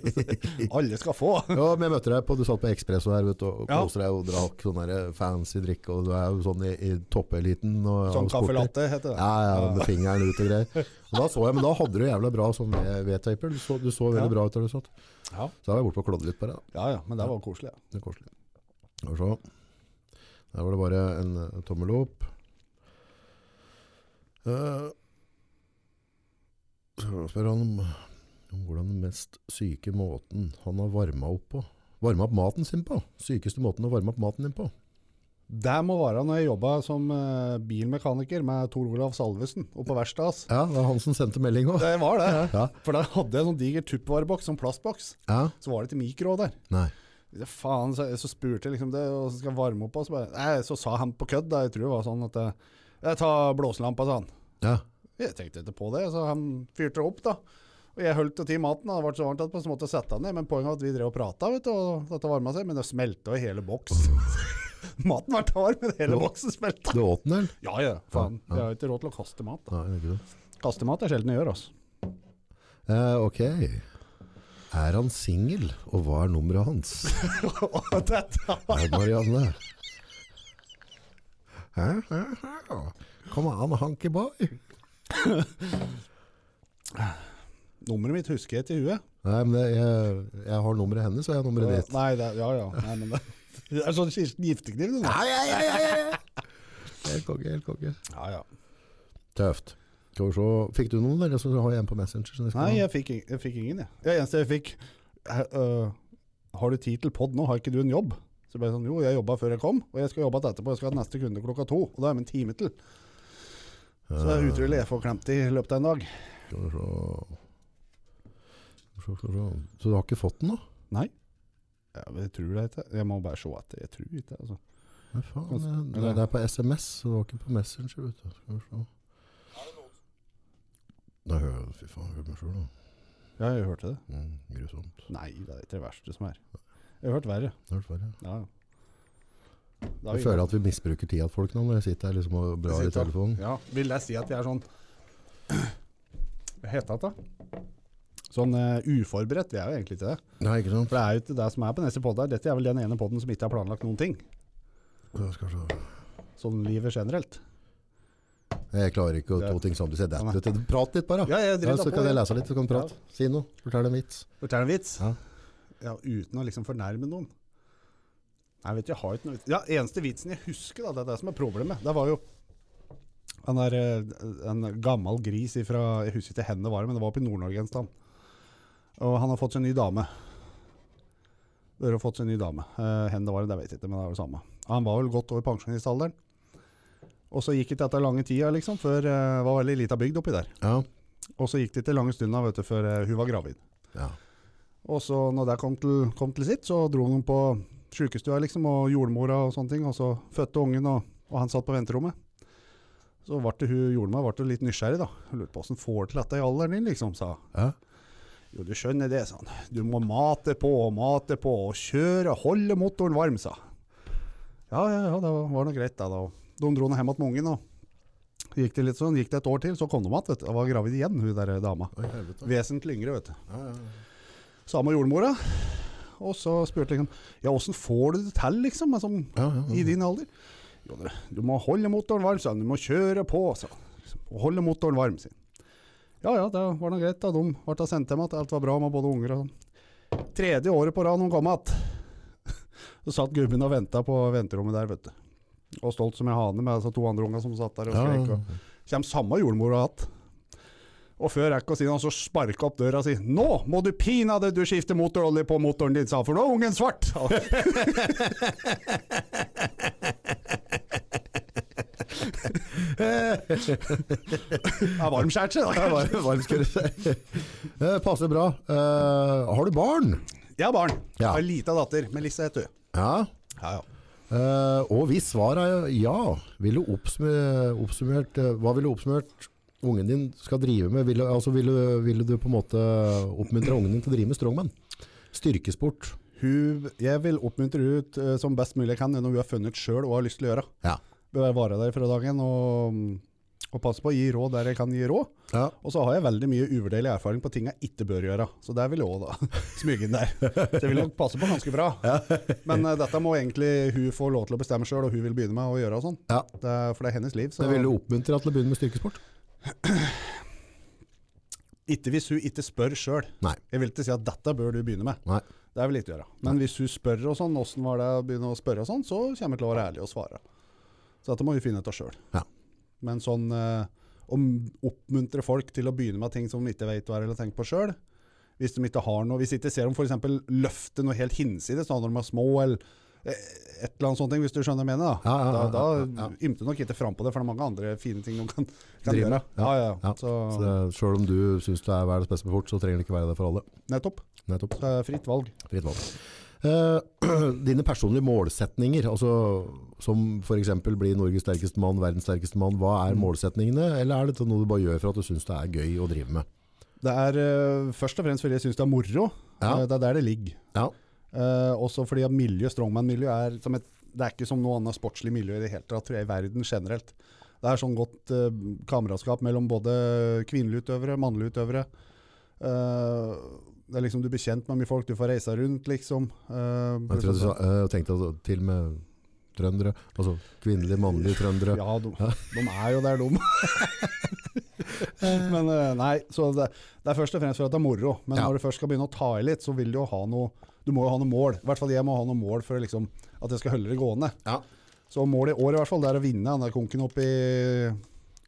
[SPEAKER 2] Alle skal få.
[SPEAKER 1] Ja, men jeg møtte deg på, du satt på Expresso her, vet du, og
[SPEAKER 2] Ja.
[SPEAKER 1] koste deg og drakk sånn der fancy drikke, og du er jo sånn i, i toppeliten. Og,
[SPEAKER 2] Sånn
[SPEAKER 1] og sporty.
[SPEAKER 2] caffè latte heter det.
[SPEAKER 1] Ja, ja, med fingeren ut og greier. Og da så jeg, men da hadde du jævla bra sånn V- V-taper, du, så- du så veldig
[SPEAKER 2] Ja.
[SPEAKER 1] bra ut der du satt.
[SPEAKER 2] Ja.
[SPEAKER 1] Så da var jeg borte på klodde litt på deg, da.
[SPEAKER 2] ja ja, men det var koselig. Ja.
[SPEAKER 1] det er koselig. Skal vi se. Der var det bare en eh, tommel opp. Eh, Så spør han om, om hvordan den mest syke måten han har varma opp på. Varma opp maten sin på. Sykeste måten å varme opp maten din på.
[SPEAKER 2] Det må være når jeg jobba som eh, bilmekaniker med Tor Olav Salvesen oppe på verkstedet hans.
[SPEAKER 1] Ja, det var han som sendte melding òg.
[SPEAKER 2] Det var det.
[SPEAKER 1] Ja.
[SPEAKER 2] For da hadde jeg en sånn diger tuppvareboks, sånn plastboks.
[SPEAKER 1] Ja,
[SPEAKER 2] Så var det ikke mikro der.
[SPEAKER 1] nei.
[SPEAKER 2] Ja, faen, så, så spurte jeg liksom det, og så skal jeg varme opp, og så bare Nei, så sa han på kødd, da, jeg tror det var sånn at eh, Jeg tar blåselampa, sa han.
[SPEAKER 1] Ja,
[SPEAKER 2] Jeg tenkte ikke på det, så han fyrte opp, da. Og jeg holdt til maten, da. det ble så varmt at på så måte sette han ned. Men poenget var at vi drev og prata, vet du, og dette varma seg, men det smelta i hele boks. Maten var varm, men hele boksen smelta.
[SPEAKER 1] du åt den, eller?
[SPEAKER 2] Ja ja, faen. Jeg har ikke råd til å kaste mat. da.
[SPEAKER 1] Nei, det er ikke det.
[SPEAKER 2] Kaste mat er sjelden jeg gjør, altså.
[SPEAKER 1] Eh, ok. Er han singel, og hva er nummeret hans?
[SPEAKER 2] Og dette
[SPEAKER 1] Hei, Marianne. Hæ? Hæ? Hæ? Kom an, hanky boy.
[SPEAKER 2] Nummeret mitt husker jeg til huet.
[SPEAKER 1] Nei, men det, jeg, jeg har nummeret hennes, og jeg har nummeret ditt.
[SPEAKER 2] Eh, Nei, det, ja, ja. Nei, men det, det er sånn Kirsten Giftekniv, det. da.
[SPEAKER 1] Ja, ja, ja, ja, ja. Helt konge, helt konge.
[SPEAKER 2] Ja, ja.
[SPEAKER 1] Tøft. Skal vi se. Fikk du noen, eller så har jeg en på Messenger? som jeg skal
[SPEAKER 2] Nei,
[SPEAKER 1] ha.
[SPEAKER 2] jeg fikk, ing- jeg fikk ingen, jeg. Det eneste jeg fikk eh, øh, Har du tid til pod nå? Har ikke du en jobb? Så ble jeg sånn, jo, jeg jobba før jeg kom, og jeg skal jobbe igjen etterpå. Jeg skal ha neste kunde klokka to, og da er det en time til. Så det er utrolig jeg får klemt i i løpet av en dag.
[SPEAKER 1] Skal vi se. Skal vi se, skal vi se. Så du har ikke fått den, da?
[SPEAKER 2] Nei. Ja, men Jeg tror det ikke. Jeg må bare se etter. Jeg tror ikke altså.
[SPEAKER 1] Nei, faen. jeg- Det, det er på SMS, så det var ikke på Messenger, vet du. Skal vi se. Da hører jeg Fy faen, hører meg sjøl, da.
[SPEAKER 2] Ja, jeg hørte det.
[SPEAKER 1] Mm, grusomt.
[SPEAKER 2] Nei, det er ikke det verste som er. Jeg har hørt verre.
[SPEAKER 1] Det er verre.
[SPEAKER 2] Ja. Da
[SPEAKER 1] Jeg føler at vi misbruker tida til folk nå, når jeg sitter her liksom og blar i
[SPEAKER 2] Sitter.
[SPEAKER 1] telefonen.
[SPEAKER 2] Ja, vil jeg si at jeg er sånn Hva heter det da? Sånn eh, uforberedt, det er jo egentlig ikke det.
[SPEAKER 1] Nei, ikke sant?
[SPEAKER 2] For det er jo ikke det som er på neste podd her. Dette er vel den ene podden som ikke har planlagt noen ting.
[SPEAKER 1] Ja, Skal vi se.
[SPEAKER 2] Sånn livet generelt.
[SPEAKER 1] Jeg klarer ikke å
[SPEAKER 2] Det-
[SPEAKER 1] to ting samtidig. Se dette ut. Prat litt, bare.
[SPEAKER 2] Ja, jeg driter
[SPEAKER 1] så
[SPEAKER 2] på,
[SPEAKER 1] kan jeg
[SPEAKER 2] ja.
[SPEAKER 1] lese litt, så kan du prate. Si noe. Fortell en vits.
[SPEAKER 2] Fortell en vits.
[SPEAKER 1] Ja.
[SPEAKER 2] Ja, uten å liksom fornærme noen. Nei, vet du, jeg har ikke noe vits. Ja, eneste vitsen jeg husker, da, det er det som er problemet. Det var jo han der, eh, en gammel gris ifra, jeg husker ikke henne det var, men det var oppe i Nord-Norge en stand. Og han har fått seg en ny dame. Dere har fått seg en ny dame. Eh, Hen det var, det vet jeg ikke, men det er det samme. Han var vel godt over pensjonistalderen. Og så gikk det ikke etter lange tida, liksom, før eh, det var veldig lita bygd oppi der.
[SPEAKER 1] Ja.
[SPEAKER 2] Og så gikk det ikke lange stunda, vet du, før eh, hun var gravid.
[SPEAKER 1] ja.
[SPEAKER 2] Og så når det kom til, kom til sitt, så dro hun på sykestua liksom, og jordmora og sånne ting, og så fødte ungen, og, og han satt på venterommet. Så ble det hun jordmora ble litt nysgjerrig, da. Hun lurte på åssen får du til dette i alderen din, liksom, sa hun.
[SPEAKER 1] Ja.
[SPEAKER 2] Jo, du skjønner det, sa han. Du må mate på og mate på og kjøre, holde motoren varm, sa han. Ja, ja, ja, det var nå greit, da. da. De dro nå hjem igjen med ungen, og gikk det litt sånn. Gikk det et år til, så kom de igjen, vet du. Og var gravid igjen, hun der dama.
[SPEAKER 1] Oi, helvete.
[SPEAKER 2] Vesentlig yngre, vet du.
[SPEAKER 1] Ja, ja.
[SPEAKER 2] Samme jordmora. Og så spurte jeg liksom, ja, åssen får du det til, liksom, altså,
[SPEAKER 1] Ja, ja, ja.
[SPEAKER 2] i din alder? Jo, du, du må holde motoren varm, sa han. Du må kjøre på, sa han. Liksom, og Holde motoren varm, sier han. Ja ja, det var nå greit, da. De ble da sendt hjem at alt var bra med både unger og sånn. Tredje året på rad de kom igjen. Så satt gubben og venta på venterommet der, vet du. Og stolt som en hane med altså, to andre unger som satt der og
[SPEAKER 1] Ja, ja,
[SPEAKER 2] skrek.
[SPEAKER 1] ja.
[SPEAKER 2] og- Kjem samme jordmora att. Og før jeg rekker å si noe, så sparka opp døra og si Nå må du pinadø du skifter motorolje på motoren din, sa han, for nå er ungen svart! sa han. Det er varm skjærtse, da.
[SPEAKER 1] Det var varmt, skulle du si. Eh, Passer bra. Eh, har du barn?
[SPEAKER 2] Jeg har barn. Jeg
[SPEAKER 1] Ja.
[SPEAKER 2] har lita datter. Melissa heter hun.
[SPEAKER 1] Ja.
[SPEAKER 2] Ja, ja.
[SPEAKER 1] Eh, og hvis svaret er ja, ville oppsummer, oppsummert, eh, hva ville oppsummert ungen din skal drive med? Ville, altså, ville, ville du på en måte oppmuntre ungen din til å drive med strongman? Styrkesport.
[SPEAKER 2] Hun, jeg vil oppmuntre henne ut eh, som best mulig jeg kan når hun har funnet sjøl og har lyst til å gjøre.
[SPEAKER 1] Ja.
[SPEAKER 2] Bør være der fra dagen og, og passe på å gi råd der jeg kan gi råd.
[SPEAKER 1] ja.
[SPEAKER 2] Og så har jeg veldig mye uvurderlig erfaring på ting jeg ikke bør gjøre. Så der vil jeg òg da smyge inn der. Så jeg vil nok passe på ganske bra. Men eh, dette må egentlig hun få lov til å bestemme sjøl, og hun vil begynne med å gjøre og sånn.
[SPEAKER 1] Ja.
[SPEAKER 2] Det er- For det er hennes liv. Så
[SPEAKER 1] Det ville oppmuntre deg til å begynne med styrkesport?
[SPEAKER 2] ikke hvis hun ikke spør sjøl.
[SPEAKER 1] Nei.
[SPEAKER 2] Jeg vil ikke si at dette bør du begynne med.
[SPEAKER 1] Nei.
[SPEAKER 2] Det vil jeg ikke gjøre. Men hvis hun spør og sånn, åssen var det å begynne å spørre og sånn, så kommer jeg til å være ærlig og svare. Så dette må vi finne ut av sjøl.
[SPEAKER 1] Ja.
[SPEAKER 2] Men sånn eh, å m- oppmuntre folk til å begynne med ting som de ikke vet hva er eller tenker på sjøl, hvis de ikke har noe, hvis de ikke ser dem f.eks. løfte noe helt hinsides da, når de er små, eller eh, et eller annet sånt, hvis du skjønner hva jeg mener, da,
[SPEAKER 1] Ja, ja, ja,
[SPEAKER 2] da,
[SPEAKER 1] ja,
[SPEAKER 2] da
[SPEAKER 1] ja,
[SPEAKER 2] ymter nok ikke fram på det, for det er mange andre fine ting de kan, kan
[SPEAKER 1] Driver med,
[SPEAKER 2] gjøre. Ja, ja,
[SPEAKER 1] Ja.
[SPEAKER 2] Så,
[SPEAKER 1] Så det- Selv om du syns det er verdens beste sport, så trenger det ikke være det for alle.
[SPEAKER 2] nettopp.
[SPEAKER 1] Nettopp.
[SPEAKER 2] Så er det fritt valg.
[SPEAKER 1] Fritt valg. Eh, dine personlige målsetninger, altså, som f.eks. bli Norges sterkeste mann, verdens sterkeste mann, hva er målsetningene? Eller er dette noe du bare gjør for at du syns det er gøy å drive med?
[SPEAKER 2] Det er eh, først og fremst fordi jeg syns det er moro.
[SPEAKER 1] Ja.
[SPEAKER 2] Eh, det er der det ligger.
[SPEAKER 1] Ja,
[SPEAKER 2] Eh, også fordi at miljø, strongman-miljø er som et, det er ikke som noe annet sportslig miljø i det hele tatt, tror jeg, i verden generelt. Det er sånn godt eh, kameratskap mellom både kvinnelige utøvere, mannlige utøvere. Eh, det er liksom Du blir kjent med mye folk, du får reise rundt, liksom. Eh,
[SPEAKER 1] jeg trodde du sa, eh, tenkte altså, til og med trøndere, altså kvinnelige, mannlige trøndere.
[SPEAKER 2] ja, de, de er jo der, de. Men eh, nei, så det, det er først og fremst for at det er moro. Men
[SPEAKER 1] Ja.
[SPEAKER 2] når du først skal begynne å ta i litt, så vil du jo ha noe Du må jo ha noe mål. I hvert fall jeg må ha noe mål for å liksom, at jeg skal holde det gående.
[SPEAKER 1] Ja.
[SPEAKER 2] Så målet i år i hvert fall, det er å vinne den der konken oppi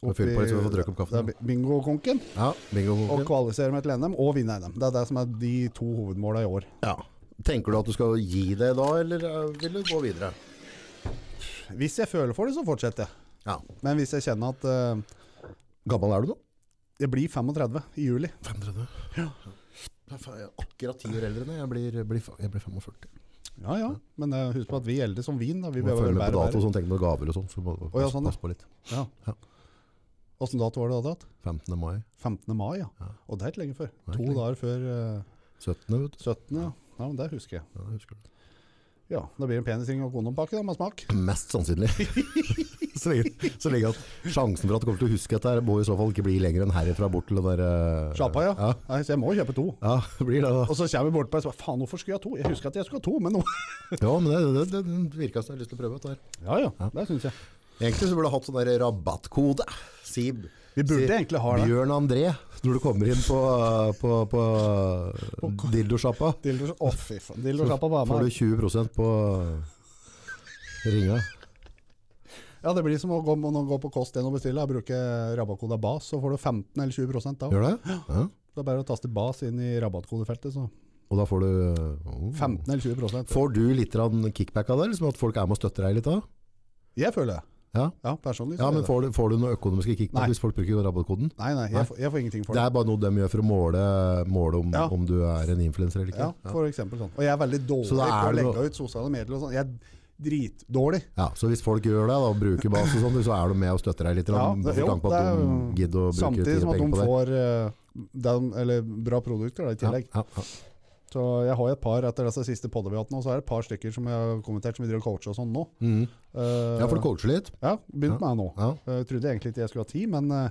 [SPEAKER 1] Og fylle på litt så vi får drukket opp kaffen.
[SPEAKER 2] det er Bingo-konken.
[SPEAKER 1] Ja, bingo.
[SPEAKER 2] Og kvalifisere meg til NM og vinne NM. Det er det som er de to hovedmåla i år.
[SPEAKER 1] Ja. Tenker du at du skal gi deg da, eller eh, vil du gå videre?
[SPEAKER 2] Hvis jeg føler for det, så fortsetter jeg.
[SPEAKER 1] Ja.
[SPEAKER 2] Men hvis jeg kjenner at eh,
[SPEAKER 1] Gammel er du nå?
[SPEAKER 2] jeg blir 35 i juli
[SPEAKER 1] 35. Ja. Jeg er akkurat ti år eldre enn jeg. Jeg blir, blir, fa- jeg blir 45.
[SPEAKER 2] Ja ja, men eh, husk på at vi eldre som vin, da. Vi
[SPEAKER 1] Vi må
[SPEAKER 2] behøver
[SPEAKER 1] følge
[SPEAKER 2] vel
[SPEAKER 1] med på
[SPEAKER 2] bære
[SPEAKER 1] dato og
[SPEAKER 2] bære.
[SPEAKER 1] sånn, tenke på gaver og sånn. Så må du
[SPEAKER 2] ja,
[SPEAKER 1] passe-
[SPEAKER 2] sånn, ja.
[SPEAKER 1] passe på litt.
[SPEAKER 2] Ja.
[SPEAKER 1] Ja.
[SPEAKER 2] Åssen dato var det du hadde hatt?
[SPEAKER 1] 15. mai.
[SPEAKER 2] 15. mai, ja.
[SPEAKER 1] Ja.
[SPEAKER 2] Og det er ikke lenge før.
[SPEAKER 1] er ikke
[SPEAKER 2] To
[SPEAKER 1] lenge.
[SPEAKER 2] dager før eh,
[SPEAKER 1] 17. vet du.
[SPEAKER 2] 17. Ja. ja, men det husker jeg.
[SPEAKER 1] Ja, jeg husker det.
[SPEAKER 2] Ja, Da blir det en penisring og kondompakke da, med smak.
[SPEAKER 1] Mest sannsynlig. så, lenge, så lenge at sjansen for at du kommer til å huske dette, her, må i så fall ikke bli lenger enn herifra bort til den der eh,
[SPEAKER 2] Sjappa, ja.
[SPEAKER 1] Ja,
[SPEAKER 2] Nei, så jeg må jo kjøpe to.
[SPEAKER 1] ja det blir det, da.
[SPEAKER 2] Og så kommer vi bort på og sier faen, hvorfor skulle jeg ha to? Jeg husker at jeg skulle ha to, men nå
[SPEAKER 1] Ja, men det, det, det, det virker som jeg har lyst til å prøve dette her.
[SPEAKER 2] Ja ja, det syns jeg.
[SPEAKER 1] Egentlig så burde du hatt sånn der rabattkode. Sib.
[SPEAKER 2] Vi burde
[SPEAKER 1] Si-
[SPEAKER 2] egentlig ha det.
[SPEAKER 1] Bjørn André, når du kommer inn på, på, på, dildosjappa,
[SPEAKER 2] Dildo Å, fy faen. Dildosjappa var
[SPEAKER 1] får
[SPEAKER 2] med.
[SPEAKER 1] du 20 på ringa.
[SPEAKER 2] Ja, det blir som å gå, må nå gå på kost og bestille. Bruke rabattkode BAS, så får du 15 eller 20 da.
[SPEAKER 1] Gjør det? Ja.
[SPEAKER 2] Det er bare å taste BAS inn i rabattkodefeltet, så
[SPEAKER 1] Og da får du oh.
[SPEAKER 2] 15 eller 20
[SPEAKER 1] Får du litt grann kickback av det, liksom at folk er med og støtter deg litt da?
[SPEAKER 2] Jeg føler det.
[SPEAKER 1] Ja.
[SPEAKER 2] Ja, personlig. så
[SPEAKER 1] Ja,
[SPEAKER 2] gjør
[SPEAKER 1] men
[SPEAKER 2] jeg det.
[SPEAKER 1] får du, får du noe økonomiske kickback
[SPEAKER 2] Nei.
[SPEAKER 1] hvis folk bruker rabattkoden?
[SPEAKER 2] Nei, nei, jeg, får, jeg får ingenting for
[SPEAKER 1] Det
[SPEAKER 2] det.
[SPEAKER 1] er bare noe de gjør for å måle, måle om,
[SPEAKER 2] Ja.
[SPEAKER 1] om du er en influenser eller
[SPEAKER 2] Ja,
[SPEAKER 1] ikke.
[SPEAKER 2] for eksempel sånn. Og jeg er veldig dårlig
[SPEAKER 1] Så da
[SPEAKER 2] på
[SPEAKER 1] er
[SPEAKER 2] å
[SPEAKER 1] det
[SPEAKER 2] legge
[SPEAKER 1] noe-
[SPEAKER 2] ut sosiale medier og sånn. Jeg er dritdårlig.
[SPEAKER 1] Ja, så hvis folk gjør det da, og bruker bas og sånn, så er du med og støtter deg litt. Ja,
[SPEAKER 2] Ja, det-
[SPEAKER 1] det,
[SPEAKER 2] jo,
[SPEAKER 1] på
[SPEAKER 2] det er
[SPEAKER 1] at de
[SPEAKER 2] jo-
[SPEAKER 1] gidder å bruke
[SPEAKER 2] Samtidig
[SPEAKER 1] tid
[SPEAKER 2] som
[SPEAKER 1] og
[SPEAKER 2] at
[SPEAKER 1] penger
[SPEAKER 2] de
[SPEAKER 1] på det.
[SPEAKER 2] får eh, dem, eller bra produkter da, i tillegg.
[SPEAKER 1] Ja, ja, ja.
[SPEAKER 2] Så jeg har jo et par etter disse siste podene vi har hatt nå, så er det et par stykker som jeg har kommentert som vi driver og coacher og sånn nå.
[SPEAKER 1] Mhm.
[SPEAKER 2] Eh,
[SPEAKER 1] ja, for du coacher litt.
[SPEAKER 2] Ja, begynt med det nå.
[SPEAKER 1] Ja.
[SPEAKER 2] Jeg trodde egentlig ikke jeg skulle ha tid, men eh,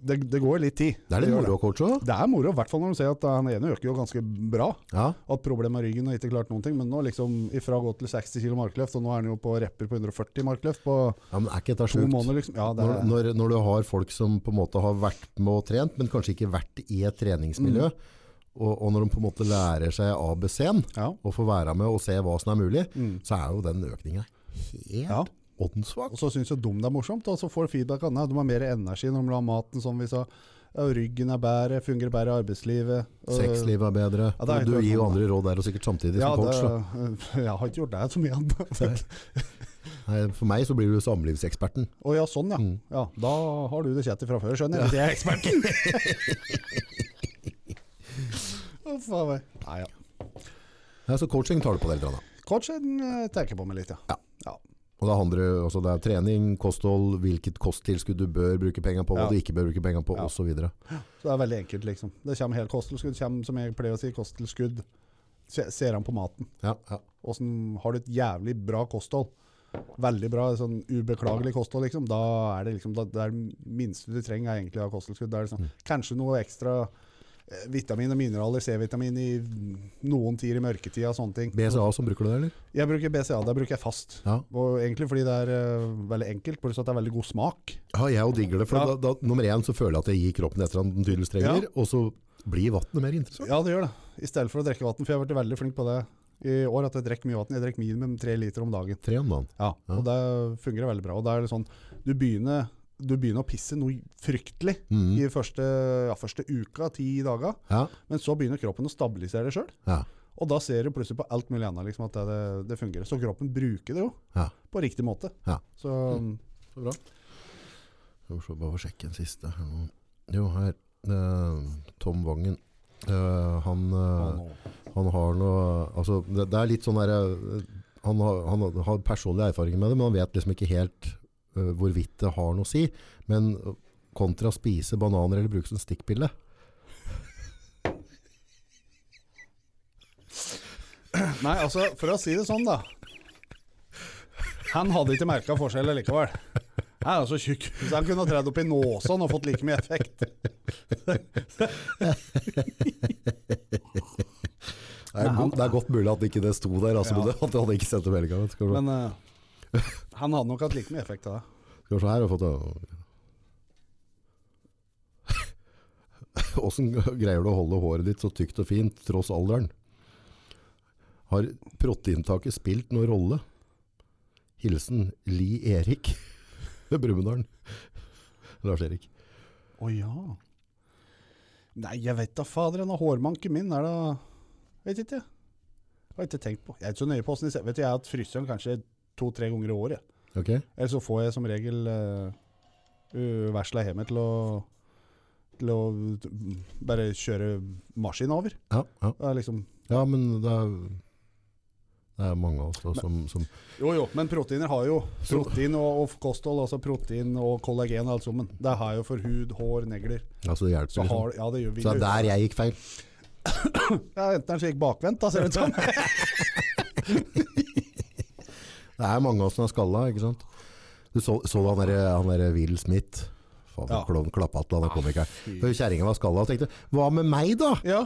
[SPEAKER 2] det, det går jo litt tid.
[SPEAKER 1] Det er litt
[SPEAKER 2] gjør
[SPEAKER 1] moro å coache også.
[SPEAKER 2] Det er moro, i hvert fall når du ser at han ene øker jo ganske bra.
[SPEAKER 1] Ja,
[SPEAKER 2] At problemet med ryggen og ikke klart noen ting, men nå liksom ifra å gå til 60 kilo markløft, og nå er han jo på repper på 140 markløft på
[SPEAKER 1] ja men er ikke dette
[SPEAKER 2] to
[SPEAKER 1] sjukt?
[SPEAKER 2] måneder, liksom. Ja, det
[SPEAKER 1] Når,
[SPEAKER 2] er,
[SPEAKER 1] når, når du har folk som på en måte har vært med og trent, men kanskje ikke vært i et treningsmiljø,
[SPEAKER 2] Mm.
[SPEAKER 1] og, og når de på en måte lærer seg ABC-en,
[SPEAKER 2] ja.
[SPEAKER 1] og får være med og se hva som er mulig, så er jo den økningen helt
[SPEAKER 2] Mm. Ja.
[SPEAKER 1] åndssvak.
[SPEAKER 2] Og så syns jo de det er morsomt, og så får feedback av det. De har mer energi når de vil ha maten, som vi sa. Ja, Ryggen er bedre, fungerer bedre i arbeidslivet. Og- eh,
[SPEAKER 1] Sexlivet er bedre.
[SPEAKER 2] Ja, det er helt
[SPEAKER 1] du
[SPEAKER 2] klart.
[SPEAKER 1] gir jo andre råd der, og sikkert samtidig
[SPEAKER 2] ja,
[SPEAKER 1] som coach. da.
[SPEAKER 2] det, jeg har ikke gjort det så mye annet.
[SPEAKER 1] Nei, for meg så blir du samlivseksperten.
[SPEAKER 2] Å ja, sånn ja. ja. Da har du det kjettet fra før, skjønner jeg. Hvis jeg er eksperten. Å, faen meg. Nei, ja.
[SPEAKER 1] Ja, så coaching tar du på det litt. Anna.
[SPEAKER 2] Coachen eh, tenker på meg litt, ja. ja.
[SPEAKER 1] Og det, handler, jo- altså det er trening, kosthold, hvilket kosttilskudd du bør bruke penger på, hva
[SPEAKER 2] Ja.
[SPEAKER 1] du ikke bør bruke penger på,
[SPEAKER 2] Ja.
[SPEAKER 1] og osv. videre
[SPEAKER 2] Så det er veldig enkelt, liksom. Det kommer helt kosttilskudd. Kommer, som jeg pleier å si, kosttilskudd. Se- Ser han på maten.
[SPEAKER 1] Ja, ja.
[SPEAKER 2] Åssen har du et jævlig bra kosthold? Veldig bra, sånn ubeklagelig kosthold, liksom. Da er det liksom, da, det er det minste du trenger er egentlig å ha kosttilskudd. Det er liksom, Kanskje noe ekstra eh, vitamin og mineraler, C-vitamin i noen tider i mørketida og sånne ting.
[SPEAKER 1] BCA som bruker du det, eller?
[SPEAKER 2] Jeg bruker BCA, det bruker jeg fast.
[SPEAKER 1] Ja.
[SPEAKER 2] Og egentlig fordi det er eh, veldig enkelt, pluss at det er veldig god smak.
[SPEAKER 1] Ja, jeg og digger det, for
[SPEAKER 2] Ja.
[SPEAKER 1] da, da, nummer én så føler jeg at jeg gir kroppen etter han den tydeligvis trenger,
[SPEAKER 2] Ja.
[SPEAKER 1] og så blir vannet mer interessant.
[SPEAKER 2] Ja, det gjør det. I stedet for å drikke vann, for jeg har vært veldig flink på det i år, at jeg drikker mye vann. Jeg drikker minimum tre liter om dagen.
[SPEAKER 1] Tre om dagen.
[SPEAKER 2] Ja, og det fungerer veldig bra. Og det er litt sånn, du begynner, du begynner å pisse noe fryktelig
[SPEAKER 1] Mhm.
[SPEAKER 2] i første, ja, første uka, ti dager,
[SPEAKER 1] Ja,
[SPEAKER 2] men så begynner kroppen å stabilisere det sjøl.
[SPEAKER 1] ja,
[SPEAKER 2] Og da ser du plutselig på alt mulig annet liksom, at det, det fungerer. Så kroppen bruker det jo
[SPEAKER 1] ja.
[SPEAKER 2] på riktig måte.
[SPEAKER 1] Ja.
[SPEAKER 2] Så,
[SPEAKER 1] Så bra. Skal vi se, bare sjekke en siste. her nå. Jo, her. eh, Tom Vangen. Eh, han, eh, han har noe altså, det, det er litt sånn der eh, han har, han har personlige erfaringer med det, men han vet liksom ikke helt eh, hvorvidt det har noe å si. Men eh, kontra spise bananer eller bruke som stikkpille.
[SPEAKER 2] Nei, altså, for å si det sånn, da. Han hadde ikke merka forskjell likevel. Han er altså tjukk. Så han kunne ha tredd opp i nåsen og fått like mye effekt.
[SPEAKER 1] Det er,
[SPEAKER 2] han-
[SPEAKER 1] godt, det er godt mulig at ikke det sto der, altså,
[SPEAKER 2] Ja.
[SPEAKER 1] men det, at jeg hadde ikke sendt meldinga. Skal, vi se.
[SPEAKER 2] Men eh, han hadde nok hatt like mye effekt av det.
[SPEAKER 1] skal vi se her. har jeg fått det. Åssen greier du å holde håret ditt så tykt og fint tross alderen? Har protteinntaket spilt noen rolle? Hilsen Li Erik Brumunddal. Lars Erik.
[SPEAKER 2] Å ja. Nei, jeg vet da fader. Den hårmanken min er da Vet ikke. Har ikke tenkt på. Jeg er ikke så nøye på åssen de ser Vet du, jeg har hatt frisøren kanskje to-tre ganger i året.
[SPEAKER 1] Ok?
[SPEAKER 2] Eller så får jeg som regel uh, versla hjemme til å til å t- bare kjøre maskin over.
[SPEAKER 1] Ja, ja.
[SPEAKER 2] Det er liksom
[SPEAKER 1] ja men det er, det er mange av oss da, som, som
[SPEAKER 2] Jo, jo, men proteiner har jo
[SPEAKER 1] Så-
[SPEAKER 2] protein og, og kosthold, altså protein og kollagen og alt sammen. Det har jeg jo for hud, hår, negler.
[SPEAKER 1] Altså, det hjelper.
[SPEAKER 2] Så
[SPEAKER 1] Liksom.
[SPEAKER 2] har Ja, det gjør vi.
[SPEAKER 1] Så det er der jeg gikk feil.
[SPEAKER 2] Ja, enten er det slik bakvendt, da, ser det ut som.
[SPEAKER 1] Det er mange av oss som er skalla, ikke sant? Du så, så du han der, han der Will Smith? Faen,
[SPEAKER 2] Ja. Ah,
[SPEAKER 1] klovn klappa til han komikeren. For Kjerringa var skalla og tenkte 'hva med meg, da?'
[SPEAKER 2] Ja,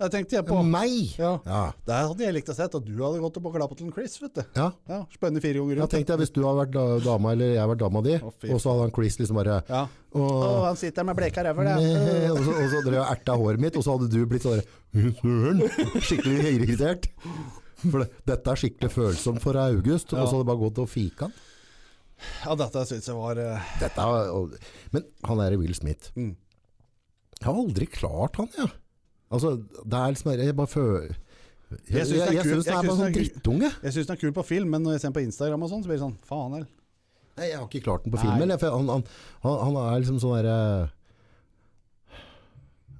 [SPEAKER 2] det tenkte jeg på.
[SPEAKER 1] Meg!
[SPEAKER 2] Ja.
[SPEAKER 1] Mm. Ja.
[SPEAKER 2] Der hadde jeg likt å sett at du hadde gått opp og klappet til Chris, vet du.
[SPEAKER 1] ja.
[SPEAKER 2] Ja, Spennende fire ganger
[SPEAKER 1] Da
[SPEAKER 2] rundt.
[SPEAKER 1] tenkte jeg Hvis du hadde vært da- dama, eller jeg hadde vært dama di,
[SPEAKER 2] Å, fy.
[SPEAKER 1] og så hadde han Chris liksom bare
[SPEAKER 2] Ja. Å,
[SPEAKER 1] «Åh,
[SPEAKER 2] han sitter med bleka ræver,
[SPEAKER 1] meh»,
[SPEAKER 2] det.
[SPEAKER 1] Og så, og så drev jeg og erta håret mitt, og så hadde du blitt sånn der, Søren! Skikkelig irritert. For det, dette er skikkelig følsomt for August, og så hadde det bare gått og fika han.
[SPEAKER 2] Ja, dette syns jeg var eh,
[SPEAKER 1] Dette er, og, men han er Will Smith.
[SPEAKER 2] Mm.
[SPEAKER 1] Jeg har aldri klart han, jeg. Altså, det er liksom Jeg bare føler Jeg, jeg,
[SPEAKER 2] Jeg synes det er
[SPEAKER 1] jeg,
[SPEAKER 2] kul-
[SPEAKER 1] synes det
[SPEAKER 2] jeg
[SPEAKER 1] er bare sånn
[SPEAKER 2] synes det er
[SPEAKER 1] drittunge.
[SPEAKER 2] Jeg syns den er kul på film, men når jeg ser den på Instagram og sånn, så blir det sånn faen heller.
[SPEAKER 1] Nei, jeg har ikke klart den på
[SPEAKER 2] Nei.
[SPEAKER 1] film. eller, for Han, han, han, han er liksom sånn derre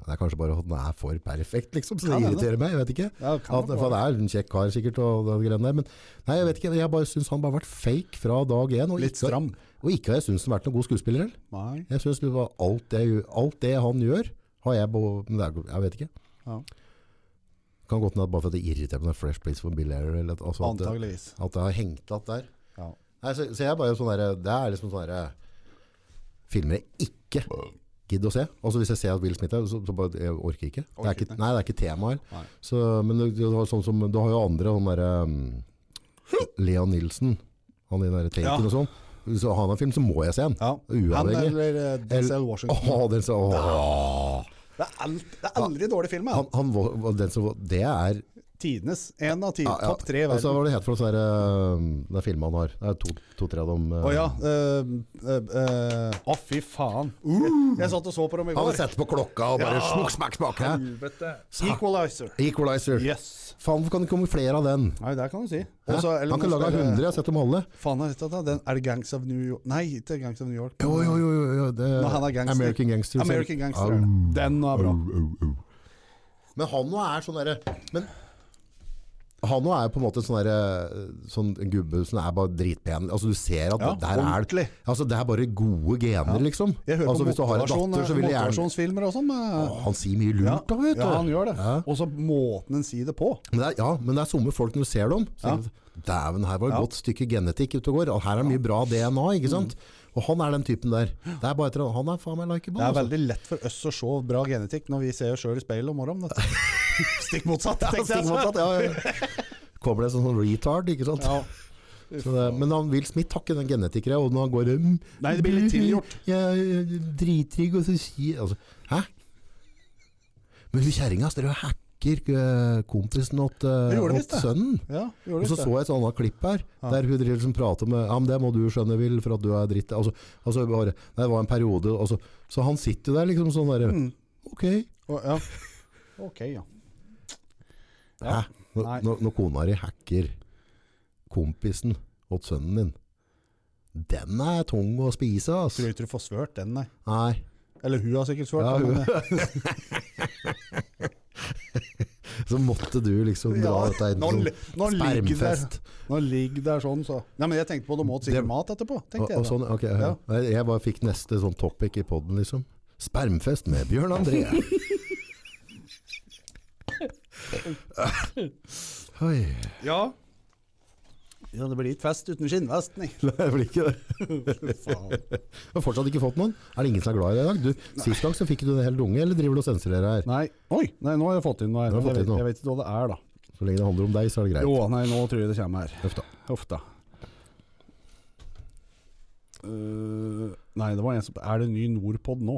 [SPEAKER 1] Det er kanskje bare at den er for perfekt, liksom. Så det
[SPEAKER 2] Kan hende.
[SPEAKER 1] irriterer meg. Jeg vet ikke.
[SPEAKER 2] Ja, det kan
[SPEAKER 1] At,
[SPEAKER 2] nok
[SPEAKER 1] for han
[SPEAKER 2] være.
[SPEAKER 1] er en kjekk kar, sikkert. Og den greien der, men nei, jeg vet ikke. Jeg bare syns han bare har vært fake fra dag én. Og
[SPEAKER 2] Litt
[SPEAKER 1] ikke,
[SPEAKER 2] stram.
[SPEAKER 1] og ikke har jeg syntes han har vært noen god skuespiller heller.
[SPEAKER 2] Nei.
[SPEAKER 1] Jeg synes det var alt det, alt det han gjør, har jeg på, men det er, jeg vet ikke.
[SPEAKER 2] Ja.
[SPEAKER 1] Kan godt hende at bare for at det irriterer meg, det er Fresh Place for Bill Air, eller at, altså at, det-
[SPEAKER 2] Antageligvis.
[SPEAKER 1] at det har hengt at der.
[SPEAKER 2] Ja.
[SPEAKER 1] Nei, så, så jeg er bare sånn der, det er liksom sånn der, filmer jeg ikke gidder å se. Altså hvis jeg ser at Will Smith er, så, så bare, jeg orker ikke. Det er
[SPEAKER 2] Orker
[SPEAKER 1] ikke
[SPEAKER 2] ikke.
[SPEAKER 1] nei, det er ikke temaer.
[SPEAKER 2] Nei.
[SPEAKER 1] Så, men det, det var sånn som, du har jo andre, han der, um, Leon Nilsen, han i den der Taken
[SPEAKER 2] Ja.
[SPEAKER 1] og sånn. Hvis han har en film, så må jeg se den.
[SPEAKER 2] Ja. Han
[SPEAKER 1] Uavhengig.
[SPEAKER 2] eller eh, Denzel Washington.
[SPEAKER 1] Åh, den som, åh.
[SPEAKER 2] Det er, alt, det er aldri dårlig film.
[SPEAKER 1] Han,
[SPEAKER 2] Ja.
[SPEAKER 1] han var, var den som var, det er
[SPEAKER 2] Tidenes. En av ti,
[SPEAKER 1] ja, ja.
[SPEAKER 2] topp tre i
[SPEAKER 1] Altså, hva
[SPEAKER 2] verden.
[SPEAKER 1] var det het for noe sånn der, eh, Det er filmen han har. Det er to- to-tre av dem. eh.
[SPEAKER 2] Å ja. eh, eh, eh, Å, fy faen. Jeg,
[SPEAKER 1] Uh!
[SPEAKER 2] jeg satt og så på dem i
[SPEAKER 1] Han
[SPEAKER 2] går.
[SPEAKER 1] setter på klokka og bare
[SPEAKER 2] Ja.
[SPEAKER 1] smukk, smakk, smakk. hæ?
[SPEAKER 2] Equalizer.
[SPEAKER 1] Equalizer.
[SPEAKER 2] Yes.
[SPEAKER 1] Faen, hvorfor kan det komme flere av den?
[SPEAKER 2] Nei, det kan du si.
[SPEAKER 1] Hæ?
[SPEAKER 2] Også, eller
[SPEAKER 1] han kan
[SPEAKER 2] nå
[SPEAKER 1] lage
[SPEAKER 2] spiller-
[SPEAKER 1] 100, jeg har sett dem alle.
[SPEAKER 2] Faen, er dette da? Den, er det Gangs of New York? Nei, ikke Gangs of New York.
[SPEAKER 1] Jo, jo, jo. jo, jo. Det,
[SPEAKER 2] Når han er gangster.
[SPEAKER 1] American Gangster.
[SPEAKER 2] American Gangster.
[SPEAKER 1] Au,
[SPEAKER 2] er det. Den var bra.
[SPEAKER 1] au, au, au. Men han nå er sånn derre Men han nå er på en måte sånn derre Sånn gubbe som er bare dritpen. Altså, du ser at
[SPEAKER 2] Ja,
[SPEAKER 1] der er
[SPEAKER 2] ordentlig.
[SPEAKER 1] Altså, det er bare gode gener, liksom.
[SPEAKER 2] Jeg hører
[SPEAKER 1] altså,
[SPEAKER 2] på
[SPEAKER 1] hvis du har en
[SPEAKER 2] motivasjon-
[SPEAKER 1] datter, så vil jeg gjerne
[SPEAKER 2] motivasjonsfilmer og sånn.
[SPEAKER 1] Å,
[SPEAKER 2] men-
[SPEAKER 1] Han sier mye lurt,
[SPEAKER 2] Ja,
[SPEAKER 1] da, vet du.
[SPEAKER 2] ja, han gjør det.
[SPEAKER 1] Ja.
[SPEAKER 2] Og så måten en sier det på.
[SPEAKER 1] Men det er, ja, men det er somme folk når du ser dem. Så
[SPEAKER 2] Ja.
[SPEAKER 1] tenker du, Dæven, her var det
[SPEAKER 2] Ja.
[SPEAKER 1] godt stykke genetikk ute og går. og Her er mye bra DNA, ikke sant? Og han er den typen der. Det er bare etter, han er faen meg likeable.
[SPEAKER 2] Mm. Det er
[SPEAKER 1] altså.
[SPEAKER 2] veldig lett for oss å se bra genetikk når vi ser oss sjøl i speilet om morgenen. vet du. Stikk motsatt,
[SPEAKER 1] Ja,
[SPEAKER 2] tenkte jeg.
[SPEAKER 1] stikk motsatt, ja, ja. Kommer det en sånn retard, ikke sant?
[SPEAKER 2] Ja.
[SPEAKER 1] Så det, men han vil Smith takke den genetikere, og når han går um,
[SPEAKER 2] Nei, det blir litt tilgjort.
[SPEAKER 1] Jeg er dritrygg, og så sier altså, Hæ? Men hun kjerringa står og hacker eh, kompisen åt, eh,
[SPEAKER 2] Hun gjorde visst
[SPEAKER 1] åt
[SPEAKER 2] det.
[SPEAKER 1] sønnen.
[SPEAKER 2] Ja, gjorde
[SPEAKER 1] Og så
[SPEAKER 2] visst
[SPEAKER 1] så
[SPEAKER 2] det.
[SPEAKER 1] jeg et annet klipp her,
[SPEAKER 2] Ja.
[SPEAKER 1] der hun driver liksom prater med Ja, men det må du skjønne, Vil, for at du er dritt. Altså, altså bare, nei, det var en periode altså, Så han sitter der liksom sånn der
[SPEAKER 2] Mm.
[SPEAKER 1] Ok.
[SPEAKER 2] Og- Ja. Ok, ja.
[SPEAKER 1] Hæ?
[SPEAKER 2] Ja.
[SPEAKER 1] Når,
[SPEAKER 2] nei.
[SPEAKER 1] når, når kona di hacker kompisen åt sønnen din Den er tung å spise, ass.
[SPEAKER 2] Tror ikke du får svørt den, nei.
[SPEAKER 1] Nei.
[SPEAKER 2] Eller hun har sikkert svørt.
[SPEAKER 1] Ja,
[SPEAKER 2] men,
[SPEAKER 1] hun-
[SPEAKER 2] eh,
[SPEAKER 1] Så måtte du liksom dra
[SPEAKER 2] Ja,
[SPEAKER 1] dette inn
[SPEAKER 2] nå
[SPEAKER 1] som
[SPEAKER 2] li- nå ligger det-
[SPEAKER 1] spermfest.
[SPEAKER 2] Nå ligger der sånn, så. Nei, men jeg tenkte på det må sikkert
[SPEAKER 1] Det-
[SPEAKER 2] mat etterpå.
[SPEAKER 1] Og,
[SPEAKER 2] tenkte jeg
[SPEAKER 1] og
[SPEAKER 2] da.
[SPEAKER 1] sånn, ok, ja.
[SPEAKER 2] Ja.
[SPEAKER 1] Nei, Jeg bare fikk neste sånn topic i podden liksom. Spermfest med Bjørn André. Oi.
[SPEAKER 2] Ja. ja, det blir ikke fest uten skinnvest, nei.
[SPEAKER 1] Nei, det blir ikke det.
[SPEAKER 2] Faen.
[SPEAKER 1] Jeg har fortsatt ikke fått noen. Er det ingen som er glad i det i dag? Du, sist gang så fikk du en hel dunge, eller driver du og sensurerer her?
[SPEAKER 2] Nei. Oi, nei, nå har jeg fått inn noe. her.
[SPEAKER 1] Nå har du fått
[SPEAKER 2] Jeg,
[SPEAKER 1] inn noe.
[SPEAKER 2] vet, jeg vet ikke hva det er, da.
[SPEAKER 1] Så lenge det handler om deg, så er det greit.
[SPEAKER 2] Jo, nei, nå tror jeg det kommer her.
[SPEAKER 1] Uff da.
[SPEAKER 2] Huff da. Øh, Eh, nei, det var en som Er det ny Nordpod nå?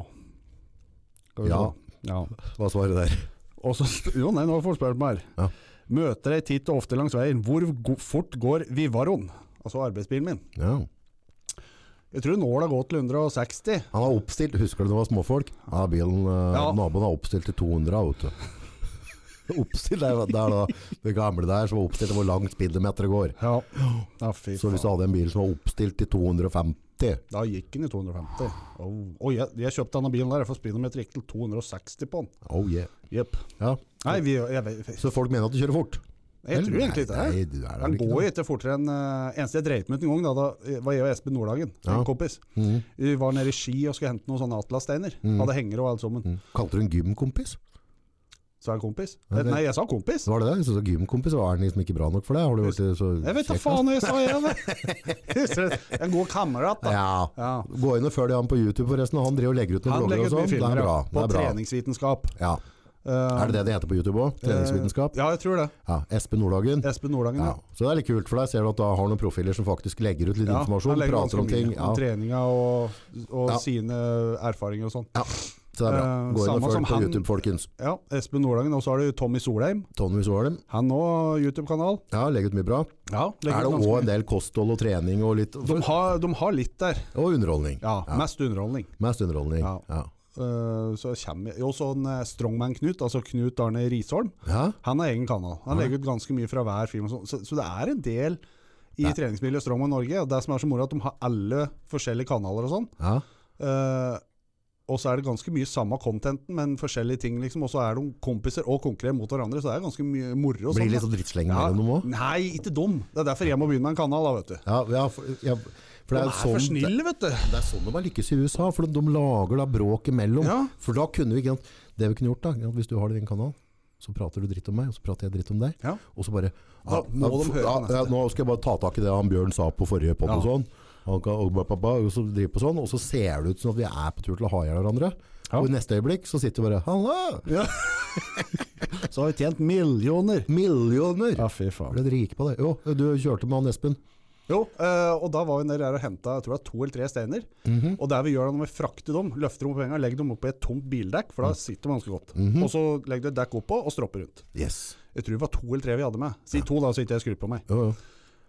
[SPEAKER 2] Skal vi
[SPEAKER 1] Ja.
[SPEAKER 2] se. Ja.
[SPEAKER 1] Hva er svaret der?
[SPEAKER 2] Og så, jo, nei, nå får du spørre meg her.
[SPEAKER 1] Ja.
[SPEAKER 2] Møter ei titt og ofte langs veien. Hvor go fort går Vivaroen? Altså arbeidsbilen min.
[SPEAKER 1] Ja.
[SPEAKER 2] Jeg tror nåla går til 160.
[SPEAKER 1] Han har oppstilt, husker du det var småfolk? Ja, bilen, eh,
[SPEAKER 2] Ja.
[SPEAKER 1] naboen har oppstilt til 200, vet du. Oppstilt, det er, det er da det gamle der som var oppstilt til hvor langt speedometeret går.
[SPEAKER 2] Ja. ja fy
[SPEAKER 1] Så hvis du
[SPEAKER 2] faen.
[SPEAKER 1] hadde en bil som var oppstilt til 250,
[SPEAKER 2] Da gikk den i 250. Å, å, jeg, jeg kjøpte denne bilen der, jeg får speedometer gikk til 260 på den.
[SPEAKER 1] oh yeah.
[SPEAKER 2] Jepp.
[SPEAKER 1] Ja.
[SPEAKER 2] Nei, vi, jeg, vet- jeg,
[SPEAKER 1] Så folk mener at du kjører fort?
[SPEAKER 2] tror egentlig ikke det.
[SPEAKER 1] Nei, du er
[SPEAKER 2] Han
[SPEAKER 1] vel ikke det.
[SPEAKER 2] går jo ikke fortere enn eh, Eneste jeg dreit meg ut en gang, da, da var jeg og Espen Nordhagen,
[SPEAKER 1] Ja.
[SPEAKER 2] en kompis.
[SPEAKER 1] Mhm.
[SPEAKER 2] Vi var nede i Ski og skulle hente noen sånne Atlas-steiner. Hadde hengere og alt sammen.
[SPEAKER 1] Mm. Kalte du en gymkompis?
[SPEAKER 2] Sa jeg kompis?
[SPEAKER 1] Ja, det-
[SPEAKER 2] Nei, jeg sa kompis.
[SPEAKER 1] Var det det? Jeg synes at gymkompis var den liksom ikke bra nok for deg? Har du vært så
[SPEAKER 2] Jeg vet da
[SPEAKER 1] kjekk,
[SPEAKER 2] faen hva jeg sa igjen! en god kamerat,
[SPEAKER 1] da?
[SPEAKER 2] da.
[SPEAKER 1] Ja.
[SPEAKER 2] Ja.
[SPEAKER 1] Gå inn og følg han på YouTube forresten. Han driver og legger ut noen
[SPEAKER 2] Han
[SPEAKER 1] blogger og
[SPEAKER 2] legger ut mye
[SPEAKER 1] sånn. Det er
[SPEAKER 2] filmer
[SPEAKER 1] bra.
[SPEAKER 2] ja,
[SPEAKER 1] Det
[SPEAKER 2] på
[SPEAKER 1] er bra.
[SPEAKER 2] treningsvitenskap.
[SPEAKER 1] Ja. Er det det det heter på YouTube òg? Treningsvitenskap?
[SPEAKER 2] Eh, Ja, jeg tror det.
[SPEAKER 1] Ja. Espen Nordhagen.
[SPEAKER 2] Espen Nordhagen.
[SPEAKER 1] Ja.
[SPEAKER 2] Ja.
[SPEAKER 1] Så det er litt kult for deg. Ser du at du har noen profiler som faktisk legger ut litt
[SPEAKER 2] Ja, han
[SPEAKER 1] informasjon?
[SPEAKER 2] legger ganske
[SPEAKER 1] Prater om ting.
[SPEAKER 2] mye
[SPEAKER 1] Ja.
[SPEAKER 2] Om treninga og, og
[SPEAKER 1] Ja.
[SPEAKER 2] sine erfaringer og sånn.
[SPEAKER 1] ja. Så det er bra.
[SPEAKER 2] Eh,
[SPEAKER 1] Gå inn
[SPEAKER 2] samme
[SPEAKER 1] og følg på
[SPEAKER 2] som han-
[SPEAKER 1] YouTube, folkens.
[SPEAKER 2] Ja, Espen Nordhagen. Og så har du Tommy Solheim.
[SPEAKER 1] Tonvis var dem.
[SPEAKER 2] Han òg, YouTube-kanal.
[SPEAKER 1] Ja, legger ut mye bra.
[SPEAKER 2] Ja,
[SPEAKER 1] Er det òg en del kosthold og trening og litt
[SPEAKER 2] de har, de har litt der.
[SPEAKER 1] Og underholdning.
[SPEAKER 2] Ja, Mest underholdning.
[SPEAKER 1] Mest underholdning.
[SPEAKER 2] Ja.
[SPEAKER 1] Ja.
[SPEAKER 2] Eh, så kommer Jo, sånn eh, Strongman Knut, altså Knut Arne Risholm,
[SPEAKER 1] ja.
[SPEAKER 2] han har egen kanal. Han legger ut ganske mye fra hver film. og sånn. Så, så det er en del i treningsmiljøet Strongman Norge. Og det som er så moro, er at de har alle forskjellige kanaler og sånn.
[SPEAKER 1] ja.
[SPEAKER 2] Eh, og så er det ganske mye samme contenten, men forskjellige ting, liksom. Og så er de kompiser og konkurrerer mot hverandre, så det er ganske mye moro. og
[SPEAKER 1] Blir
[SPEAKER 2] sånn,
[SPEAKER 1] litt
[SPEAKER 2] da.
[SPEAKER 1] sånn drittsleng mellom dem òg.
[SPEAKER 2] Nei, ikke dum. Det er derfor jeg må begynne med en kanal, da, vet du.
[SPEAKER 1] Ja, ja, for, ja, for
[SPEAKER 2] De
[SPEAKER 1] det er,
[SPEAKER 2] er
[SPEAKER 1] jo sånn,
[SPEAKER 2] for snille, vet du.
[SPEAKER 1] Det er sånn de har lykkes i USA, for de, de lager da bråk imellom.
[SPEAKER 2] Ja.
[SPEAKER 1] For da kunne vi ikke sant, Det vi kunne gjort, da, ikke sant, hvis du har din kanal, så prater du dritt om meg, og så prater jeg dritt om deg.
[SPEAKER 2] Ja.
[SPEAKER 1] Og så bare ja,
[SPEAKER 2] Da må de
[SPEAKER 1] f-
[SPEAKER 2] høre
[SPEAKER 1] ja,
[SPEAKER 2] på neste.
[SPEAKER 1] ja, Nå skal jeg bare ta tak i det han Bjørn sa på forrige podd og
[SPEAKER 2] Ja.
[SPEAKER 1] sånn. Han kan- Og, ba, ba, ba, og så driver på sånn, og så ser det ut som at vi er på tur til å ha i hjel hverandre.
[SPEAKER 2] Ja.
[SPEAKER 1] Og i neste øyeblikk så sitter vi bare Halla!
[SPEAKER 2] Så har vi tjent millioner.
[SPEAKER 1] Millioner!
[SPEAKER 2] Ja, fy faen.
[SPEAKER 1] Ble dere rike på det? Jo, du kjørte med han Espen.
[SPEAKER 2] Jo, eh, og da var vi nede der og henta to eller tre steiner.
[SPEAKER 1] Mhm.
[SPEAKER 2] Og der vi gjør det når vi frakter dem, løfter dem på penga, legger dem opp i et tomt bildekk,
[SPEAKER 1] Mm.
[SPEAKER 2] for da sitter de ganske godt.
[SPEAKER 1] Mhm.
[SPEAKER 2] Og så legger du et dekk oppå og stropper rundt.
[SPEAKER 1] Yes.
[SPEAKER 2] Jeg tror det var to eller tre vi hadde med. Si to, da, så ikke jeg skrur på meg.
[SPEAKER 1] Jo, jo.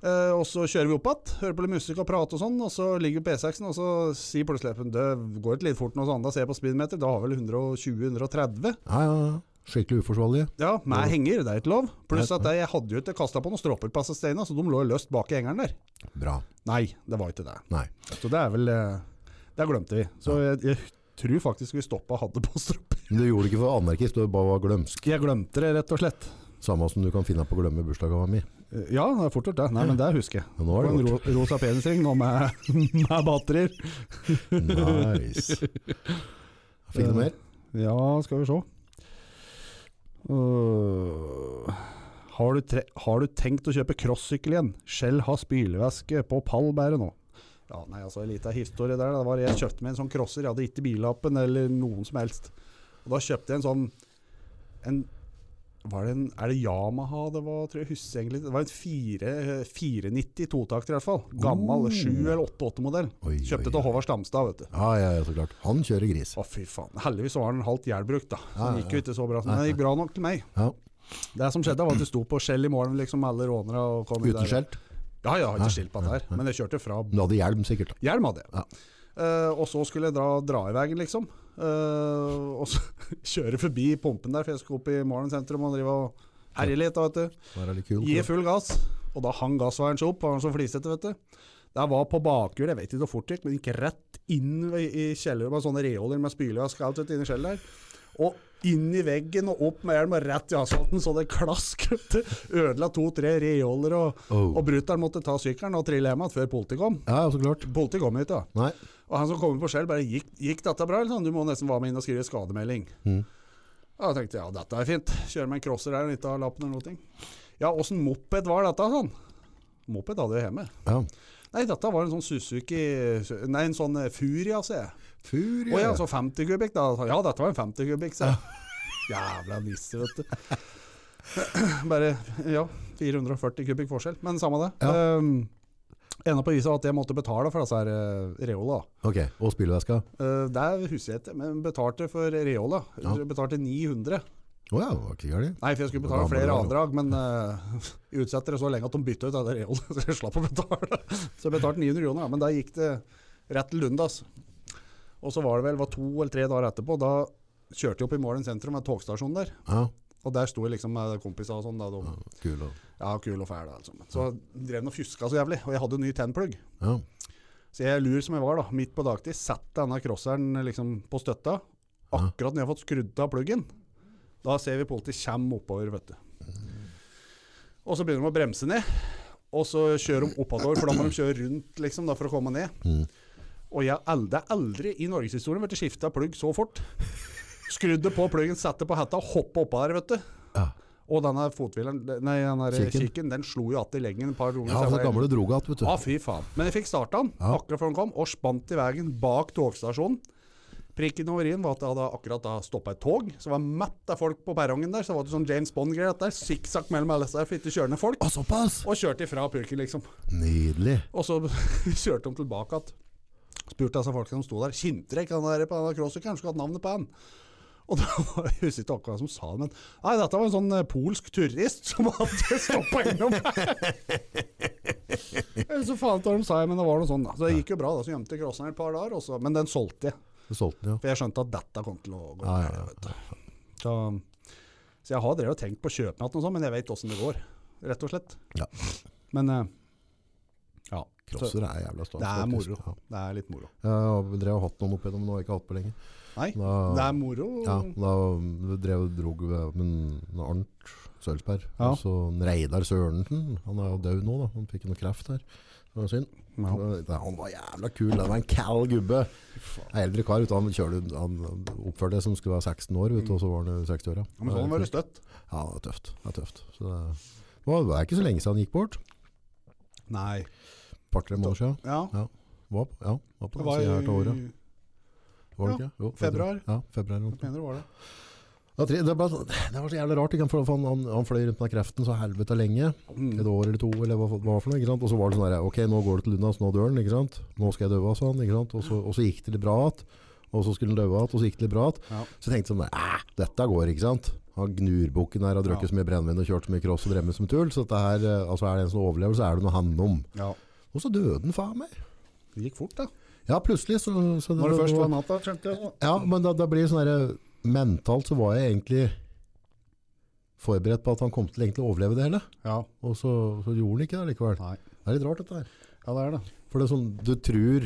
[SPEAKER 2] Eh, og så kjører vi opp igjen, hører på litt musikk og prater og sånn, og så ligger vi på E6-en, og så sier plutselig Espen, det går ikke litt fort nå, så da ser jeg på speedometer, da har vi vel 120-130.
[SPEAKER 1] Ja, ja, ja. Skikkelig uforsvarlige.
[SPEAKER 2] Ja, meg henger, det er ikke lov. Pluss at jeg hadde jo ikke kasta på noen stropper på disse steinene, så de lå løst bak i hengeren der.
[SPEAKER 1] Bra.
[SPEAKER 2] Nei, det var ikke det.
[SPEAKER 1] Nei.
[SPEAKER 2] Så det er vel eh, Der glemte vi. Så jeg, jeg tror faktisk vi stoppa og hadde på stropper.
[SPEAKER 1] Men du gjorde det ikke for anarkist, du bare var glømsk.
[SPEAKER 2] Jeg glemte det, rett og slett.
[SPEAKER 1] Samme som du kan finne på å glemme bursdagen min.
[SPEAKER 2] Eh, Ja, det er fort gjort, det. Nei, men det husker jeg.
[SPEAKER 1] Ja, nå er det
[SPEAKER 2] Og en ro, rosa penisring nå med, med batterier.
[SPEAKER 1] Nice. Fikk du mer?
[SPEAKER 2] Ja, skal vi se. Øh, har, du tre, har du tenkt å kjøpe crosssykkel igjen? Skjell har spylevæske på pallbæret nå. Ja, nei, altså En liten historie der. Det var Jeg kjøpte meg en sånn crosser. Jeg hadde ikke billappen eller noen som helst. Og Da kjøpte jeg en sånn en, var det en, Er det Yamaha det var? Tror jeg husker egentlig ikke. Det var en fire, 490 totakter i hvert fall. Gammel.
[SPEAKER 1] Oh.
[SPEAKER 2] 7 eller 88-modell.
[SPEAKER 1] Oi, oi,
[SPEAKER 2] Kjøpte til Håvard Stamstad, vet du.
[SPEAKER 1] Ja, ja, ja, så klart. Han kjører gris.
[SPEAKER 2] Å, fy faen. Heldigvis var den halvt jernbrukt, da. Så
[SPEAKER 1] Ja, ja,
[SPEAKER 2] Den gikk jo ikke så bra. Men den gikk bra nok til meg.
[SPEAKER 1] Ja.
[SPEAKER 2] Det som skjedde, var at det sto på skjell i morgen, liksom med alle rånere. Og kom inn
[SPEAKER 1] Uten
[SPEAKER 2] der.
[SPEAKER 1] skjelt.
[SPEAKER 2] Ja, ja, jeg har ikke skilt på det her. Men jeg kjørte fra
[SPEAKER 1] Men Du hadde hjelm, sikkert.
[SPEAKER 2] Hjelm hadde jeg.
[SPEAKER 1] Ja.
[SPEAKER 2] Eh, og så skulle jeg dra, dra i veien, liksom. Eh, og så kjøre forbi pumpen der, for jeg skulle opp i Maren sentrum og drive og herje litt. da, vet du.
[SPEAKER 1] Det er litt kul.
[SPEAKER 2] Gi full gass. Og da hang gassveieren seg opp, var han så flisete, vet du. Der var på bakhjul, jeg vet ikke hvor fort det gikk, men gikk rett inn i i kjelleren med sånne reoler med spylevask og alt vet du, inni skjellet der. Og inn i veggen og opp med hjelm og rett i asfalten, så det klask. vet du. Ødela to-tre reoler, og,
[SPEAKER 1] Oh.
[SPEAKER 2] og brutter'n måtte ta sykkelen og trille hjem igjen før politiet kom.
[SPEAKER 1] Ja, ja, så klart.
[SPEAKER 2] Politiet kom hit, da.
[SPEAKER 1] Nei.
[SPEAKER 2] Og han som kommer på skjell, bare gikk, gikk dette bra? Eller sånn? Du må nesten være med inn og skrive skademelding. Ja, da tenkte jeg ja, dette er fint. Kjøre med en crosser der og ikke ha lappen eller noe. ting. Ja, åssen moped var dette? sånn? Moped hadde jeg hjemme.
[SPEAKER 1] Ja.
[SPEAKER 2] Nei, dette var en sånn Suzuki Nei, en sånn eh, Furia, sier jeg.
[SPEAKER 1] Fur,
[SPEAKER 2] Å ja, så 50 kubikk, da. Ja, dette var en 50 kubikk, sier jeg. Jævla nisse, vet du. Bare Ja, 440 kubikk forskjell, men samme det.
[SPEAKER 1] Ja.
[SPEAKER 2] Ehm, Enda på viset var at jeg måtte betale for disse her eh, Reola.
[SPEAKER 1] Ok, og spilleveska.
[SPEAKER 2] Eh, Det er husker jeg ikke, men betalte for Reola.
[SPEAKER 1] Ja.
[SPEAKER 2] Betalte 900.
[SPEAKER 1] Å ja, det var ikke galt.
[SPEAKER 2] Nei, for jeg skulle betale
[SPEAKER 1] Gammel
[SPEAKER 2] flere
[SPEAKER 1] Reola.
[SPEAKER 2] avdrag, men uh, utsetter det så lenge at de bytta ut alle Reola, så jeg slapp å betale. Så jeg betalte 900 kroner, da, men da gikk det rett til Lundas. Og så var det vel var to eller tre dager etterpå, da kjørte jeg opp i Målen sentrum, en togstasjon der.
[SPEAKER 1] Ja,
[SPEAKER 2] Og der sto jeg liksom med kompiser og sånn. da, de-
[SPEAKER 1] ja, kul. og-
[SPEAKER 2] Ja, kul og fæl. Altså. Så drev den og fjuska så jævlig. Og jeg hadde jo ny tennplugg.
[SPEAKER 1] Ja.
[SPEAKER 2] Så jeg lur som jeg var, da, midt på dagtid, satte denne crosseren liksom på støtta. Akkurat når jeg har fått skrudd av pluggen, da ser vi politiet komme oppover, vet du. Og så begynner de å bremse ned, og så kjører de oppover, for da må de kjøre rundt liksom da, for å komme ned.
[SPEAKER 1] Mhm.
[SPEAKER 2] Og jeg har aldri, det er aldri i norgeshistorien vært skifta plugg så fort. Skrudde på pluggen, satte på hetta, hoppa oppå der, vet du.
[SPEAKER 1] Ja.
[SPEAKER 2] Og denne fothvileren, nei, den der
[SPEAKER 1] Kikken.
[SPEAKER 2] kikken, den slo jo att i leggen et par ganger.
[SPEAKER 1] Ja,
[SPEAKER 2] så jeg
[SPEAKER 1] for
[SPEAKER 2] var-
[SPEAKER 1] det gamle drogat, vet du.
[SPEAKER 2] Ja, fy faen. Men jeg fikk starta den
[SPEAKER 1] Ja.
[SPEAKER 2] akkurat før den kom, og spant i veien bak togstasjonen. Prikken over i-en var at jeg hadde akkurat stoppa et tog, så var mett av folk på perrongen der. Så var det sånn James Bond-greier at der, sikksakk mellom alle disse fitte kjørende folk.
[SPEAKER 1] Å, såpass!
[SPEAKER 2] Og kjørte ifra purken, liksom.
[SPEAKER 1] Nydelig.
[SPEAKER 2] Og så kjørte de tilbake igjen. Spurte altså folka som sto der. Kjente dere ikke han der på denne crossyceren? Skulle hatt navnet på han. Og da var jeg husker ikke akkurat hvem som sa det, men Nei, dette var en sånn eh, polsk turist som hadde stoppa innom her. Jeg husker faen ikke hva de sa, men det var noe sånn. da. Så det gikk jo bra, da. Så gjemte jeg crosseren et par dager, og så- men den solgte jeg.
[SPEAKER 1] Du solgte den, ja.
[SPEAKER 2] For jeg skjønte at dette kom til å gå.
[SPEAKER 1] Ja, ja,
[SPEAKER 2] gærent, vet du. Så, så jeg har drevet og tenkt på å kjøpe meg noe sånt, men jeg vet åssen det går, rett og slett.
[SPEAKER 1] Ja.
[SPEAKER 2] Men eh, ja. Så,
[SPEAKER 1] Crosser er jævla stas.
[SPEAKER 2] det er
[SPEAKER 1] faktisk.
[SPEAKER 2] moro.
[SPEAKER 1] Ja.
[SPEAKER 2] Det er litt moro.
[SPEAKER 1] Jeg har drev og hatt noen opp igjennom, men nå har jeg ikke hatt på lenge.
[SPEAKER 2] Nei,
[SPEAKER 1] Da,
[SPEAKER 2] det er moro.
[SPEAKER 1] ja, da drev og drog med en Arnt Sølsberg,
[SPEAKER 2] Ja.
[SPEAKER 1] og så en Reidar Sørensen. Han er jo død nå, da. Han fikk noe kreft her. Det var synd.
[SPEAKER 2] Ja.
[SPEAKER 1] Det- Han var jævla kul. Han var en kall gubbe. En eldre kar. Vet du, han, kjørte, han oppførte seg som skulle være 16 år, vet du, og så var han 60 år. Ja.
[SPEAKER 2] Ja, men sånn var det støtt.
[SPEAKER 1] Ja, det er tøft. Det er tøft. Så det, det var- det var ikke så lenge siden han gikk bort.
[SPEAKER 2] Nei.
[SPEAKER 1] Par-tre måneder siden.
[SPEAKER 2] Ja.
[SPEAKER 1] Var på, ja, var på
[SPEAKER 2] Det
[SPEAKER 1] den
[SPEAKER 2] var
[SPEAKER 1] siden her til året.
[SPEAKER 2] i
[SPEAKER 1] Var det
[SPEAKER 2] ja,
[SPEAKER 1] ikke? Jo, jeg tror-
[SPEAKER 2] februar.
[SPEAKER 1] Ja, februar. rundt.
[SPEAKER 2] Mener du var det?
[SPEAKER 1] Ja, tre- Det, var- det var så jævlig rart. ikke? For Han, han, han fløy rundt med kreften så helvete lenge. Et
[SPEAKER 2] Mm.
[SPEAKER 1] år eller to, eller hva hva det var for noe. ikke sant? Og så var det sånn der, ok, nå går det til Lunas, nå dør den, ikke sant? Nå skal jeg døve av sånn, ikke sant? Og så, og så gikk det litt bra at, og så skulle den døve av, og så gikk det litt bra at.
[SPEAKER 2] Ja.
[SPEAKER 1] Så jeg tenkte sånn, "Æ, dette går, ikke sant? Han gnurbukken her har drukket så mye brennvin og kjørt så mye cross og dremmet som tull, så dette her, eh, altså er det en som overlever, så er det noe han om.
[SPEAKER 2] Mm, ja.
[SPEAKER 1] Og så døde den, faen meg.
[SPEAKER 2] Det gikk fort, da.
[SPEAKER 1] Ja, plutselig så... så
[SPEAKER 2] Når det først
[SPEAKER 1] var-
[SPEAKER 2] var natta, skjønte jeg.
[SPEAKER 1] ja, men da, da blir det sånn der Mentalt så var jeg egentlig Forberedt på at han kom til egentlig å overleve det hele
[SPEAKER 2] Ja.
[SPEAKER 1] Og så, så gjorde han ikke det likevel
[SPEAKER 2] Nei.
[SPEAKER 1] Det er litt rart dette her
[SPEAKER 2] ja, det er det.
[SPEAKER 1] For det er sånn, du tror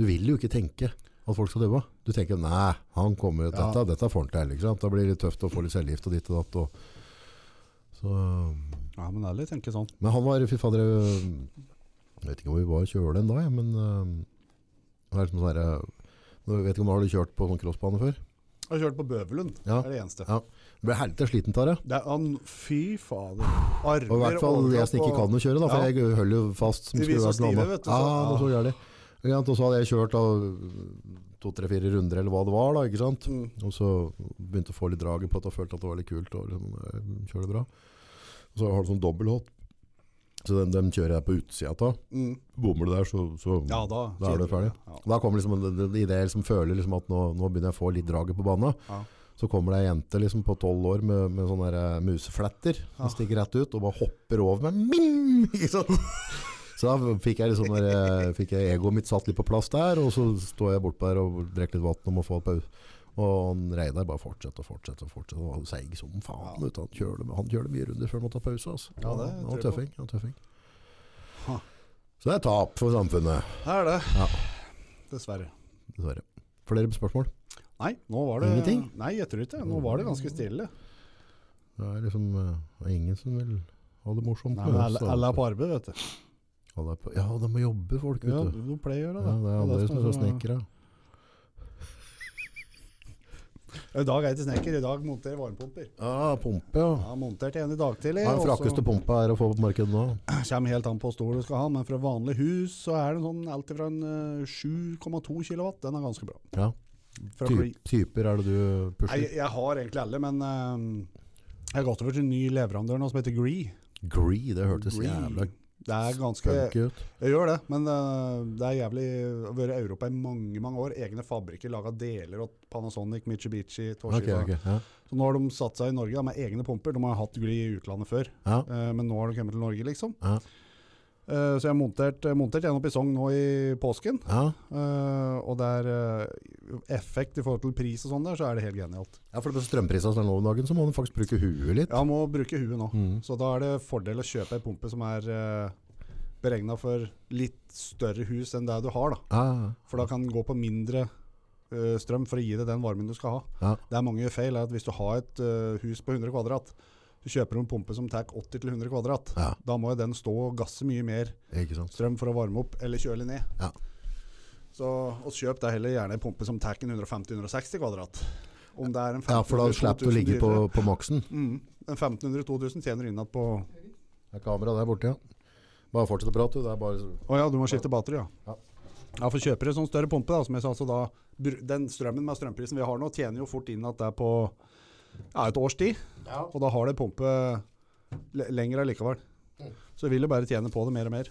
[SPEAKER 1] Du vil jo ikke tenke at folk skal døve Du tenker, nei, han kommer
[SPEAKER 2] Ja.
[SPEAKER 1] Dette, dette får han til, ikke sant Da blir det litt tøft å få litt selvgift og ditt og datt og, så,
[SPEAKER 2] Ja, men ærlig, tenke sånn.
[SPEAKER 1] Men han var, fy fader Jeg vet ikke om vi var kjøle en dag jeg, Men øh, det er liksom sånn her øh, Jeg vet ikke om du har du kjørt på sånn crossbane før
[SPEAKER 2] Jeg har kjørt på Bøvelund,
[SPEAKER 1] Ja.
[SPEAKER 2] det er det eneste.
[SPEAKER 1] Ja. Du ble helvete sliten av det.
[SPEAKER 2] Det er, han, fy fader.
[SPEAKER 1] Og i hvert fall jeg som ikke kan å kjøre, da, for
[SPEAKER 2] Ja.
[SPEAKER 1] jeg holder jo fast. som
[SPEAKER 2] De blir
[SPEAKER 1] skulle
[SPEAKER 2] så
[SPEAKER 1] vært noe
[SPEAKER 2] stive,
[SPEAKER 1] annet.
[SPEAKER 2] vet du, så-
[SPEAKER 1] Ja, det var så
[SPEAKER 2] ja.
[SPEAKER 1] gærlig. Ikke sant, Og så hadde jeg kjørt da, to-tre-fire runder eller hva det var, da, ikke sant.
[SPEAKER 2] Mm.
[SPEAKER 1] Og så begynte jeg å få litt draget på at jeg følte at det var litt kult å liksom, kjøre det bra. Og så har du sånn dobbelthot. Så den, den kjører jeg på utsida av.
[SPEAKER 2] Mm.
[SPEAKER 1] Bommer du der, så, så
[SPEAKER 2] Ja, da,
[SPEAKER 1] Da er du
[SPEAKER 2] sier
[SPEAKER 1] ferdig.
[SPEAKER 2] Ja.
[SPEAKER 1] Da kommer liksom en- en idé som føler liksom at nå, nå begynner jeg å få litt draget på banen.
[SPEAKER 2] Ja.
[SPEAKER 1] Så kommer det ei jente liksom på tolv år med, med sånne der, eh, musefletter som
[SPEAKER 2] Ja.
[SPEAKER 1] stikker rett ut og bare hopper over meg. Ming! Ikke sant? Så da fikk jeg, liksom, der, eh, fikk jeg egoet mitt satt litt på plass der, og så står jeg bortpå der og drikker litt vann og må få pause. Og han Reidar bare fortsetter og fortsetter og fortsetter. Og han seig som faen.
[SPEAKER 2] Ja.
[SPEAKER 1] vet du. Han kjører, han kjører mye runder før han må ta pause. Altså.
[SPEAKER 2] Ja, det
[SPEAKER 1] han var
[SPEAKER 2] tror jeg
[SPEAKER 1] tøffing. Han var tøffing.
[SPEAKER 2] Ha.
[SPEAKER 1] Så det er tap for samfunnet.
[SPEAKER 2] Det er det.
[SPEAKER 1] Ja.
[SPEAKER 2] Dessverre.
[SPEAKER 1] Dessverre. Flere spørsmål?
[SPEAKER 2] Nei, nå var det
[SPEAKER 1] Ingenting?
[SPEAKER 2] Nei, jeg tror ikke det. Nå var det ganske stille.
[SPEAKER 1] Det er liksom eh, det er ingen som vil ha det morsomt.
[SPEAKER 2] Nei,
[SPEAKER 1] med
[SPEAKER 2] men
[SPEAKER 1] oss,
[SPEAKER 2] alle,
[SPEAKER 1] altså.
[SPEAKER 2] alle er på arbeid, vet du.
[SPEAKER 1] Alle er på- Ja, de må jobbe, folk, vet
[SPEAKER 2] Ja,
[SPEAKER 1] du.
[SPEAKER 2] du pleier å
[SPEAKER 1] Ja,
[SPEAKER 2] gjøre det. sånn,
[SPEAKER 1] det er
[SPEAKER 2] det
[SPEAKER 1] andre som er så
[SPEAKER 2] så-
[SPEAKER 1] snekkere.
[SPEAKER 2] I dag er jeg ikke snekker, i dag monterer jeg varmepumper.
[SPEAKER 1] Ja, pumpe, ja.
[SPEAKER 2] Jeg har montert en i dag tidlig,
[SPEAKER 1] Hva er
[SPEAKER 2] og
[SPEAKER 1] den
[SPEAKER 2] så
[SPEAKER 1] frakkeste pumpa er å få på markedet nå?
[SPEAKER 2] kommer helt an på hvor stor du skal ha, men fra vanlig hus så er det sånn alt fra en eh, 7,2 kilowatt, den er ganske bra.
[SPEAKER 1] Ja.
[SPEAKER 2] Fra
[SPEAKER 1] Ty
[SPEAKER 2] fly-
[SPEAKER 1] typer er det du
[SPEAKER 2] Nei,
[SPEAKER 1] pusher?
[SPEAKER 2] jeg, jeg har egentlig alle, men ehm, eh, jeg har gått over til en ny leverandør nå som heter Gree.
[SPEAKER 1] Gree, det hørtes
[SPEAKER 2] Gree.
[SPEAKER 1] jævla
[SPEAKER 2] Det er ganske
[SPEAKER 1] Funker ut.
[SPEAKER 2] Jeg gjør det, men eh, det er jævlig Det har vært i Europa i mange mange år. Egne fabrikker laga deler åt Panasonic, Mitsubishi,
[SPEAKER 1] Ok,
[SPEAKER 2] Toshiba.
[SPEAKER 1] ok. Ja.
[SPEAKER 2] Så nå har de satt seg i Norge da, med egne pumper. De har hatt gull i utlandet før,
[SPEAKER 1] Ja.
[SPEAKER 2] eh, men nå har de kommet til Norge, liksom.
[SPEAKER 1] Ja.
[SPEAKER 2] Eh, Så jeg har montert, eh, montert en opp i Sogn nå i påsken.
[SPEAKER 1] Ja.
[SPEAKER 2] eh, Og det er eh, effekt i forhold til pris og sånn der, så er det helt genialt.
[SPEAKER 1] ja, for det er strømpriser som er nå om dagen, så må man faktisk bruke huet litt.
[SPEAKER 2] Jeg må bruke huet nå.
[SPEAKER 1] Mm.
[SPEAKER 2] Så da er det fordel å kjøpe ei pumpe som er beregna for litt større hus enn det du har, da.
[SPEAKER 1] Ja, ja,
[SPEAKER 2] For da kan den gå på mindre ø, strøm for å gi deg den varmen du skal ha.
[SPEAKER 1] Ja.
[SPEAKER 2] Det er mange feil. er at Hvis du har et ø, hus på 100 kvadrat, du kjøper en pumpe som tar 80-100 kvadrat.
[SPEAKER 1] Ja.
[SPEAKER 2] Da må jo den stå og gasse mye mer
[SPEAKER 1] ikke sant.
[SPEAKER 2] strøm for å varme opp eller kjøle ned.
[SPEAKER 1] Ja.
[SPEAKER 2] Så og kjøp deg heller gjerne en pumpe som tar 150-160 kvadrat. Om det er sånn en
[SPEAKER 1] Ja, for da
[SPEAKER 2] 1500
[SPEAKER 1] slipper du å
[SPEAKER 2] 2000
[SPEAKER 1] ligge på,
[SPEAKER 2] dyrere.
[SPEAKER 1] på maksen.
[SPEAKER 2] mm, En 1500-2000 tjener du inn igjen på
[SPEAKER 1] Det er kamera der borte, ja. Bare fortsett å prate, du. Det er bare...
[SPEAKER 2] Å ja, du må skifte batteri, ja.
[SPEAKER 1] Ja.
[SPEAKER 2] Ja, for kjøper du en sånn større pumpe, da, som jeg sa, så da br- Den strømmen med strømprisen vi har nå, tjener jo fort inn at det er på ja, et års tid. Og da har det pumpe le- lenger allikevel. Så vil du bare tjene på det mer og mer.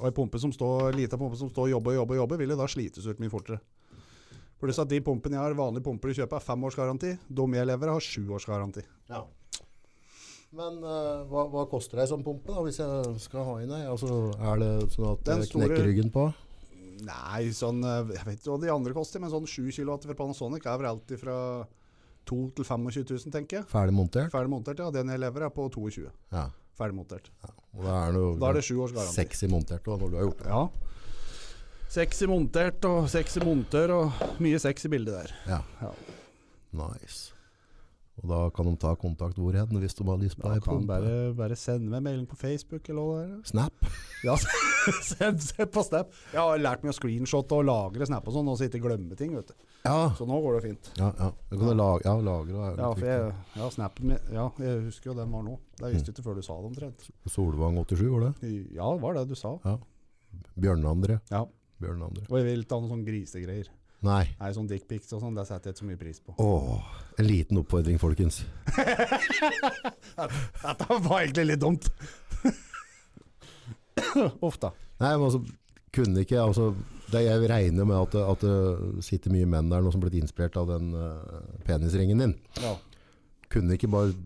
[SPEAKER 2] Og en pumpe som står, lita pumpe som står og jobber og jobber, og jobber, vil jo da slites ut mye fortere. For det er at de pumpene jeg har, vanlige pumper du kjøper, er femårsgaranti. De jeg lever, har sjuårsgaranti.
[SPEAKER 1] Ja. Men eh, hva, hva koster det som pumpe da, hvis jeg skal ha inn ei? Altså, er det sånn at
[SPEAKER 2] Den
[SPEAKER 1] jeg knekker
[SPEAKER 2] store-
[SPEAKER 1] ryggen på?
[SPEAKER 2] Nei, sånn eh, Jeg vet ikke hva de andre koster, men sånn 7 kW fra Panasonic er vel alltid fra 2 til 25 000, tenker jeg.
[SPEAKER 1] Ferdig montert?
[SPEAKER 2] Ferdig montert, ja. Den jeg lever er på 22.
[SPEAKER 1] Ja.
[SPEAKER 2] Ferdig montert.
[SPEAKER 1] Og da er det jo
[SPEAKER 2] Da er det sju års garanti.
[SPEAKER 1] sexy montert da, når du har gjort det.
[SPEAKER 2] Ja. Sexy montert og sexy montør og mye sexy bilde der.
[SPEAKER 1] Ja.
[SPEAKER 2] Ja.
[SPEAKER 1] Nice. Og da kan de ta kontakt hvor hen, hvis de har lyst på
[SPEAKER 2] Da
[SPEAKER 1] ei
[SPEAKER 2] kan
[SPEAKER 1] pumpe.
[SPEAKER 2] du bare, bare sende meg en melding på Facebook eller hva det er.
[SPEAKER 1] Snap?
[SPEAKER 2] Ja, send, send på Snap. Jeg har lært meg å screenshotte og lagre Snap og sånn, og så ikke glemme ting, vet du.
[SPEAKER 1] Ja.
[SPEAKER 2] Så nå går det fint.
[SPEAKER 1] Ja, ja. Du kan lage, ja, lagre og
[SPEAKER 2] Ja, for jeg, ja, snappen min, ja, jeg husker jo den var nå. Det
[SPEAKER 1] Mm.
[SPEAKER 2] visste jeg ikke før du sa det omtrent.
[SPEAKER 1] Solvang 87, var det?
[SPEAKER 2] Ja, det var det du sa.
[SPEAKER 1] Bjørnandre.
[SPEAKER 2] Ja.
[SPEAKER 1] Bjørnandre.
[SPEAKER 2] Og jeg vil ikke ha noen sånne grisegreier.
[SPEAKER 1] Nei.
[SPEAKER 2] Nei, sånn dickpics og sånn, det setter jeg ikke så mye pris på.
[SPEAKER 1] Åh, en liten oppfordring, folkens.
[SPEAKER 2] Dette var egentlig litt dumt. Uff da.
[SPEAKER 1] Nei, men altså, kunne ikke, altså, det jeg regner med at, det- at det sitter mye menn der nå som blitt inspirert av den eh, penisringen din.
[SPEAKER 2] Ja.
[SPEAKER 1] Kunne ikke bare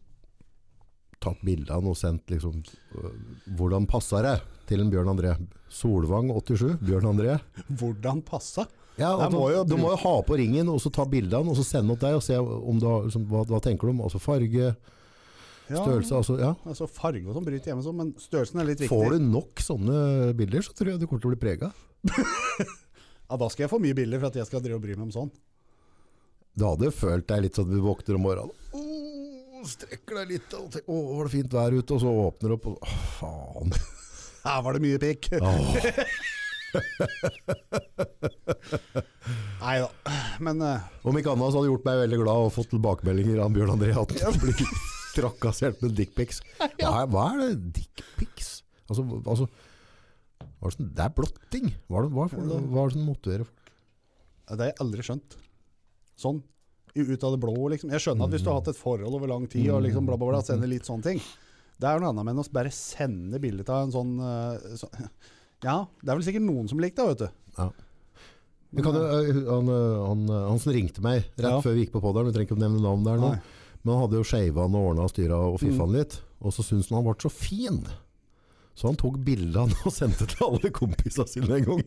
[SPEAKER 1] tatt bildene og sendt liksom, eh, hvordan passer det til en Bjørn André? Solvang 87, Bjørn André.
[SPEAKER 2] Hvordan passa?
[SPEAKER 1] Ja,
[SPEAKER 2] Nei,
[SPEAKER 1] og du,
[SPEAKER 2] må jo
[SPEAKER 1] du
[SPEAKER 2] bruke-
[SPEAKER 1] må jo ha på ringen, og så ta bildene, og så sende opp deg, og se om du har, liksom, hva, hva tenker du om, altså farge, størrelse, altså, ja.
[SPEAKER 2] Altså farge og sånn bryter hjemme sånn, men størrelsen er litt viktig.
[SPEAKER 1] Får du nok sånne bilder, så tror jeg du kommer til å bli preget.
[SPEAKER 2] Ja, da skal jeg få mye bilder for at jeg skal drive og bry meg om sånn.
[SPEAKER 1] Du hadde jo følt deg litt sånn at du våkner om morgenen, Åh, strekker deg litt, og tenker, åh, var det fint vær ute, og så åpner du opp, og åh, faen.
[SPEAKER 2] Her var det mye pikk.
[SPEAKER 1] Åh.
[SPEAKER 2] Nei da. Men eh,
[SPEAKER 1] Om ikke annet så hadde det gjort meg veldig glad å få tilbakemeldinger av Bjørn André at han blir trakassert med dickpics. Hva, er- hva er det? Dickpics? Altså, hva- altså hva er det, som- det er blotting. Hva er det, hva er det, hva er det som motiverer folk?
[SPEAKER 2] det har jeg aldri skjønt. Sånn. I- Ut av det blå, liksom. Jeg skjønner at hvis du har hatt et forhold over lang tid og liksom bla, bla, bla, sender litt sånne ting. Det er noe annet enn å bare sende bilde av en sånn, eh, sånn Ja, det er vel sikkert noen som likte det, vet du.
[SPEAKER 1] Ja. Vi kan, jo- øh, han, øh, han, øh, han som ringte meg rett
[SPEAKER 2] Ja.
[SPEAKER 1] før vi gikk på podden, vi trenger ikke å nevne navn der nå,
[SPEAKER 2] Nei.
[SPEAKER 1] men han hadde jo skjeva han og ordnet og styret og fiffet han litt, og så syntes han han ble så fin. Så han tok bildene og sendte til alle kompisene sine en gang.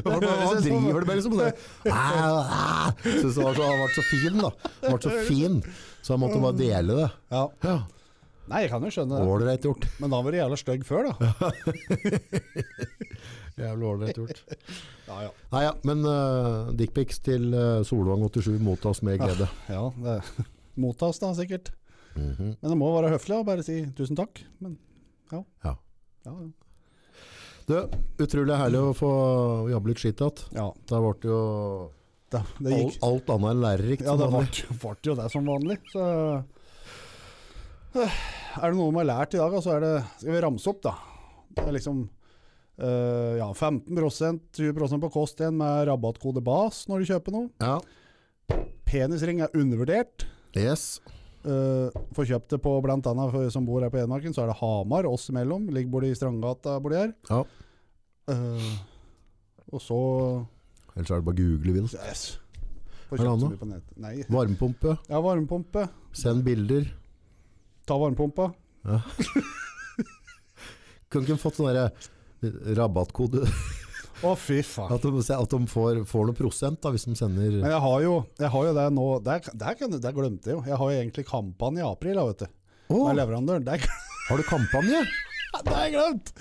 [SPEAKER 1] Hva hva driver du med liksom? Det? Ah, ah, Synes han var så- han ble så fin da. Han ble så fin, så han måtte bare dele det.
[SPEAKER 2] Ja.
[SPEAKER 1] Ja,
[SPEAKER 2] Nei, jeg kan jo skjønne det.
[SPEAKER 1] ordreit gjort.
[SPEAKER 2] Men da var du jævla stygg før, da.
[SPEAKER 1] Jævlig ordreit gjort.
[SPEAKER 2] Ja, ja.
[SPEAKER 1] Nei, ja, men uh, dickpics til øh, Solvang 87 mottas med glede.
[SPEAKER 2] ja det mottas da, sikkert. Men det må være høflig og bare si tusen takk. Men
[SPEAKER 1] Ja.
[SPEAKER 2] ja, ja.
[SPEAKER 1] Du, utrolig herlig å få jobbe litt skitt igjen.
[SPEAKER 2] ja
[SPEAKER 1] Da ble det jo
[SPEAKER 2] da, det
[SPEAKER 1] alt,
[SPEAKER 2] gikk.
[SPEAKER 1] alt annet enn lærerikt.
[SPEAKER 2] Ja,
[SPEAKER 1] som
[SPEAKER 2] det
[SPEAKER 1] vanlig.
[SPEAKER 2] ble ble jo det som vanlig. Så Øh, er det noe man har lært i dag, da, så er det Skal vi ramse opp, da? Det er liksom øh, ja, 15 20 på kost igjen med rabattkode BAS når du kjøper noe.
[SPEAKER 1] ja.
[SPEAKER 2] Penisring er undervurdert.
[SPEAKER 1] Yes.
[SPEAKER 2] Uh, Får kjøpt det på blant annet for, som bor her på Edmarken, så er det Hamar oss imellom. Ligger bor de i Strandgata bor de her.
[SPEAKER 1] Ja.
[SPEAKER 2] Eh, og så
[SPEAKER 1] Ellers er det bare å google vilt.
[SPEAKER 2] yes. Får
[SPEAKER 1] Er det
[SPEAKER 2] kjøpt så
[SPEAKER 1] annet?
[SPEAKER 2] mye på nettet. Nei.
[SPEAKER 1] Varmepumpe,
[SPEAKER 2] Ja, varmepumpe.
[SPEAKER 1] send bilder.
[SPEAKER 2] Ta varmepumpa.
[SPEAKER 1] Kunne ikke fått sånn derre rabattkode.
[SPEAKER 2] Å, fy faen.
[SPEAKER 1] At de, at de får, får noe prosent da, hvis de sender
[SPEAKER 2] Men jeg har jo, jeg har jo det nå der, der, kan, du- der glemte jeg jo. Jeg har jo egentlig kampanje i april, da, vet du.
[SPEAKER 1] Å,
[SPEAKER 2] Med leverandøren. Det er-
[SPEAKER 1] har du kampanje?
[SPEAKER 2] det har jeg glemt!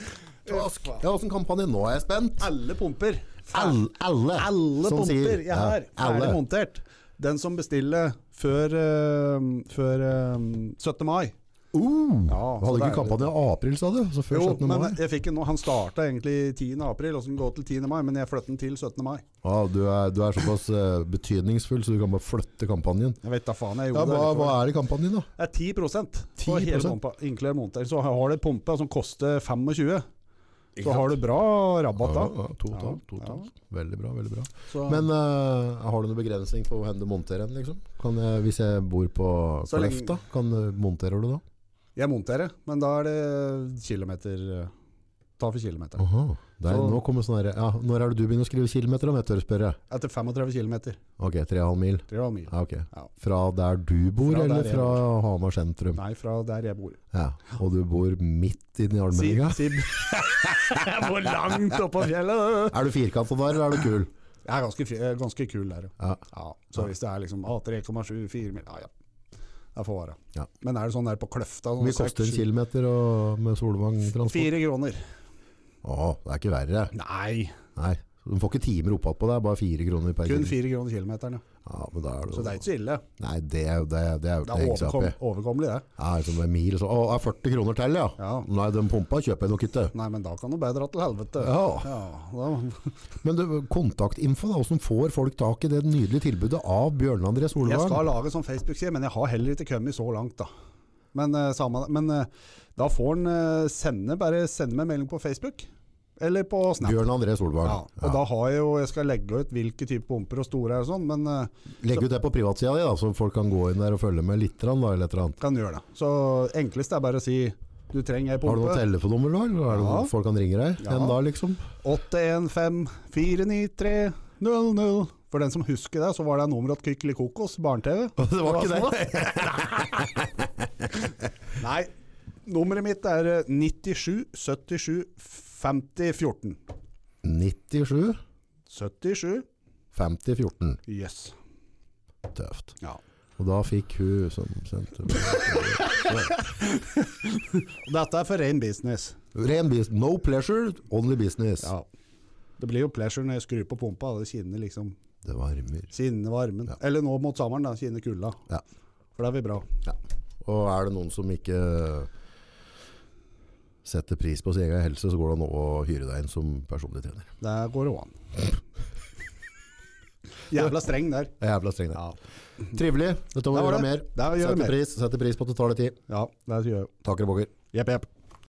[SPEAKER 1] Ask. Ja, åssen kampanje? Nå er jeg spent.
[SPEAKER 2] Alle pumper.
[SPEAKER 1] Alle, alle,
[SPEAKER 2] Alle
[SPEAKER 1] som
[SPEAKER 2] pumper
[SPEAKER 1] sier-
[SPEAKER 2] jeg har,
[SPEAKER 1] Ja, alle.
[SPEAKER 2] ferdig montert. Den som bestiller før, eh, før eh, 17. mai.
[SPEAKER 1] Uh, hadde
[SPEAKER 2] Ja, så
[SPEAKER 1] ikke
[SPEAKER 2] deilig.
[SPEAKER 1] kampanje i april, sa du? Så før
[SPEAKER 2] Jo,
[SPEAKER 1] 17.
[SPEAKER 2] men
[SPEAKER 1] mai?
[SPEAKER 2] jeg fikk den nå. Han starta egentlig 10. april, og så den går til 10. mai, men jeg flytter den til 17. mai.
[SPEAKER 1] Ja, du, er, du er såpass eh, betydningsfull, så du kan bare flytte kampanjen.
[SPEAKER 2] Jeg vet da faen, jeg
[SPEAKER 1] Ja,
[SPEAKER 2] gjorde
[SPEAKER 1] hva,
[SPEAKER 2] det.
[SPEAKER 1] hva
[SPEAKER 2] likevel.
[SPEAKER 1] er det i kampanjen, da?
[SPEAKER 2] Det er 10 på hele
[SPEAKER 1] 10%?
[SPEAKER 2] pumpa, inkludert monter. Så har du pumpa som koster 25, så har du bra rabatt da.
[SPEAKER 1] Ja, ja, to og et
[SPEAKER 2] Ja,
[SPEAKER 1] halvt, to og et
[SPEAKER 2] ja.
[SPEAKER 1] halvt. Veldig bra. veldig bra
[SPEAKER 2] Så,
[SPEAKER 1] Men eh, har du noen begrensning på hvor hen du monterer den? Liksom? Kan jeg, hvis jeg bor på,
[SPEAKER 2] Så
[SPEAKER 1] på
[SPEAKER 2] lenge-
[SPEAKER 1] Løfta, kan eh, monterer du da?
[SPEAKER 2] jeg monterer, men da er det kilometer eh, Ta for kilometeren.
[SPEAKER 1] Aha, der,
[SPEAKER 2] Så-
[SPEAKER 1] nå kommer sånn her ja, Når er det du begynner å skrive kilometer om? Jeg tør spørre.
[SPEAKER 2] Etter 35 km.
[SPEAKER 1] Ok, 3,5 mil.
[SPEAKER 2] 3,5 mil.
[SPEAKER 1] Ja, ok.
[SPEAKER 2] Ja.
[SPEAKER 1] Fra der du bor,
[SPEAKER 2] Fra der
[SPEAKER 1] eller
[SPEAKER 2] jeg
[SPEAKER 1] fra Hamar sentrum?
[SPEAKER 2] Nei, fra der jeg bor.
[SPEAKER 1] Ja. Og du bor midt inne i allmenninga?
[SPEAKER 2] si Jeg bor langt oppå fjellet!
[SPEAKER 1] Er du firkanta der, eller er du kul?
[SPEAKER 2] Jeg er ganske, fri- jeg er ganske kul der,
[SPEAKER 1] Ja.
[SPEAKER 2] ja. Så hvis det er liksom ah, 3,7, 4 mil, ja ja. Det får være.
[SPEAKER 1] Ja.
[SPEAKER 2] Men er det sånn der på Kløfta
[SPEAKER 1] Hvor
[SPEAKER 2] sånn
[SPEAKER 1] mye koster en
[SPEAKER 2] seks-
[SPEAKER 1] kilometer og, med Solvang-transport?
[SPEAKER 2] Fire kroner.
[SPEAKER 1] Å, det er ikke verre.
[SPEAKER 2] Nei,
[SPEAKER 1] Nei. Du får ikke timer oppad på deg, bare fire kroner per
[SPEAKER 2] kun
[SPEAKER 1] kilo.
[SPEAKER 2] fire kroner kilometeren, ja.
[SPEAKER 1] Ja, men da er
[SPEAKER 2] Så det er
[SPEAKER 1] det,
[SPEAKER 2] ikke så ille.
[SPEAKER 1] nei, det, er jo- det, er- det er jo ikke
[SPEAKER 2] Det
[SPEAKER 1] å
[SPEAKER 2] er
[SPEAKER 1] henge seg opp
[SPEAKER 2] overkom,
[SPEAKER 1] i.
[SPEAKER 2] overkommelig, det.
[SPEAKER 1] Ja, liksom en mil så, Å, er 40 kroner til, ja?
[SPEAKER 2] Ja.
[SPEAKER 1] Nei, den pumpa kjøper jeg nok ikke.
[SPEAKER 2] Nei, men da kan du bare dra til helvete.
[SPEAKER 1] Ja.
[SPEAKER 2] da,
[SPEAKER 1] Men du, kontaktinfo, da. Hvordan får folk tak i det nydelige tilbudet av Bjørn André Solvang?
[SPEAKER 2] jeg skal lage sånn Facebook-side, men jeg har heller ikke kommet så langt, da. Men, eh, samme, men eh, da får han eh, sende, bare sende meg melding på Facebook. Eller på Snap.
[SPEAKER 1] Bjørn André Solvang.
[SPEAKER 2] Ja, og da har jeg jo, jeg skal legge ut hvilke typer pumper og store er og sånn, men uh,
[SPEAKER 1] Legg ut det på privatsida di, da, så folk kan gå inn der og følge med litt. grann, Da, eller et eller annet.
[SPEAKER 2] kan gjøre det. Så enklest er bare å si du trenger ei
[SPEAKER 1] Har du noe
[SPEAKER 2] pumpe.
[SPEAKER 1] telefonnummer, da? Eller er det
[SPEAKER 2] Ja.
[SPEAKER 1] noe folk kan ringe deg?
[SPEAKER 2] Ja.
[SPEAKER 1] En da, liksom?
[SPEAKER 2] 815-493-00. For den som husker det, så var det nummeret til Kykkeli Kokos, barne-TV.
[SPEAKER 1] Det var ikke
[SPEAKER 2] sånn, da. Nei. Nummeret mitt er eh, 97 77 50 14.
[SPEAKER 1] 97
[SPEAKER 2] 77?
[SPEAKER 1] 50 14.
[SPEAKER 2] Yes.
[SPEAKER 1] Tøft.
[SPEAKER 2] Ja.
[SPEAKER 1] Og da fikk hun som sendte
[SPEAKER 2] Og Dette er for ren business.
[SPEAKER 1] Ren business. No pleasure, only business.
[SPEAKER 2] Ja. Det blir jo pleasure når jeg skrur på pumpa, og det kinner liksom
[SPEAKER 1] Det varmer.
[SPEAKER 2] Kinne varmen. Eller nå mot sommeren, da. Kinne kulda.
[SPEAKER 1] Ja.
[SPEAKER 2] For da er vi bra.
[SPEAKER 1] Og er det noen som ikke setter pris på sin egen helse, så går det an å hyre deg inn som personlig trener.
[SPEAKER 2] Det går jo an. Jævla streng der.
[SPEAKER 1] Jeg er jævla streng der.
[SPEAKER 2] Ja.
[SPEAKER 1] Trivelig. Dette må vi
[SPEAKER 2] Det var
[SPEAKER 1] gjøre
[SPEAKER 2] det.
[SPEAKER 1] mer.
[SPEAKER 2] Det er å gjøre
[SPEAKER 1] Setter
[SPEAKER 2] mer.
[SPEAKER 1] pris, setter pris på at det tar litt tid.
[SPEAKER 2] Ja, det gjør jeg.
[SPEAKER 1] Takker og bokker.
[SPEAKER 2] Jepp, jepp.